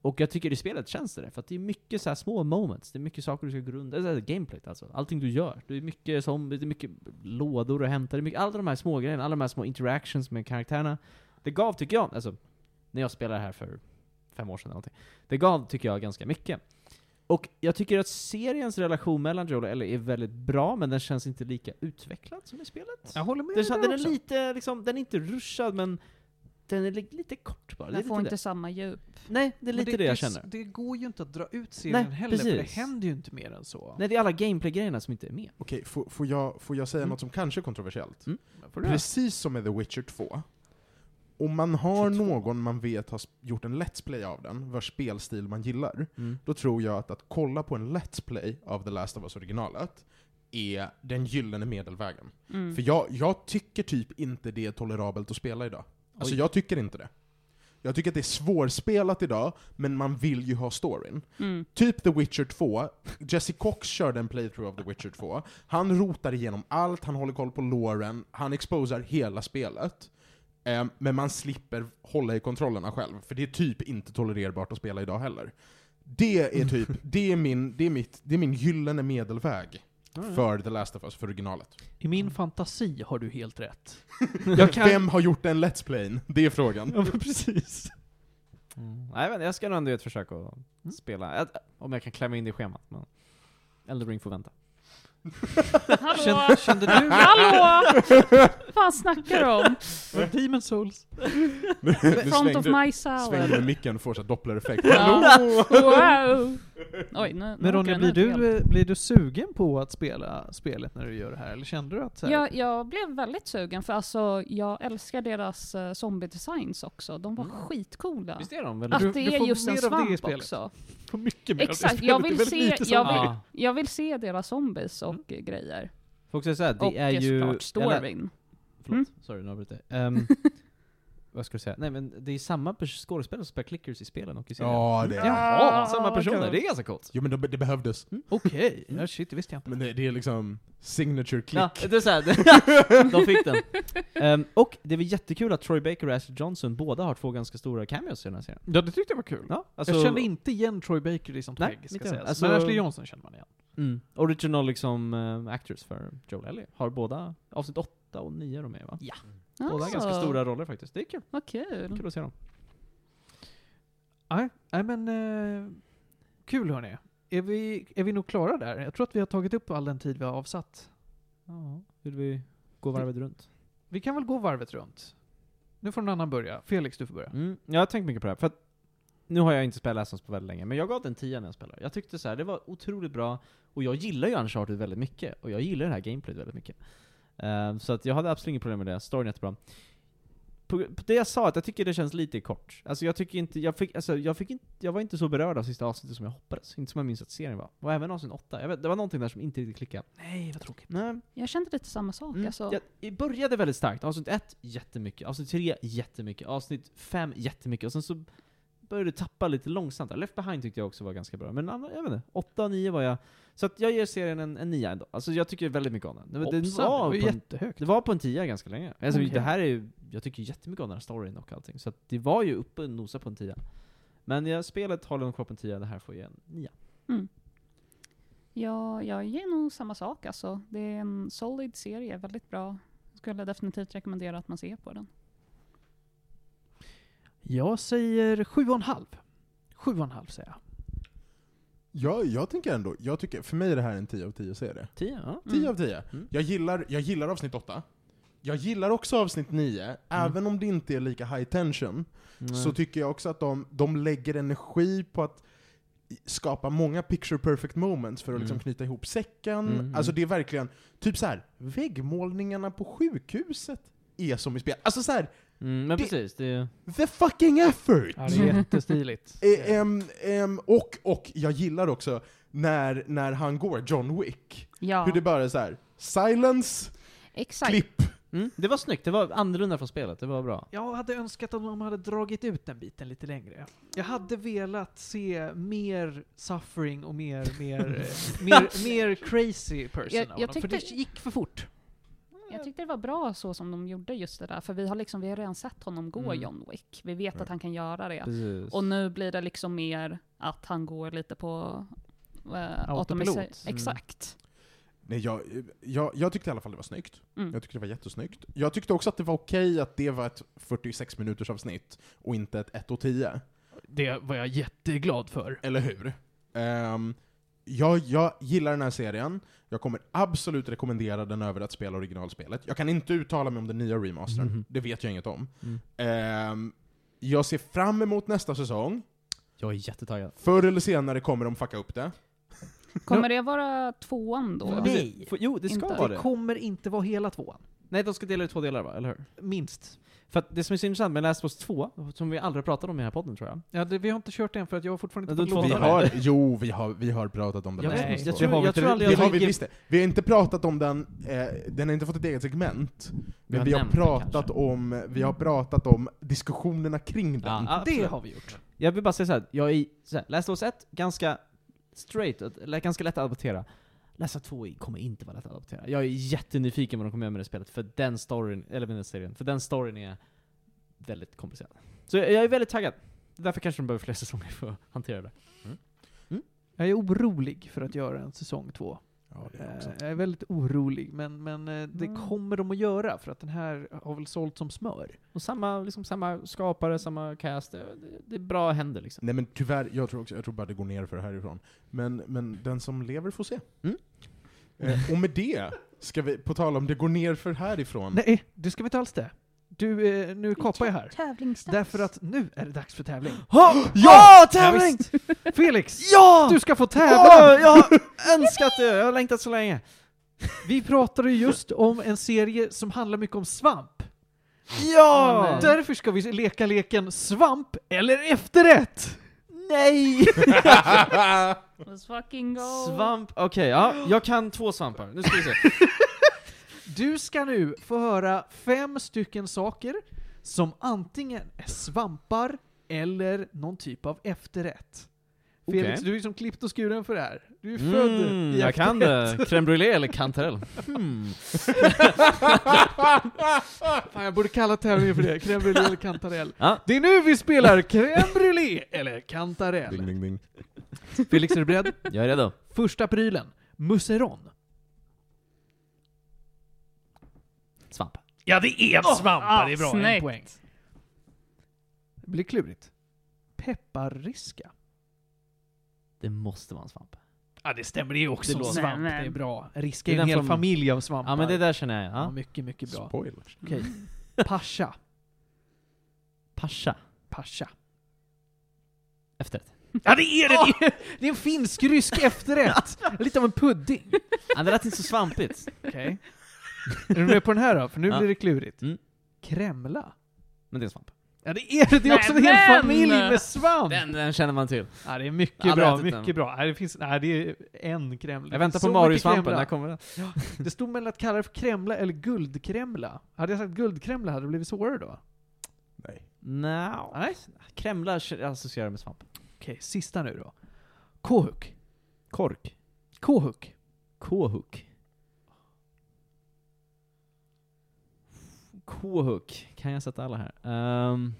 Och jag tycker i spelet känns det där, för att det är mycket så här små moments, det är mycket saker du ska grunda, det är gameplay alltså. Allting du gör. Det är mycket zombies, det är mycket lådor att hämta, det är mycket, alla de här små grejerna, alla de här små interactions med karaktärerna. Det gav, tycker jag, alltså, när jag spelade här för fem år sedan eller någonting. Det gav, tycker jag, ganska mycket. Och jag tycker att seriens relation mellan Joel och Ellie är väldigt bra, men den känns inte lika utvecklad som i spelet. Jag håller med Den, där den är också. lite, liksom, den är inte ruschad, men den är li- lite kort bara. Det är Den lite får inte det. samma djup. Nej, det är Men lite det, jag är s- känner. Det går ju inte att dra ut serien Nej, heller, för det precis. händer ju inte mer än så. Nej, det är alla gameplay-grejerna som inte är med. Okej, får, får, jag, får jag säga Mm. något som kanske är kontroversiellt? Får du- Precis som med The Witcher 2, om man har 22. någon man vet har sp- gjort en Let's Play av den, vars spelstil man gillar, då tror jag att att kolla på en Let's Play av The Last of Us originalet är den gyllene medelvägen. Mm. För jag, jag tycker typ inte det är tolerabelt att spela idag. Alltså Oj. jag tycker inte det. Jag tycker att det är svårspelat idag, men man vill ju ha storyn. Mm. Typ The Witcher 2, Jesse Cox körde en playthrough av The Witcher 2. Han rotar igenom allt, han håller koll på Lauren, han exposar hela spelet. Eh, men man slipper hålla i kontrollerna själv, för det är typ inte tolererbart att spela idag heller. Det är typ, det är min, det är mitt, det är min gyllene medelväg Mm. för The Last of Us, för originalet. I min fantasi har du helt rätt. Jag Vem har gjort den Let's Playn? Det är frågan. Ja, men precis. Mm. Nej, men jag ska nog ändå ge ett försök att Mm. spela. Jag- Om jag kan klämma in det i schemat. Men Elden Ring får vänta. Hallå! Kände, kände du... Hallå! fan snackar du om? Var det Demon Souls? Nu Front svängde- of my Svängde med salad. micken och får så här dopplereffekt. Ja. Wow! Oj, nu, nu Men Ronja, åker blir den ut helt. du, eh, blir du sugen på att spela spelet när du gör det här? Eller kände du att så här, Jag, jag blev väldigt sugen, för alltså, jag älskar deras eh, zombie-designs också. De var Mm. skitcoola. Visst är de väl? Att det Du- du är får just en mer av det i svamp spelet. också. på mycket mer av det Exakt, spelet? jag Det är vill väldigt se- lite jag zombie. vill- Jag vill se deras zombies och eh, grejer. Folk säger såhär, det och är eh, ju... såklart eller- storyn. Förlåt, Mm. sorry nu avbröt jag. Um, vad ska jag säga? Nej men det är samma pers- skådespelare som spelar clickers i spelen och i serien. Ja, det är Jaha, Ah, samma vad personer. kul. Det är ganska coolt. Jo men det, det behövdes. Mm. Okej, ja, shit det visste jag inte. Men det, det är liksom signature click. Ja, det är så här, de fick den. Ehm, och det är väl jättekul att Troy Baker och Ashley Johnson båda har två ganska stora cameos i den här serien. Ja, det tyckte jag var kul. Ja, alltså, jag kände inte igen Troy Baker i sånt Nej, skägg, ska inte jag. sägas. Alltså- Men Ashley Johnson känner man igen. Mm, original liksom eh, actors för Joel Ellie har båda avsnitt 8 och 9 de är va? Ja. Båda har ganska Alltså, stora roller faktiskt. Det är kul. Vad kul. Kul att se dem. Nej, nej men eh, kul hörni. Är vi, är vi nog klara där? Jag tror att vi har tagit upp all den tid vi har avsatt. Ja, vill vi gå varvet runt? Vi kan väl gå varvet runt? Nu får någon annan börja. Felix, du får börja. Mm. Jag har tänkt mycket på det här, för att nu har jag inte spelat Assons på väldigt länge, men jag gav den 10 när jag spelade. Jag tyckte så här, det var otroligt bra, och jag gillar ju Uncharted väldigt mycket, och jag gillar det här gameplayet väldigt mycket. Ehm, så att jag hade absolut inget problem med det, storyn är jättebra. På, på det jag sa, att jag tycker det känns lite kort. Alltså jag tycker inte, jag fick, alltså jag fick inte, jag var inte så berörd av sista avsnittet som jag hoppades. Inte som jag minns att serien var. Och även avsnitt 8, jag vet, det var någonting där som inte riktigt klickade. Nej, vad tråkigt. Nej, Jag kände lite samma sak. Mm. Alltså, Jag, jag började väldigt starkt. Avsnitt 1, jättemycket. Avsnitt 3, jättemycket. Avsnitt 5, jättemycket. Och sen så började det tappa lite långsamt. där. Left behind tyckte jag också var ganska bra. Men andra, jag vet inte, 8 och 9 var jag. Så att jag ger serien en, en 9 ändå. Alltså jag tycker väldigt mycket om den. Det, det, Hoppsan, det var var ju på en, jättehögt. det var på en 10 ganska länge. Alltså Okej. det här är ju, jag tycker jättemycket om den här storyn och allting. Så att det var ju uppe och nosa på en 10. Men jag spelet håller nog kvar på en 10, det här får ju en 9. ja, jag ger nog samma sak. Alltså, det är en solid serie, väldigt bra. Skulle definitivt rekommendera att man ser på den. Jag säger sju och en halv. Sju och en halv säger jag. Jag, jag tänker ändå, jag tycker, för mig är det här en 10 av 10 serie. 10? Ja. 10 av 10. Mm. Jag, gillar, jag gillar avsnitt 8. Jag gillar också avsnitt 9, även om det inte är lika high tension. så tycker jag också att de, de lägger energi på att skapa många picture perfect moments för att liksom Mm. knyta ihop säcken. Mm, mm. Alltså det är verkligen, typ så här, väggmålningarna på sjukhuset är som i spel. Alltså så här, mm, men det- precis, det... the fucking effort! Ja, det är jättestiligt. Eh, ehm, ehm, och, och jag gillar också när, när han går, John Wick, Ja, hur det bara är så här, silence, exakt. klipp. Mm, det var snyggt, det var annorlunda från spelet, det var bra. Jag hade önskat att de hade dragit ut den biten lite längre. Jag hade velat se mer suffering och mer, mer, eh, mer, mer crazy person Jag- av jag honom, för tyckte- det gick för fort. Jag tyckte det var bra så som de gjorde just det där, för vi har, liksom, vi har redan sett honom gå Mm. John Wick. Vi vet att han kan göra det. Precis. Och nu blir det liksom mer att han går lite på... Eh, Autopilot. automatisera- Mm. Exakt. Nej, jag, jag, jag tyckte i alla fall det var snyggt. Mm. Jag tyckte det var jättesnyggt. Jag tyckte också att det var okej att det var ett 46 minuters avsnitt och inte ett 1 och 10. Det var jag jätteglad för. Eller hur? Ehm, jag, jag gillar den här serien. Jag kommer absolut rekommendera den över att spela originalspelet. Jag kan inte uttala mig om den nya remastern. Mhm. Det vet jag inget om. Mm. Ehm, jag ser fram emot nästa säsong. Jag är jättetaggad. Förr eller senare kommer de fucka upp det. Kommer det vara tvåan då? Nej. För, jo, Alltså, det ska Inte. vara Det det. kommer inte vara hela tvåan. Nej, de ska dela det i två delar va, eller hur? Minst. För att det som är så intressant med Last of Us 2, som vi aldrig pratat om i den här podden tror jag. Ja, det, vi har inte kört den för att jag har fortfarande Ja, inte då fått två Vi låna dagar. den. har, jo, vi har, vi har pratat om den. Jag här säsongen. vet inte. Jag tror- jag tror aldrig Vi jag- har, vi, visst det. vi har inte pratat om den, eh, den har inte fått ett eget segment, men har vi har, nämnt den pratat kanske. om, vi har pratat om diskussionerna kring den. Ja, Det absolut. har vi gjort. Jag vill bara säga såhär, jag är så här, Last of Us 1, ganska straight, att- eller ganska lätt att adoptera. Last of Us 2 kommer inte vara lätt att adoptera. Jag är jättenyfiken vad de kommer göra med det spelet, för den storyn, eller med den serien, för den storyn är väldigt komplicerad. Så jag, jag är väldigt taggad. Därför kanske de behöver fler säsonger för att hantera det. Jag är orolig för att göra en säsong två. Ja, det Eh, är också. Jag är väldigt orolig, men, men eh, det Mm. kommer de att göra för att den här har väl sålt som smör. Och samma, liksom, samma skapare, samma cast. Det, det, det är bra händer liksom. Nej men tyvärr, jag tror, också, jag tror bara det går ner för härifrån. Men, men den som lever får se. Mm. Eh, och med det, ska vi, på tal om det går ner för härifrån. Nej, det ska vi inte alls det. Du, eh, nu kapar jag här. Tävlingsdags. Därför att nu är det dags för tävling. Ja! tävling! Felix! Ja! Du ska få tävla! Åh, jag har önskat det! Jag har längtat så länge. Vi pratade ju just om en serie som handlar mycket om svamp. Ja! Nej. Därför ska vi leka leken svamp eller efterrätt! Nej! Let's fucking go! Svamp, okej, ja. Jag kan två svampar. Nu ska vi se. Du ska nu få höra fem stycken saker som antingen är svampar eller någon typ av efterrätt. Okej. Mm, Felix, du är som klippt och skuren för det här. Du är född i jag kan det. efterrätt. Crème brûlée eller kantarell? Hmm. Fan, jag borde kalla tävlingen för det. Crème brûlée eller kantarell. Ja. Det är nu vi spelar crème brûlée eller kantarell. ding, ding, ding. Felix, är du beredd? Jag är redo. Första prylen, musseron. Svamp. Ja, det är en svamp! ah, det är bra. En snyggt. poäng. Det blir klurigt. Pepparriska. Det måste vara en svamp. Ja, det stämmer. Det är också Det en låter- svamp. Nej, men- Det är bra. Riska Det är är en den hel från- familj av svampar. Ja men det där känner jag. Ja, Ja. mycket, mycket bra. Spoilers. Okej. Pascha. Pascha. Pascha. Efterrätt. Ja, det är det! Det är, det är en finsk-rysk efterrätt. Lite av en pudding. Ja, det lät inte så svampigt. Okej. Är du med på den här då? För nu Ja. blir det klurigt. Mm. Kremla. Men det är en svamp. Ja, det är det. Det är också en hel Nämen! familj med svamp. Den, den känner man till. Ja, det är mycket Aldrig bra, ätit den. mycket bra. Nej, det finns, nej, det är en kremla. Jag väntar Så på mycket Mario-svampen, kremla. där kommer den. Det stod mellan att kalla det för kremla eller guldkremla. Hade jag sagt guldkremla hade det blivit svårare då? Nej. No. Nej. Kremla k- associerar jag med svamp. Okej, sista nu då. K-huk. Kork. K-huk. K-huk. K-huk. Kan jag sätta alla här? Ehm,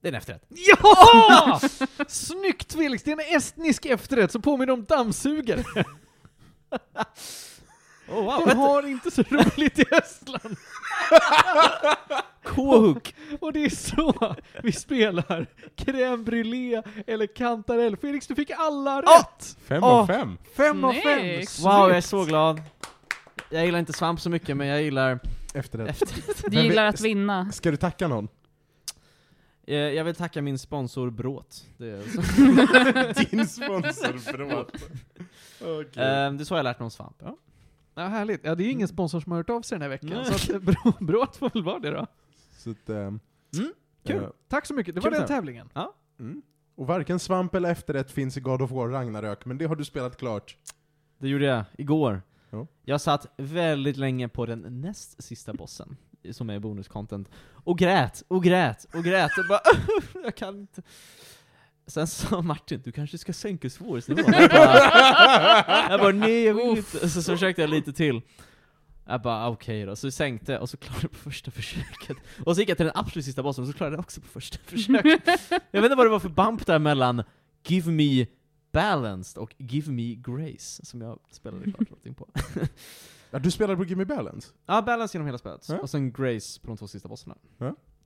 det är en efterrätt. Ja! Snyggt Felix! Det är en estnisk efterrätt som påminner om dammsugare. Oh, De har inte så roligt i Estland. K-huk. Och det är så vi spelar crème brûlée eller kantarell. Felix, du fick alla rätt! Fem Åh. av fem! Fem av Snyggt. fem! Wow, jag är Snyggt. så glad. Jag gillar inte svamp så mycket, men jag gillar Efter det. efterrätt. Du gillar att vinna. Ska du tacka någon? Eh, Jag vill tacka min sponsor Bråt. Det, är så. Din sponsor, förlåt. Okej. Ehm, det är så jag lärt mig om svamp. Ja. Ja, härligt. Ja, det är ju ingen sponsor som har hört av sig den här veckan, Nej. så att, eh, bra, bra att få väl vara det då. Så att, ehm, Mm, kul. eh, Tack så mycket, det var Kul den tävling. tävlingen. mm. Och varken svamp eller efterrätt finns i God of War Ragnarök, men det har du spelat klart. Det gjorde jag igår. Ja. Jag satt väldigt länge på den näst sista bossen, som är bonuscontent, och grät och grät och grät och bara jag kan inte. Sen sa Martin, du kanske ska sänka svårighetsnivån. Jag bara, jag bara nej jag vill inte. Så, så försökte jag lite till. Jag bara "Ah, okej då, så sänkte jag och så klarade jag på första försöket. Och så gick jag till den absolut sista bossen och så klarade jag också på första försöket. Jag vet inte vad det var för bump där mellan 'Give me balanced' och 'Give me grace' som jag spelade klart någonting på. Ja, du spelade på Gimme Balance? Ja, balance genom hela spelet. Ja. Och sen grace på de två sista bossarna.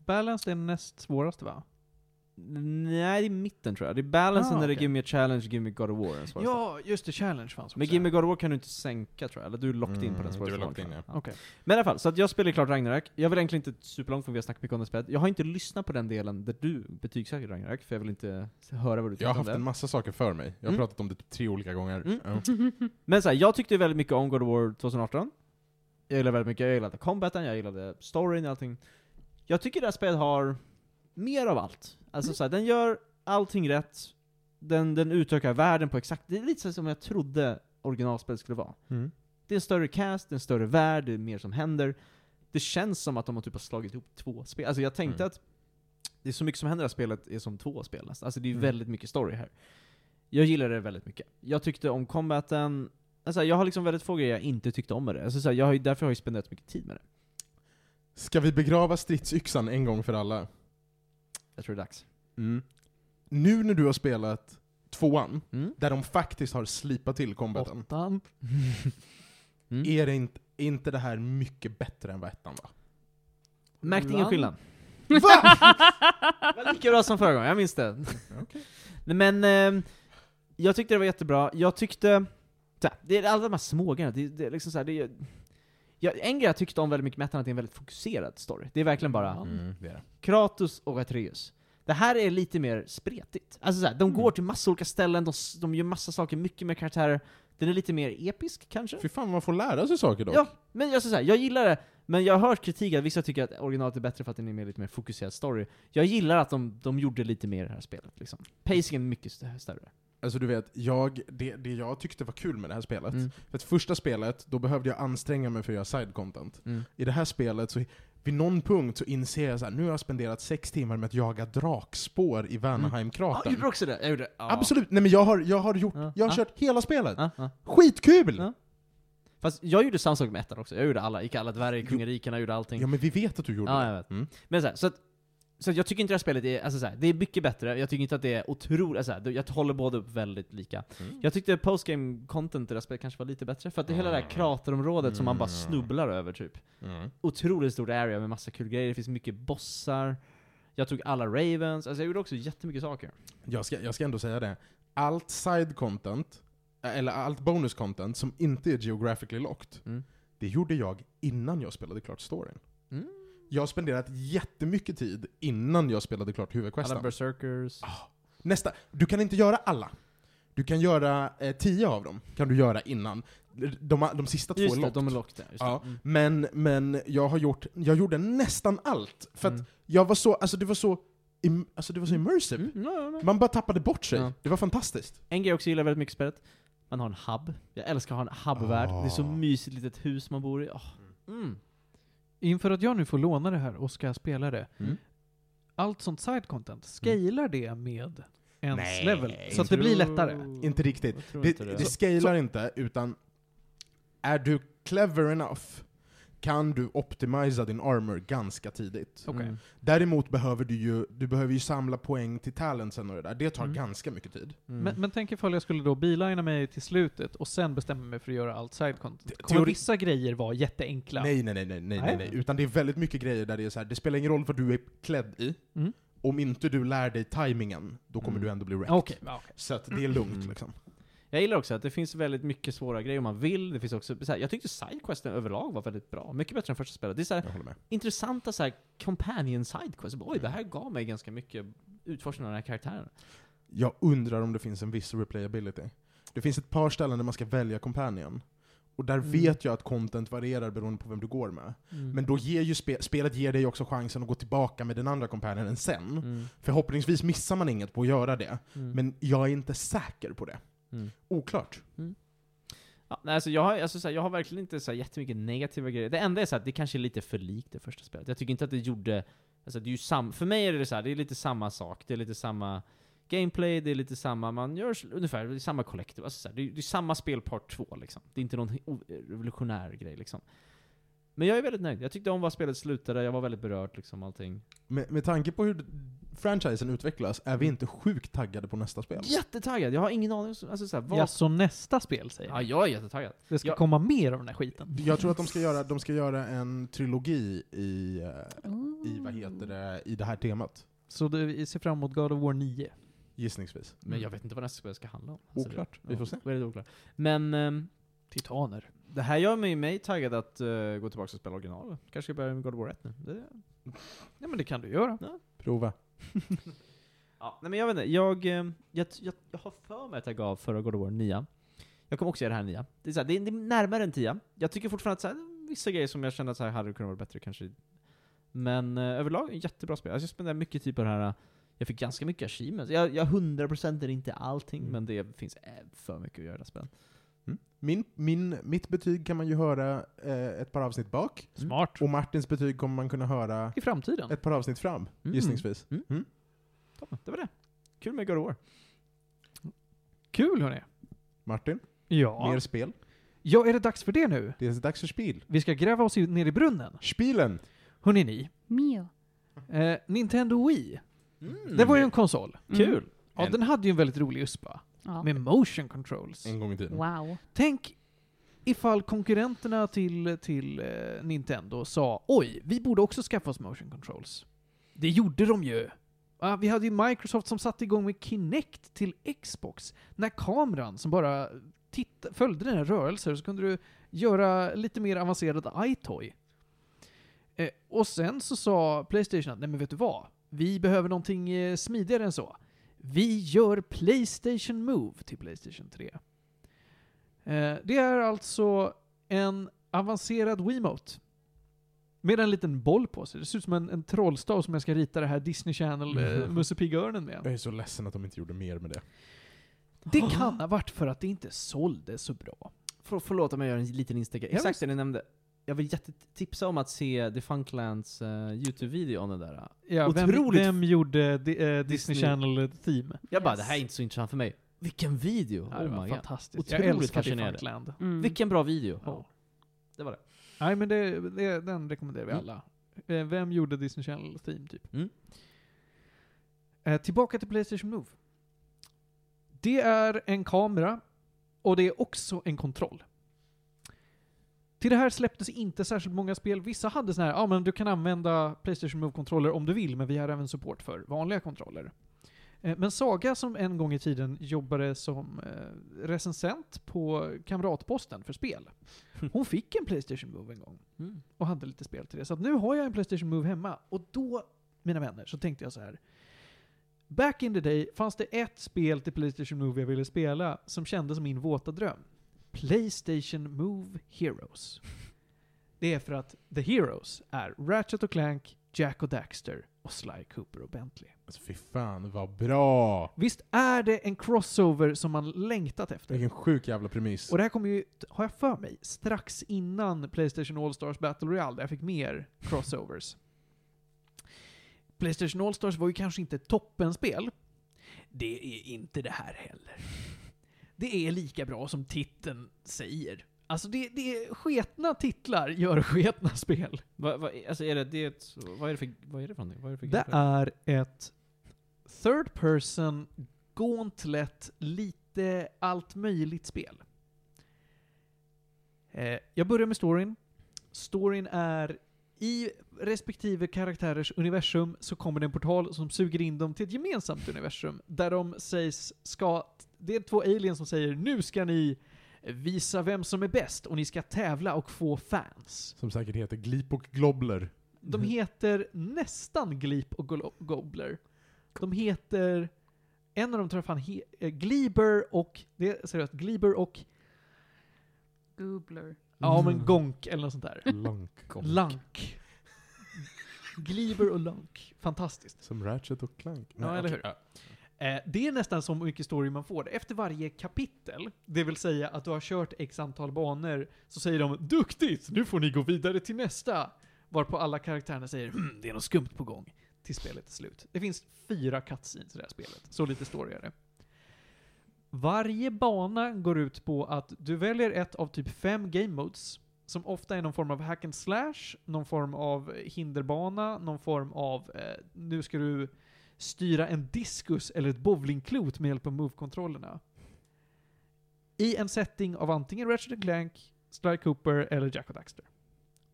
Balance är näst svåraste va? Nej, det är mitten tror jag. Det är balancen Ah, när det är okej. Give me a challenge, Give me God of War. den svåraste. Ja, just det, challenge fanns också. Men Give me God of War kan du inte sänka tror jag, eller du är locked in på Mm, den du är svåraste. locked nivån, in, tror jag. Okej. Men i alla fall, så att jag spelar klart Ragnarök. Jag vill egentligen inte superlångt för vi har snackat mycket om det spelet. Jag har inte lyssnat på den delen där du betygsätter Ragnarök, för jag vill inte höra vad du Jag har tyckte om haft det. en massa saker för mig. Jag har Mm. pratat om det typ tre olika gånger. Mm. Ja. Men så här, jag tyckte väldigt mycket om God of War 2018. Jag gillade väldigt mycket, jag gillade combaten, jag gillade storyn och allting. Jag tycker det här spelet har mer av allt. Alltså Mm. så här, den gör allting rätt, den, den utökar världen på exakt, det är lite så här som jag trodde originalspelet skulle vara. Mm. Det är en större cast, det är en större värld, det är mer som händer. Det känns som att de har typ har slagit ihop två spel. Alltså jag tänkte Mm. att det är så mycket som händer i det här spelet är som två spel nästan. Alltså det är ju Mm. väldigt mycket story här. Jag gillade det väldigt mycket. Jag tyckte om combaten, alltså jag har liksom väldigt få grejer jag inte tyckte om med det. Alltså så här, jag har ju, därför har jag ju spenderat så mycket tid med det. Ska vi begrava stridsyxan en gång för alla? Jag tror det är dags. Mm. Nu när du har spelat tvåan, Mm. där de faktiskt har slipat till combaten, Åttan. Mm. är, det inte, är inte det här mycket bättre än vad ettan var? Märkte ingen Ibland. skillnad. Det var lika bra som förra gången, jag minns det. Nej, Men ehm, jag tyckte det var jättebra. Jag tyckte... så här, Det är alla de här smågrejerna. Det, det är liksom så här, det är, jag, en grej jag tyckte om väldigt mycket med ettan är att det är en väldigt fokuserad story. Det är verkligen bara Ja. Mm, det är det. Kratos och Atreus. Det här är lite mer spretigt. Alltså så här, de går till massa olika ställen, de, s- de gör massa saker, mycket mer karaktärer. Den är lite mer episk kanske? Fy fan, man får lära sig saker dock. Ja, men jag, så här, jag gillar det, men jag har hört kritik att vissa tycker att originalet är bättre för att den är mer, lite mer fokuserad story. Jag gillar att de, de gjorde lite mer i det här spelet. Liksom. Pacingen är mycket st- större. Alltså du vet, jag, det, det jag tyckte var kul med det här spelet, Mm. för att första spelet, då behövde jag anstränga mig för att göra side content. I det här spelet så, vid någon punkt så inser jag så här, nu har jag spenderat sex timmar med att jaga drakspår i Mm. Ja, Vanaheimkratern. gjorde du också det? Jag gjorde det. Ja. Absolut! Nej men jag har, jag har gjort, Ja. jag har Ja. kört hela spelet! Ja, ja. Skitkul! Ja. Fast jag gjorde samma sak med ettan också. Jag gjorde alla, gick alla dvärgar i kungariken, jag gjorde allting. Ja men vi vet att du gjorde Ja, det. jag vet. Mm. Men så, här, så att så jag tycker inte det här spelet är, alltså så här, det är mycket bättre, jag tycker inte att det är otroligt, alltså så här, det- jag håller båda upp väldigt lika. Mm. Jag tyckte postgame content i det här spelet kanske var lite bättre, för att det är hela det här kraterområdet som man bara Ah. Mm. snubblar över typ. Mm. Otroligt stor area med massa kul grejer, det finns mycket bossar, jag tog alla Ravens, alltså jag gjorde också jättemycket saker. Jag, ska, jag ska ändå säga det. Allt side content, eller allt bonus content som inte är geographically locked, Mm. det gjorde jag innan jag spelade klart storyn. Mm. Jag har spenderat jättemycket tid innan jag spelade klart Alla huvudquesten. berserkers. Ah, Nästa. Du kan inte göra alla. Du kan göra eh, tio av dem, kan du göra innan. De, de sista två är Just det, locked. de är locked. ja, Just det. Ja. Mm. Men, men jag har gjort, jag gjorde nästan allt. För att Mm. jag var så, alltså det var så, im, alltså det var så immersive. Mm, ja, ja, ja. Man bara tappade bort sig. Ja. Det var fantastiskt. En grej jag också gillar väldigt mycket i spelet, man har en hub. Jag älskar att ha en hub-värld. Det är så Ah. mysigt litet hus man bor i. Åh. Mm. Inför att jag nu får låna det här och ska spela det, Mm. allt sånt side content, scalar det med ens Nej, Mm. level? Så att det Jag blir tror- lättare? Inte riktigt. jag tror Det, inte det. det. scalar inte, utan är du clever enough kan du optimisa din armor ganska tidigt. Okej. Mm. Däremot behöver du ju, du behöver ju samla poäng till talentsen och det där. Det tar Mm. ganska mycket tid. Mm. Men, men tänk ifall jag skulle då beelina mig till slutet och sen bestämma mig för att göra allt side content. Te- Kommer teori- vissa grejer vara jätteenkla? Nej, nej, nej, nej, nej, nej, Nej. nej. Utan det är väldigt mycket grejer där det är så här, det spelar ingen roll vad du är klädd i. Mm. Om inte du lär dig timingen, då kommer Mm. du ändå bli wrecked. Okej, ja, okej. Så att det är lugnt Mm. liksom. Jag gillar också att det finns väldigt mycket svåra grejer om man vill. Det finns också, så här, jag tyckte sidequesten överlag var väldigt bra. Mycket bättre än första spelet. Det är så här, Jag håller med. intressanta så här, companion sidequests. Oj, det här gav mig ganska mycket utforskning av den här karaktären. Jag undrar om det finns en viss replayability. Det finns ett par ställen där man ska välja companion. Och där Mm. vet jag att content varierar beroende på vem du går med. Men då ger ju spe spelet ger dig också chansen att gå tillbaka med den andra companionen sen. Mm. Förhoppningsvis missar man inget på att göra det. Mm. Men jag är inte säker på det. Mm. Oklart. Ja, nej, alltså jag, har, alltså, så här, jag har verkligen inte så här, jättemycket negativa grejer. Det enda är så här, att det kanske är lite för likt det första spelet. Jag tycker inte att det gjorde... Alltså, det är ju sam, för mig är det så här, det är lite samma sak. Det är lite samma gameplay, det är lite samma... Man gör s- ungefär det är samma collective. Alltså, så här, det, är, det är samma spel part 2 liksom. Det är inte någon o- revolutionär grej liksom. Men jag är väldigt nöjd. Jag tyckte om vad spelet slutade, jag var väldigt berörd liksom allting. Med, med tanke på hur d- franchisen utvecklas är vi inte sjukt taggade på nästa spel. Jättetaggad! Jag har ingen aning. om- Alltså, så här, vad... Ja, så nästa spel säger Ja, jag. jag är jättetaggad. Det ska jag- komma mer av den här skiten. Jag tror att de ska göra, de ska göra en trilogi i, eh, Ooh. i, vad heter det, i det här temat. Så det, vi ser fram emot God of War 9. Gissningsvis. Men jag vet inte vad nästa spel ska handla om. Alltså, Mm. det- Oklart. Vi får se. Ja, Väldigt oklart. Men... ehm, Titaner. Det här gör mig, mig taggad att eh, gå tillbaka och spela originalet. Kanske ska börja med God of War 1 nu. Det, Ja men det kan du göra. Prova. ja, nej men jag vet inte, jag, eh, jag, jag, jag har för mig att jag gav förra God of War 9. Jag kommer också göra det här 9. Det är, så här, det, är, det är närmare en 10. Jag tycker fortfarande att så här, vissa grejer som jag kände att så här, hade kunnat vara bättre kanske. Men eh, överlag, jättebra spel. Alltså, jag spenderade mycket tid på det här. eh, Jag fick ganska mycket achievements. Jag, jag 100% är inte allting, Mm. men det finns eh, för mycket att göra i det här spelet. Min, min, mitt betyg kan man ju höra eh, ett par avsnitt bak, Smart. och Martins betyg kommer man kunna höra I framtiden. ett par avsnitt fram, Mm. gissningsvis. Toppen, det var det. Kul med God of War. Kul hörni. Martin, Ja. mer spel. Ja, är det dags för det nu? Det är dags för spel. Vi ska gräva oss i- ner i brunnen. Spielen! Hörrni ni. Mio. Eh, Nintendo Wii. Mm. Det var ju en konsol. Kul! Ja, En- den hade ju en väldigt rolig USPA. Ja. Med motion controls. En gång i tiden. Wow. Tänk ifall konkurrenterna till, till eh, Nintendo sa oj, vi borde också skaffa oss motion controls. Det gjorde de ju. Ah, vi hade ju Microsoft som satte igång med Kinect till Xbox. När kameran som bara titta, följde dina rörelser så kunde du göra lite mer avancerad iToy. Eh, och sen så sa Playstation att nej men vet du vad? Vi behöver någonting eh, smidigare än så. Vi gör Playstation Move till Playstation 3. Eh, Det är alltså en avancerad Wiimote. Med en liten boll på sig. Det ser ut som en, en trollstav som jag ska rita det här Disney Channel eh, Musse Pigg-örnen med. Jag är så ledsen att de inte gjorde mer med det. Det kan ha varit för att det inte sålde så bra. För, förlåt om jag gör en liten instickare. Ja, Exakt det ni nämnde. Jag vill jättetipsa om att se The Funklands eh, YouTube-video om den där. eh, Ja, Otroligt. Vem, vem gjorde di, eh, Disney, Disney. Channel Theme? Jag bara, Yes. det här är inte så intressant för mig. Vilken video! Ja, det oh var my god. fantastiskt. Jag Otroligt älskar Different fascinerande. Funkland. Mm. Vilken bra video! Ja. Oh. Det var det. Nej men det, det, den rekommenderar vi Mm. alla. Eh, Vem gjorde Disney Channel Theme typ? Mm. Eh, tillbaka till Playstation Move. Det är en kamera och det är också en kontroll. Till det här släpptes inte särskilt många spel. Vissa hade sån här, ja ah, men du kan använda Playstation Move-kontroller om du vill, men vi har även support för vanliga kontroller. Eh, Men Saga som en gång i tiden jobbade som eh, recensent på Kamratposten för spel. Hon fick en Playstation Move en gång Mm. och hade lite spel till det. Så att nu har jag en Playstation Move hemma. Och då, mina vänner, så tänkte jag så här. Back in the day fanns det ett spel till Playstation Move jag ville spela som kändes som min våta dröm. Playstation Move Heroes. Det är för att The Heroes är Ratchet och Clank, Jack och Daxter och Sly Cooper och Bentley. Alltså fy fan vad bra! Visst är det en crossover som man längtat efter? Vilken sjuk jävla premiss. Och det här kommer ju, har jag för mig, strax innan Playstation All-Stars Battle Royale där jag fick mer crossovers. Playstation All-Stars var ju kanske inte ett toppenspel. Det är inte det här heller. Det är lika bra som titeln säger. Alltså det, det är sketna titlar gör sketna spel. Va, va, alltså är det, det är ett, vad är det för, vad är det för någonting? Vad är det för Det gameplay? är ett third person gauntlet, lite allt möjligt spel. Eh, jag börjar med storyn. Storyn är i respektive karaktärers universum så kommer det en portal som suger in dem till ett gemensamt universum där de sägs ska... Det är två aliens som säger nu ska ni visa vem som är bäst och ni ska tävla och få fans. Som säkert heter Glip och Globler. De heter nästan Gleep och Golo- Gobbler. De heter... En av dem tror jag fan he, eh, Gleeber och... Det är seriöst, Gleeber och... Goobler. Ja men Gonk eller något sånt där. Mm. Lank. Lank. Gleeber och Lank. Fantastiskt. Som Ratchet och Clank. Ja, eller okej. hur? Eh, det är nästan så mycket story man får. Efter varje kapitel, det vill säga att du har kört x antal banor, så säger de “Duktigt! Nu får ni gå vidare till nästa!” Varpå alla karaktärerna säger hm, “Det är något skumt på gång” till spelet är slut. Det finns fyra cutscenes i det här spelet, så lite story är det. Varje bana går ut på att du väljer ett av typ fem game modes, som ofta är någon form av hack and slash, någon form av hinderbana, någon form av eh, nu ska du styra en diskus eller ett bowlingklot med hjälp av move-kontrollerna. I en setting av antingen Ratchet Clank, Sly Cooper eller Jack och Daxter.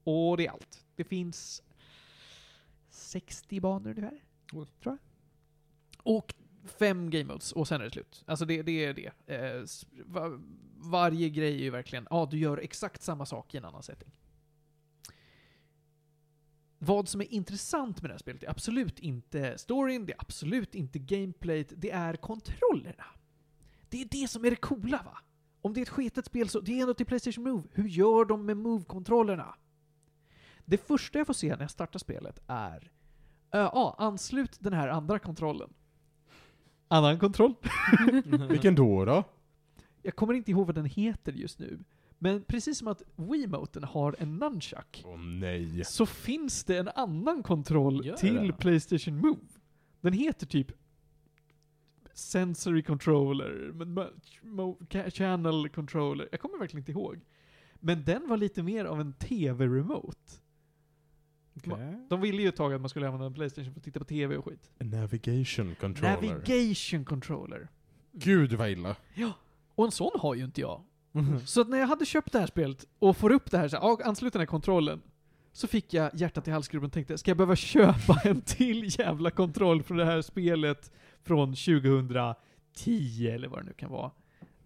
Och det är allt. Det finns 60 banor ungefär, Oj. tror jag. Och fem game modes och sen är det slut. Alltså det, det är det. Eh, s- va- varje grej är ju verkligen, ja du gör exakt samma sak i en annan setting. Vad som är intressant med det här spelet är absolut inte storyn, det är absolut inte gameplayt, det är kontrollerna. Det är det som är det coola va? Om det är ett sketet spel så, det är ändå till Playstation Move. Hur gör de med Move-kontrollerna? Det första jag får se när jag startar spelet är, eh, ja, anslut den här andra kontrollen. Annan kontroll? Vilken då då? Jag kommer inte ihåg vad den heter just nu. Men precis som att Wiimoten har en nunchuck Åh nej. så finns det en annan kontroll Gör till det? Playstation Move. Den heter typ Sensory Controller, men ma- mo- ca- Channel Controller. Jag kommer verkligen inte ihåg. Men den var lite mer av en TV-remote. Okej. De ville ju ett tag att man skulle använda en Playstation för att titta på TV och skit. A navigation controller. Navigation Controller. Gud vad illa. Och en sån har ju inte jag. Så att när jag hade köpt det här spelet och får upp det här, så här "Ja, anslut den här kontrollen. Så fick jag hjärtat i halsgropen och tänkte, ska jag behöva köpa en till jävla kontroll från det här spelet från 2010 eller vad det nu kan vara?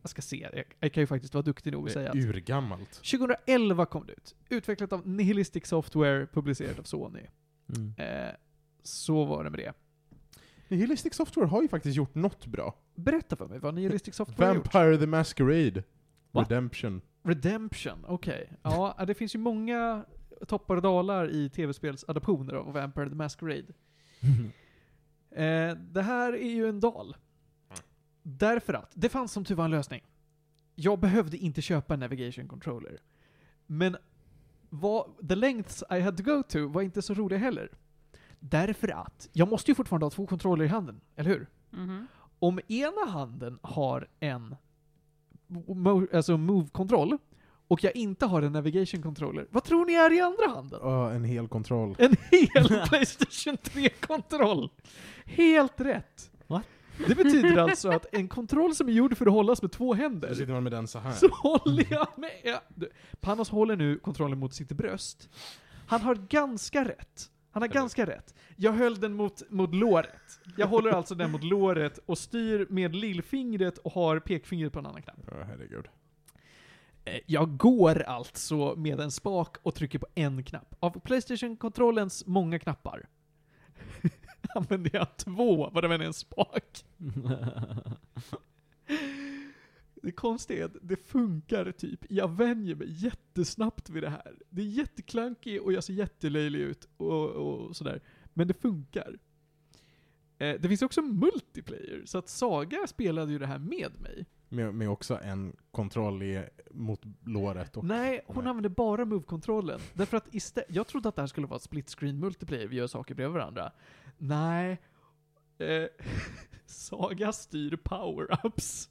Jag ska se, jag, jag kan ju faktiskt vara duktig nog och Det säga är att urgammalt. 2011 kom det ut. Utvecklat av Nihilistic Software, publicerat av Sony. Mm. Eh, så var det med det. Nihilistic Software har ju faktiskt gjort något bra. Berätta för mig vad Nihilistic Software har gjort. Vampire the Masquerade. Va? Redemption. Redemption, okej. Ja, äh, det finns ju många toppar och dalar i tv-spelsadaptioner av Vampire the Masquerade. Eh, det här är ju en dal. Därför att, det fanns som tur var en lösning. Jag behövde inte köpa en navigation controller. Men vad, the lengths I had to go to var inte så roliga heller. Därför att, jag måste ju fortfarande ha två kontroller i handen, eller hur? Mhm. Om ena handen har en mo- alltså move-kontroll och jag inte har en navigation controller, vad tror ni är i andra handen? Åh, en hel kontroll. En hel Playstation 3-kontroll! Helt rätt! Va? Det betyder alltså att en kontroll som är gjord för att hållas med två Då händer, sitter man med den så här. så håller jag med... Ja, du, Panos håller nu kontrollen mot sitt bröst. Han har ganska rätt. Han har ganska rätt. Jag höll den mot, mot låret. Jag håller alltså den mot låret och styr med lillfingret och har pekfingret på en annan knapp. Ja, herregud. Eh, Jag går alltså med en spak och trycker på en knapp. Av Playstation-kontrollens många knappar använder jag två, vad det än är en spak. Det konstiga är att det funkar typ. Jag vänjer mig jättesnabbt vid det här. Det är jätteklankigt och jag ser jättelöjlig ut och, och sådär. Men det funkar. Eh, Det finns också multiplayer, så att Saga spelade ju det här med mig. Med, med också en kontroll i, mot låret. Och, Nej, hon Nej. använde bara move-kontrollen. Därför att istället, jag trodde att det här skulle vara ett split screen multiplayer, vi gör saker bredvid varandra. Nej. Eh, Saga styr power-ups.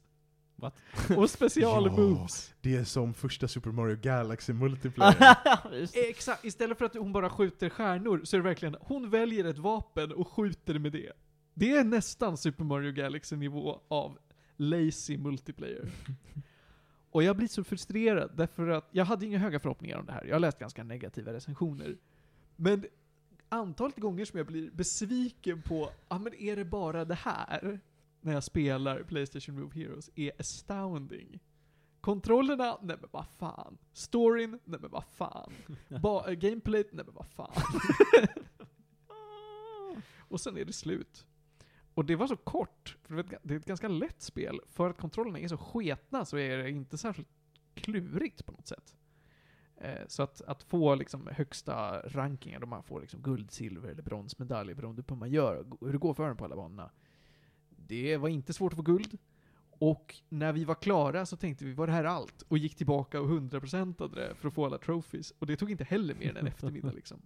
What? Och special-moves. Det är som första Super Mario Galaxy multiplayer. Eh, Exakt, istället för att hon bara skjuter stjärnor så är det verkligen, hon väljer ett vapen och skjuter med det. Det är nästan Super Mario Galaxy-nivå av lazy multiplayer. Och jag blir så frustrerad därför att jag hade inga höga förhoppningar om det här. Jag har läst ganska negativa recensioner. Men antalet gånger som jag blir besviken på, ja ah, men är det bara det här? När jag spelar Playstation Move Heroes är astounding. Kontrollerna, nej men vad fan. Storyn, nej men vad fan. Ba- eh, gameplayt, nej men vad fan. Och sen är det slut. Och det var så kort, för det var ett ga- det är ett ganska lätt spel. För att kontrollerna är så sketna så är det inte särskilt klurigt på något sätt. Eh, Så att, att få liksom högsta rankingen, då man får liksom guld, silver eller bronsmedalj beroende på hur man gör, och hur det går för en på alla banorna. Det var inte svårt att få guld. Och när vi var klara så tänkte vi, var det här allt? Och gick tillbaka och hundraprocentade det för att få alla trophies. Och det tog inte heller mer än en eftermiddag liksom.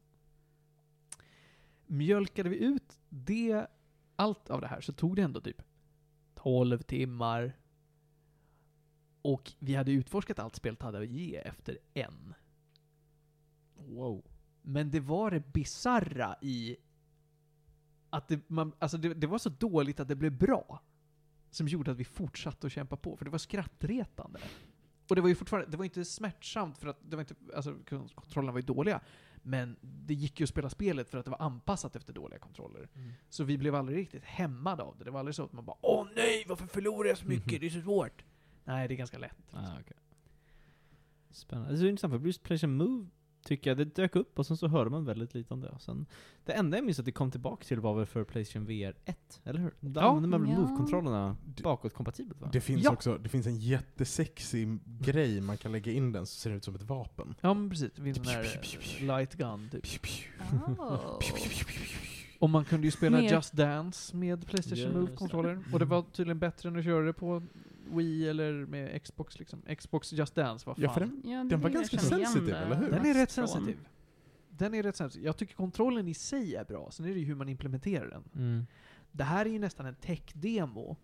Mjölkade vi ut det, allt av det här så tog det ändå typ 12 timmar. Och vi hade utforskat allt spelet hade att ge efter en. Wow. Men det var det bizarra i att det, man, alltså det, det var så dåligt att det blev bra. Som gjorde att vi fortsatte att kämpa på, för det var skrattretande. Och det var ju fortfarande, det var inte smärtsamt för att det var inte, alltså kon- kontrollerna var ju dåliga. Men det gick ju att spela spelet för att det var anpassat efter dåliga kontroller. Så vi blev aldrig riktigt hämmade av det. Det var aldrig så att man bara Åh nej, varför förlorar jag så mycket? Det är så svårt. Nej, det är ganska lätt. Ah, okay. Spännande. Det är så intressant för PlayStation Move tycker jag, det dök upp och sen så hörde man väldigt lite om det. Och Sen, det enda jag minns att det kom tillbaka till var väl för PlayStation VR 1, eller hur? Där Ja. använde man väl Ja. Move-kontrollerna Du- bakåtkompatibelt va? Det finns Ja. också det finns en jättesexy grej man kan lägga in den som ser ut som ett vapen. Ja, men precis. Det finns en där eh, light gun typ. Oh. Och man kunde ju spela Mer- Just Dance med Playstation Just Move-kontroller. Och det var tydligen bättre än att köra det på Wii eller med Xbox liksom. Xbox Just Dance, vad fan. Ja, för den, Ja, det Den var är det ganska jag känner igen sensitiv, det eller hur? Den är mest rätt från. sensitiv. Den är rätt sensitiv. Jag tycker kontrollen i sig är bra, sen är det ju hur man implementerar den. Mm. Det här är ju nästan en tech-demo.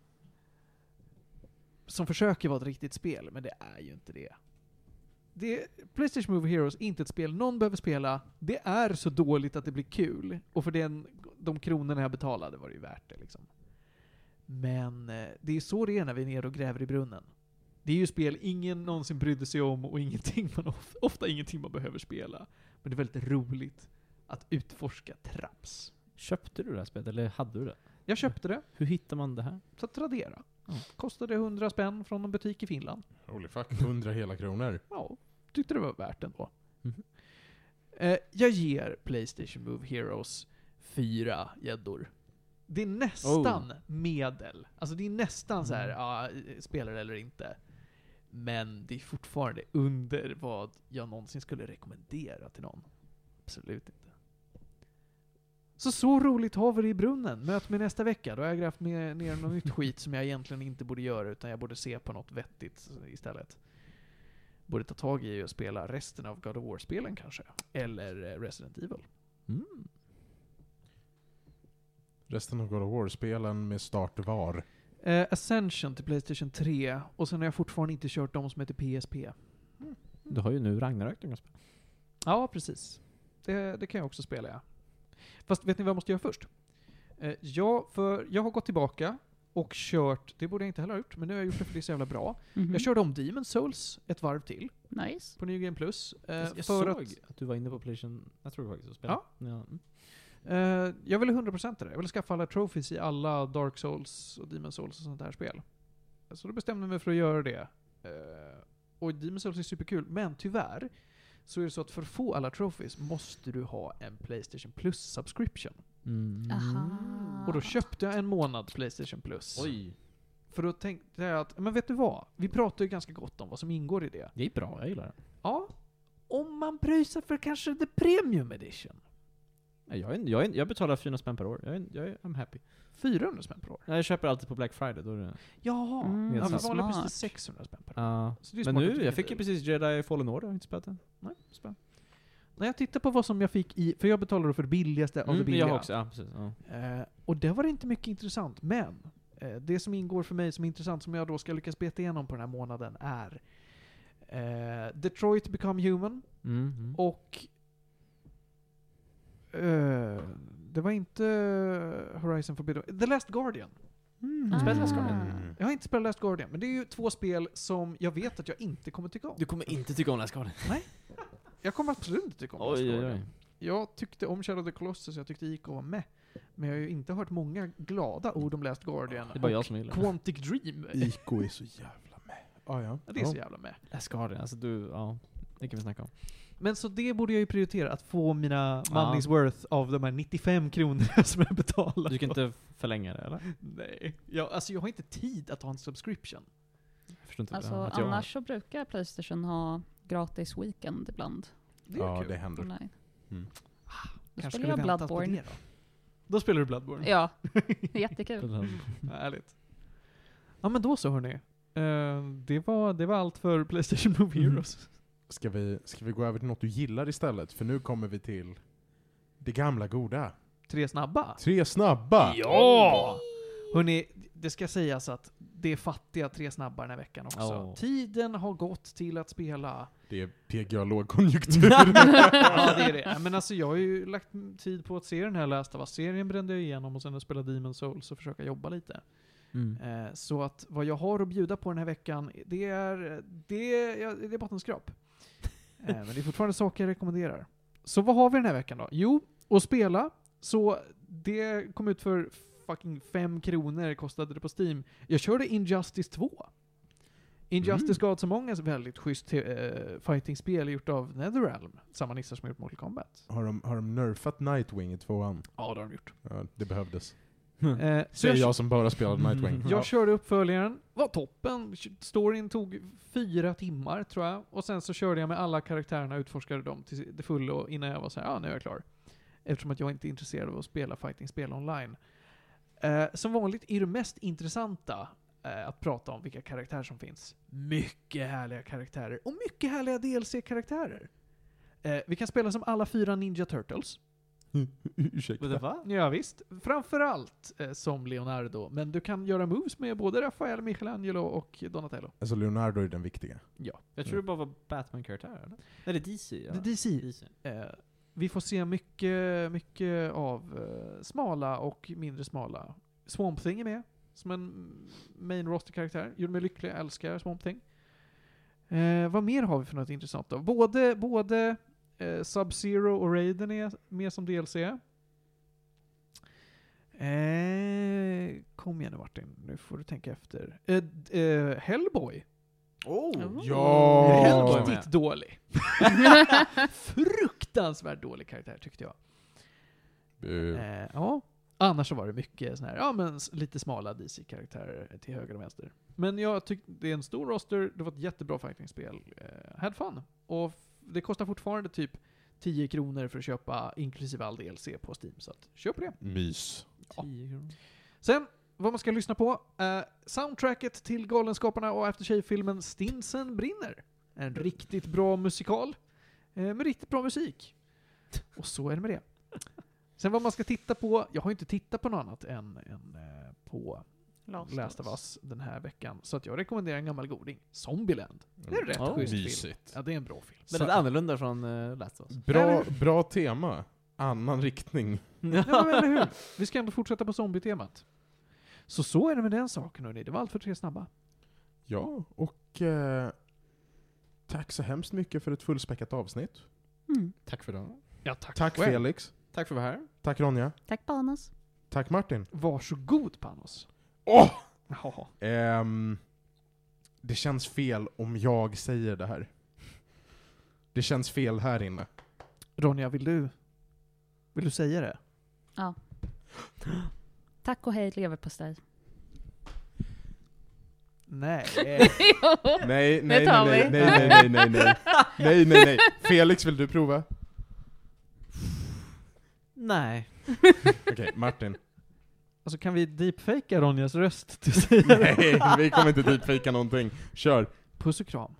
Som försöker vara ett riktigt spel, men det är ju inte det. det Playstation Move Heroes är inte ett spel någon behöver spela. Det är så dåligt att det blir kul. Och för den, de kronorna jag betalade var det ju värt det liksom. Men eh, det är så det är när vi är nere och gräver i brunnen. Det är ju spel ingen någonsin brydde sig om och ingenting man of- ofta ingenting man behöver spela. Men det är väldigt roligt att utforska traps. Köpte du det här spelet, eller hade du det? Jag köpte det. Hur hittar man det här? Så att Tradera. Ja. Kostade 100 spänn från en butik i Finland. holy fuck, 100 hela kronor. Ja, tyckte det var värt ändå. Mhm. Eh, jag ger Playstation Move Heroes fyra gäddor. Det är Oh. nästan medel. Alltså det är nästan så här, Mm. ja, spelar eller inte. Men det är fortfarande under vad jag någonsin skulle rekommendera till någon. Absolut inte. Så så roligt har vi det i brunnen. Möt mig nästa vecka. Då har jag grävt ner, ner något nytt skit som jag egentligen inte borde göra utan jag borde se på något vettigt istället. Borde ta tag i och spela resten av God of War-spelen kanske. Eller eh, Resident Evil. Mm. Resten av God of War-spelen med start var. Eh, Ascension till Playstation 3 och sen har jag fortfarande inte kört de som heter PSP. Du har ju nu Ragnarök du kan spela. Ja, precis. Det, det kan jag också spela, ja. Fast vet ni vad jag måste göra först? Eh, jag, för, jag har gått tillbaka och kört, det borde jag inte heller ha gjort, men nu har jag gjort det för det är så jävla bra. Mm. Mhm. Jag körde om Demon Souls ett varv till Nice. på New Game Plus. eh, jag jag för såg att, att... du var inne på Playstation, jag tror faktiskt, och spelade. Ja. mm. Eh, jag ville 100% det. Jag ville skaffa alla trophies i alla Dark Souls och Demon Souls och sånt här spel. Så då bestämde jag mig för att göra det. Eh, och Demon Souls är superkul, men tyvärr så är det så att för att få alla trophies måste du ha en Playstation Plus subscription. Mm. Aha. Och då köpte jag en månad Playstation Plus. Oj. För då tänkte jag att, men vet du vad? Vi pratar ju ganska gott om vad som ingår i det. Det är bra, jag gillar det. Ja, om man pröjsar för kanske the premium edition. Nej, Jag, är, jag, är, jag betalar 400 spänn per år. Jag är, jag är I'm happy. 400 spänn per år. Nej, Jag köper alltid på Black Friday, då är det... Jaha, Mm, ja, vi sant. valde smart. precis 600 spänn per år. Ja. Så det är Men smart att nu, du jag kan fick ju deal. precis Jedi Fallen Order, jag har inte spelat den. Nej, spänn. När jag tittar på vad som jag fick i, för jag betalade då för det billigaste av det Mm, jag billiga. har också, ja precis. Ja. Eh, och det var inte mycket intressant, men eh, det som ingår för mig som är intressant, som jag då ska lyckas beta igenom på den här månaden, är eh, Detroit Become Human Mm. och eh, det var inte Horizon Forbidden The Last Guardian. Mm. Ah. Spelar jag Skyrim? Jag har inte spelat Last Guardian, men det är ju två spel som jag vet att jag inte kommer tycka om. kommer inte tycka om den här skadan. Jag kommer absolut inte tycka om Last Oj, oj, Guardian. oj. Jag tyckte om Shadow of the Colossus, jag tyckte IK var med. Men jag har ju inte hört många glada ord om Last Guardian. Det är bara jag som gillar den. Quantic Dream. Iko är så jävla med. Ah, ja. Ja, Det är så jävla med. Last Guardian, alltså du, ja. Det kan vi snacka om. Men så det borde jag ju prioritera, att få mina Ja. money's worth av de här 95 kronorna som jag betalar. Du kan inte förlänga det eller? Nej. Jag, alltså jag har inte tid att ha en subscription. Jag förstår inte Alltså, att jag- annars så brukar Playstation ha gratis weekend ibland. Det är Ja, kul. det händer. Online. Mm. Då Kanske spelar skulle jag väntat på Bloodborne. det då. spelar du Bloodborne? Ja, jättekul. Härligt. Ja men då så hörni. Eh, det, var, det var allt för Playstation Movie Mm. Heroes. Ska vi, ska vi gå över till något du gillar istället? För nu kommer vi till det gamla goda. Tre snabba. Tre snabba! Ja! Hörni, det ska sägas att det är fattiga tre snabba den här veckan också. Ja. Tiden har gått till att spela. Det är PGA lågkonjunktur. ja, det är det. Men alltså jag har ju lagt tid på att se den här Last of Us-serien brände jag igenom och sen att spela Demon Souls och försöka jobba lite. Mm. Eh, så att vad jag har att bjuda på den här veckan, det är, det är, ja, det är bottenskrap. eh, men det är fortfarande saker jag rekommenderar. Så vad har vi den här veckan då? Jo, att spela. Så det kom ut för fucking 5 kronor kostade det på Steam. Jag körde Injustice 2. Injustice Mm. God så många väldigt schysst eh, fighting-spel gjort av Netherrealm. Samma nissar som gjort Mortal Kombat. har, de, har de nerfat Nightwing i tvåan? Ja, det har de gjort. Ja, det behövdes. Eh, så Säger jag, jag som bara spelade Nightwing. Mm. Jag Ja. körde uppföljaren, var toppen. Storyn tog fyra timmar tror jag. Och sen så körde jag med alla karaktärerna, utforskade dem till det fulla innan jag var så här, ja nu är jag klar. Eftersom att jag inte är intresserad av att spela fighting-spel online. Eh, som vanligt är det mest intressanta eh, att prata om vilka karaktärer som finns. Mycket härliga karaktärer och mycket härliga DLC-karaktärer. Eh, vi kan spela som alla fyra Ninja Turtles. Mm. Ursäkta. va? Ja, visst. Framförallt eh, som Leonardo, men du kan göra moves med både Rafael, Michelangelo och Donatello. Alltså Leonardo är den viktiga. Jag tror det bara var Batman-karaktär eller? Nej det är DC. Ja. Det är DC. DC. Eh, vi får se mycket, mycket av eh, smala och mindre smala. Swamp Thing är med, som en main roster-karaktär. Gjorde mig lycklig, jag älskar Swamp Thing. Eh, vad mer har vi för något intressant då? Både, både eh, Sub-Zero och Raiden är med som DLC. Eh, kom igen nu Martin, nu får du tänka efter. Eh, d- eh, Hellboy Oh. Ja! Hellboy med. Riktigt dålig. Fruktansvärt dålig karaktär tyckte jag. Eh, Eh, ja. Annars så var det mycket sån här, ja men s- lite smala DC-karaktärer till höger och vänster. Men jag tyckte det är en stor roster, det var ett jättebra fightingspel. Eh, had fun. Och f- det kostar fortfarande typ 10 kronor för att köpa inklusive all DLC på Steam, så att köp det. Mys. 10 kronor. Sen, vad man ska lyssna på. Eh, soundtracket till Galenskaparna och After Shave-filmen Stinsen brinner. En riktigt bra musikal. Eh, med riktigt bra musik. Och så är det med det. Sen vad man ska titta på. Jag har ju inte tittat på något annat än, än eh, på Last of Us den här veckan. Så att jag rekommenderar en gammal goding. Zombieland. Det är rätt Ja, schysst film. Mysigt. Ja, det är en bra film. Så- Väldigt annorlunda från uh, Last of Us. Bra, bra tema. Annan riktning. Mm. Ja, men eller hur? Vi ska ändå fortsätta på zombie-temat. Så så är det med den saken hörni. Det var allt för tre snabba. Ja, och eh, tack så hemskt mycket för ett fullspäckat avsnitt. Mm. Tack för det. Ja, tack Tack Felix. Tack för att vara här. Tack Ronja. Tack Banas. Tack Martin. Varsågod Panos. Åh! Jaha. Ehm, det känns fel om jag säger det här. Det känns fel här inne. Ronja, vill du, vill du säga det? Tack och hej leverpastej. Nej. Nej, nej, tar nej, nej, vi. nej, nej, nej, nej, nej, nej, nej. Felix, vill du prova? Nej. Okej, Martin. alltså kan vi deepfakea Ronjas röst till att säga det? Nej, vi kommer inte deepfakea någonting. Kör. Puss och kram.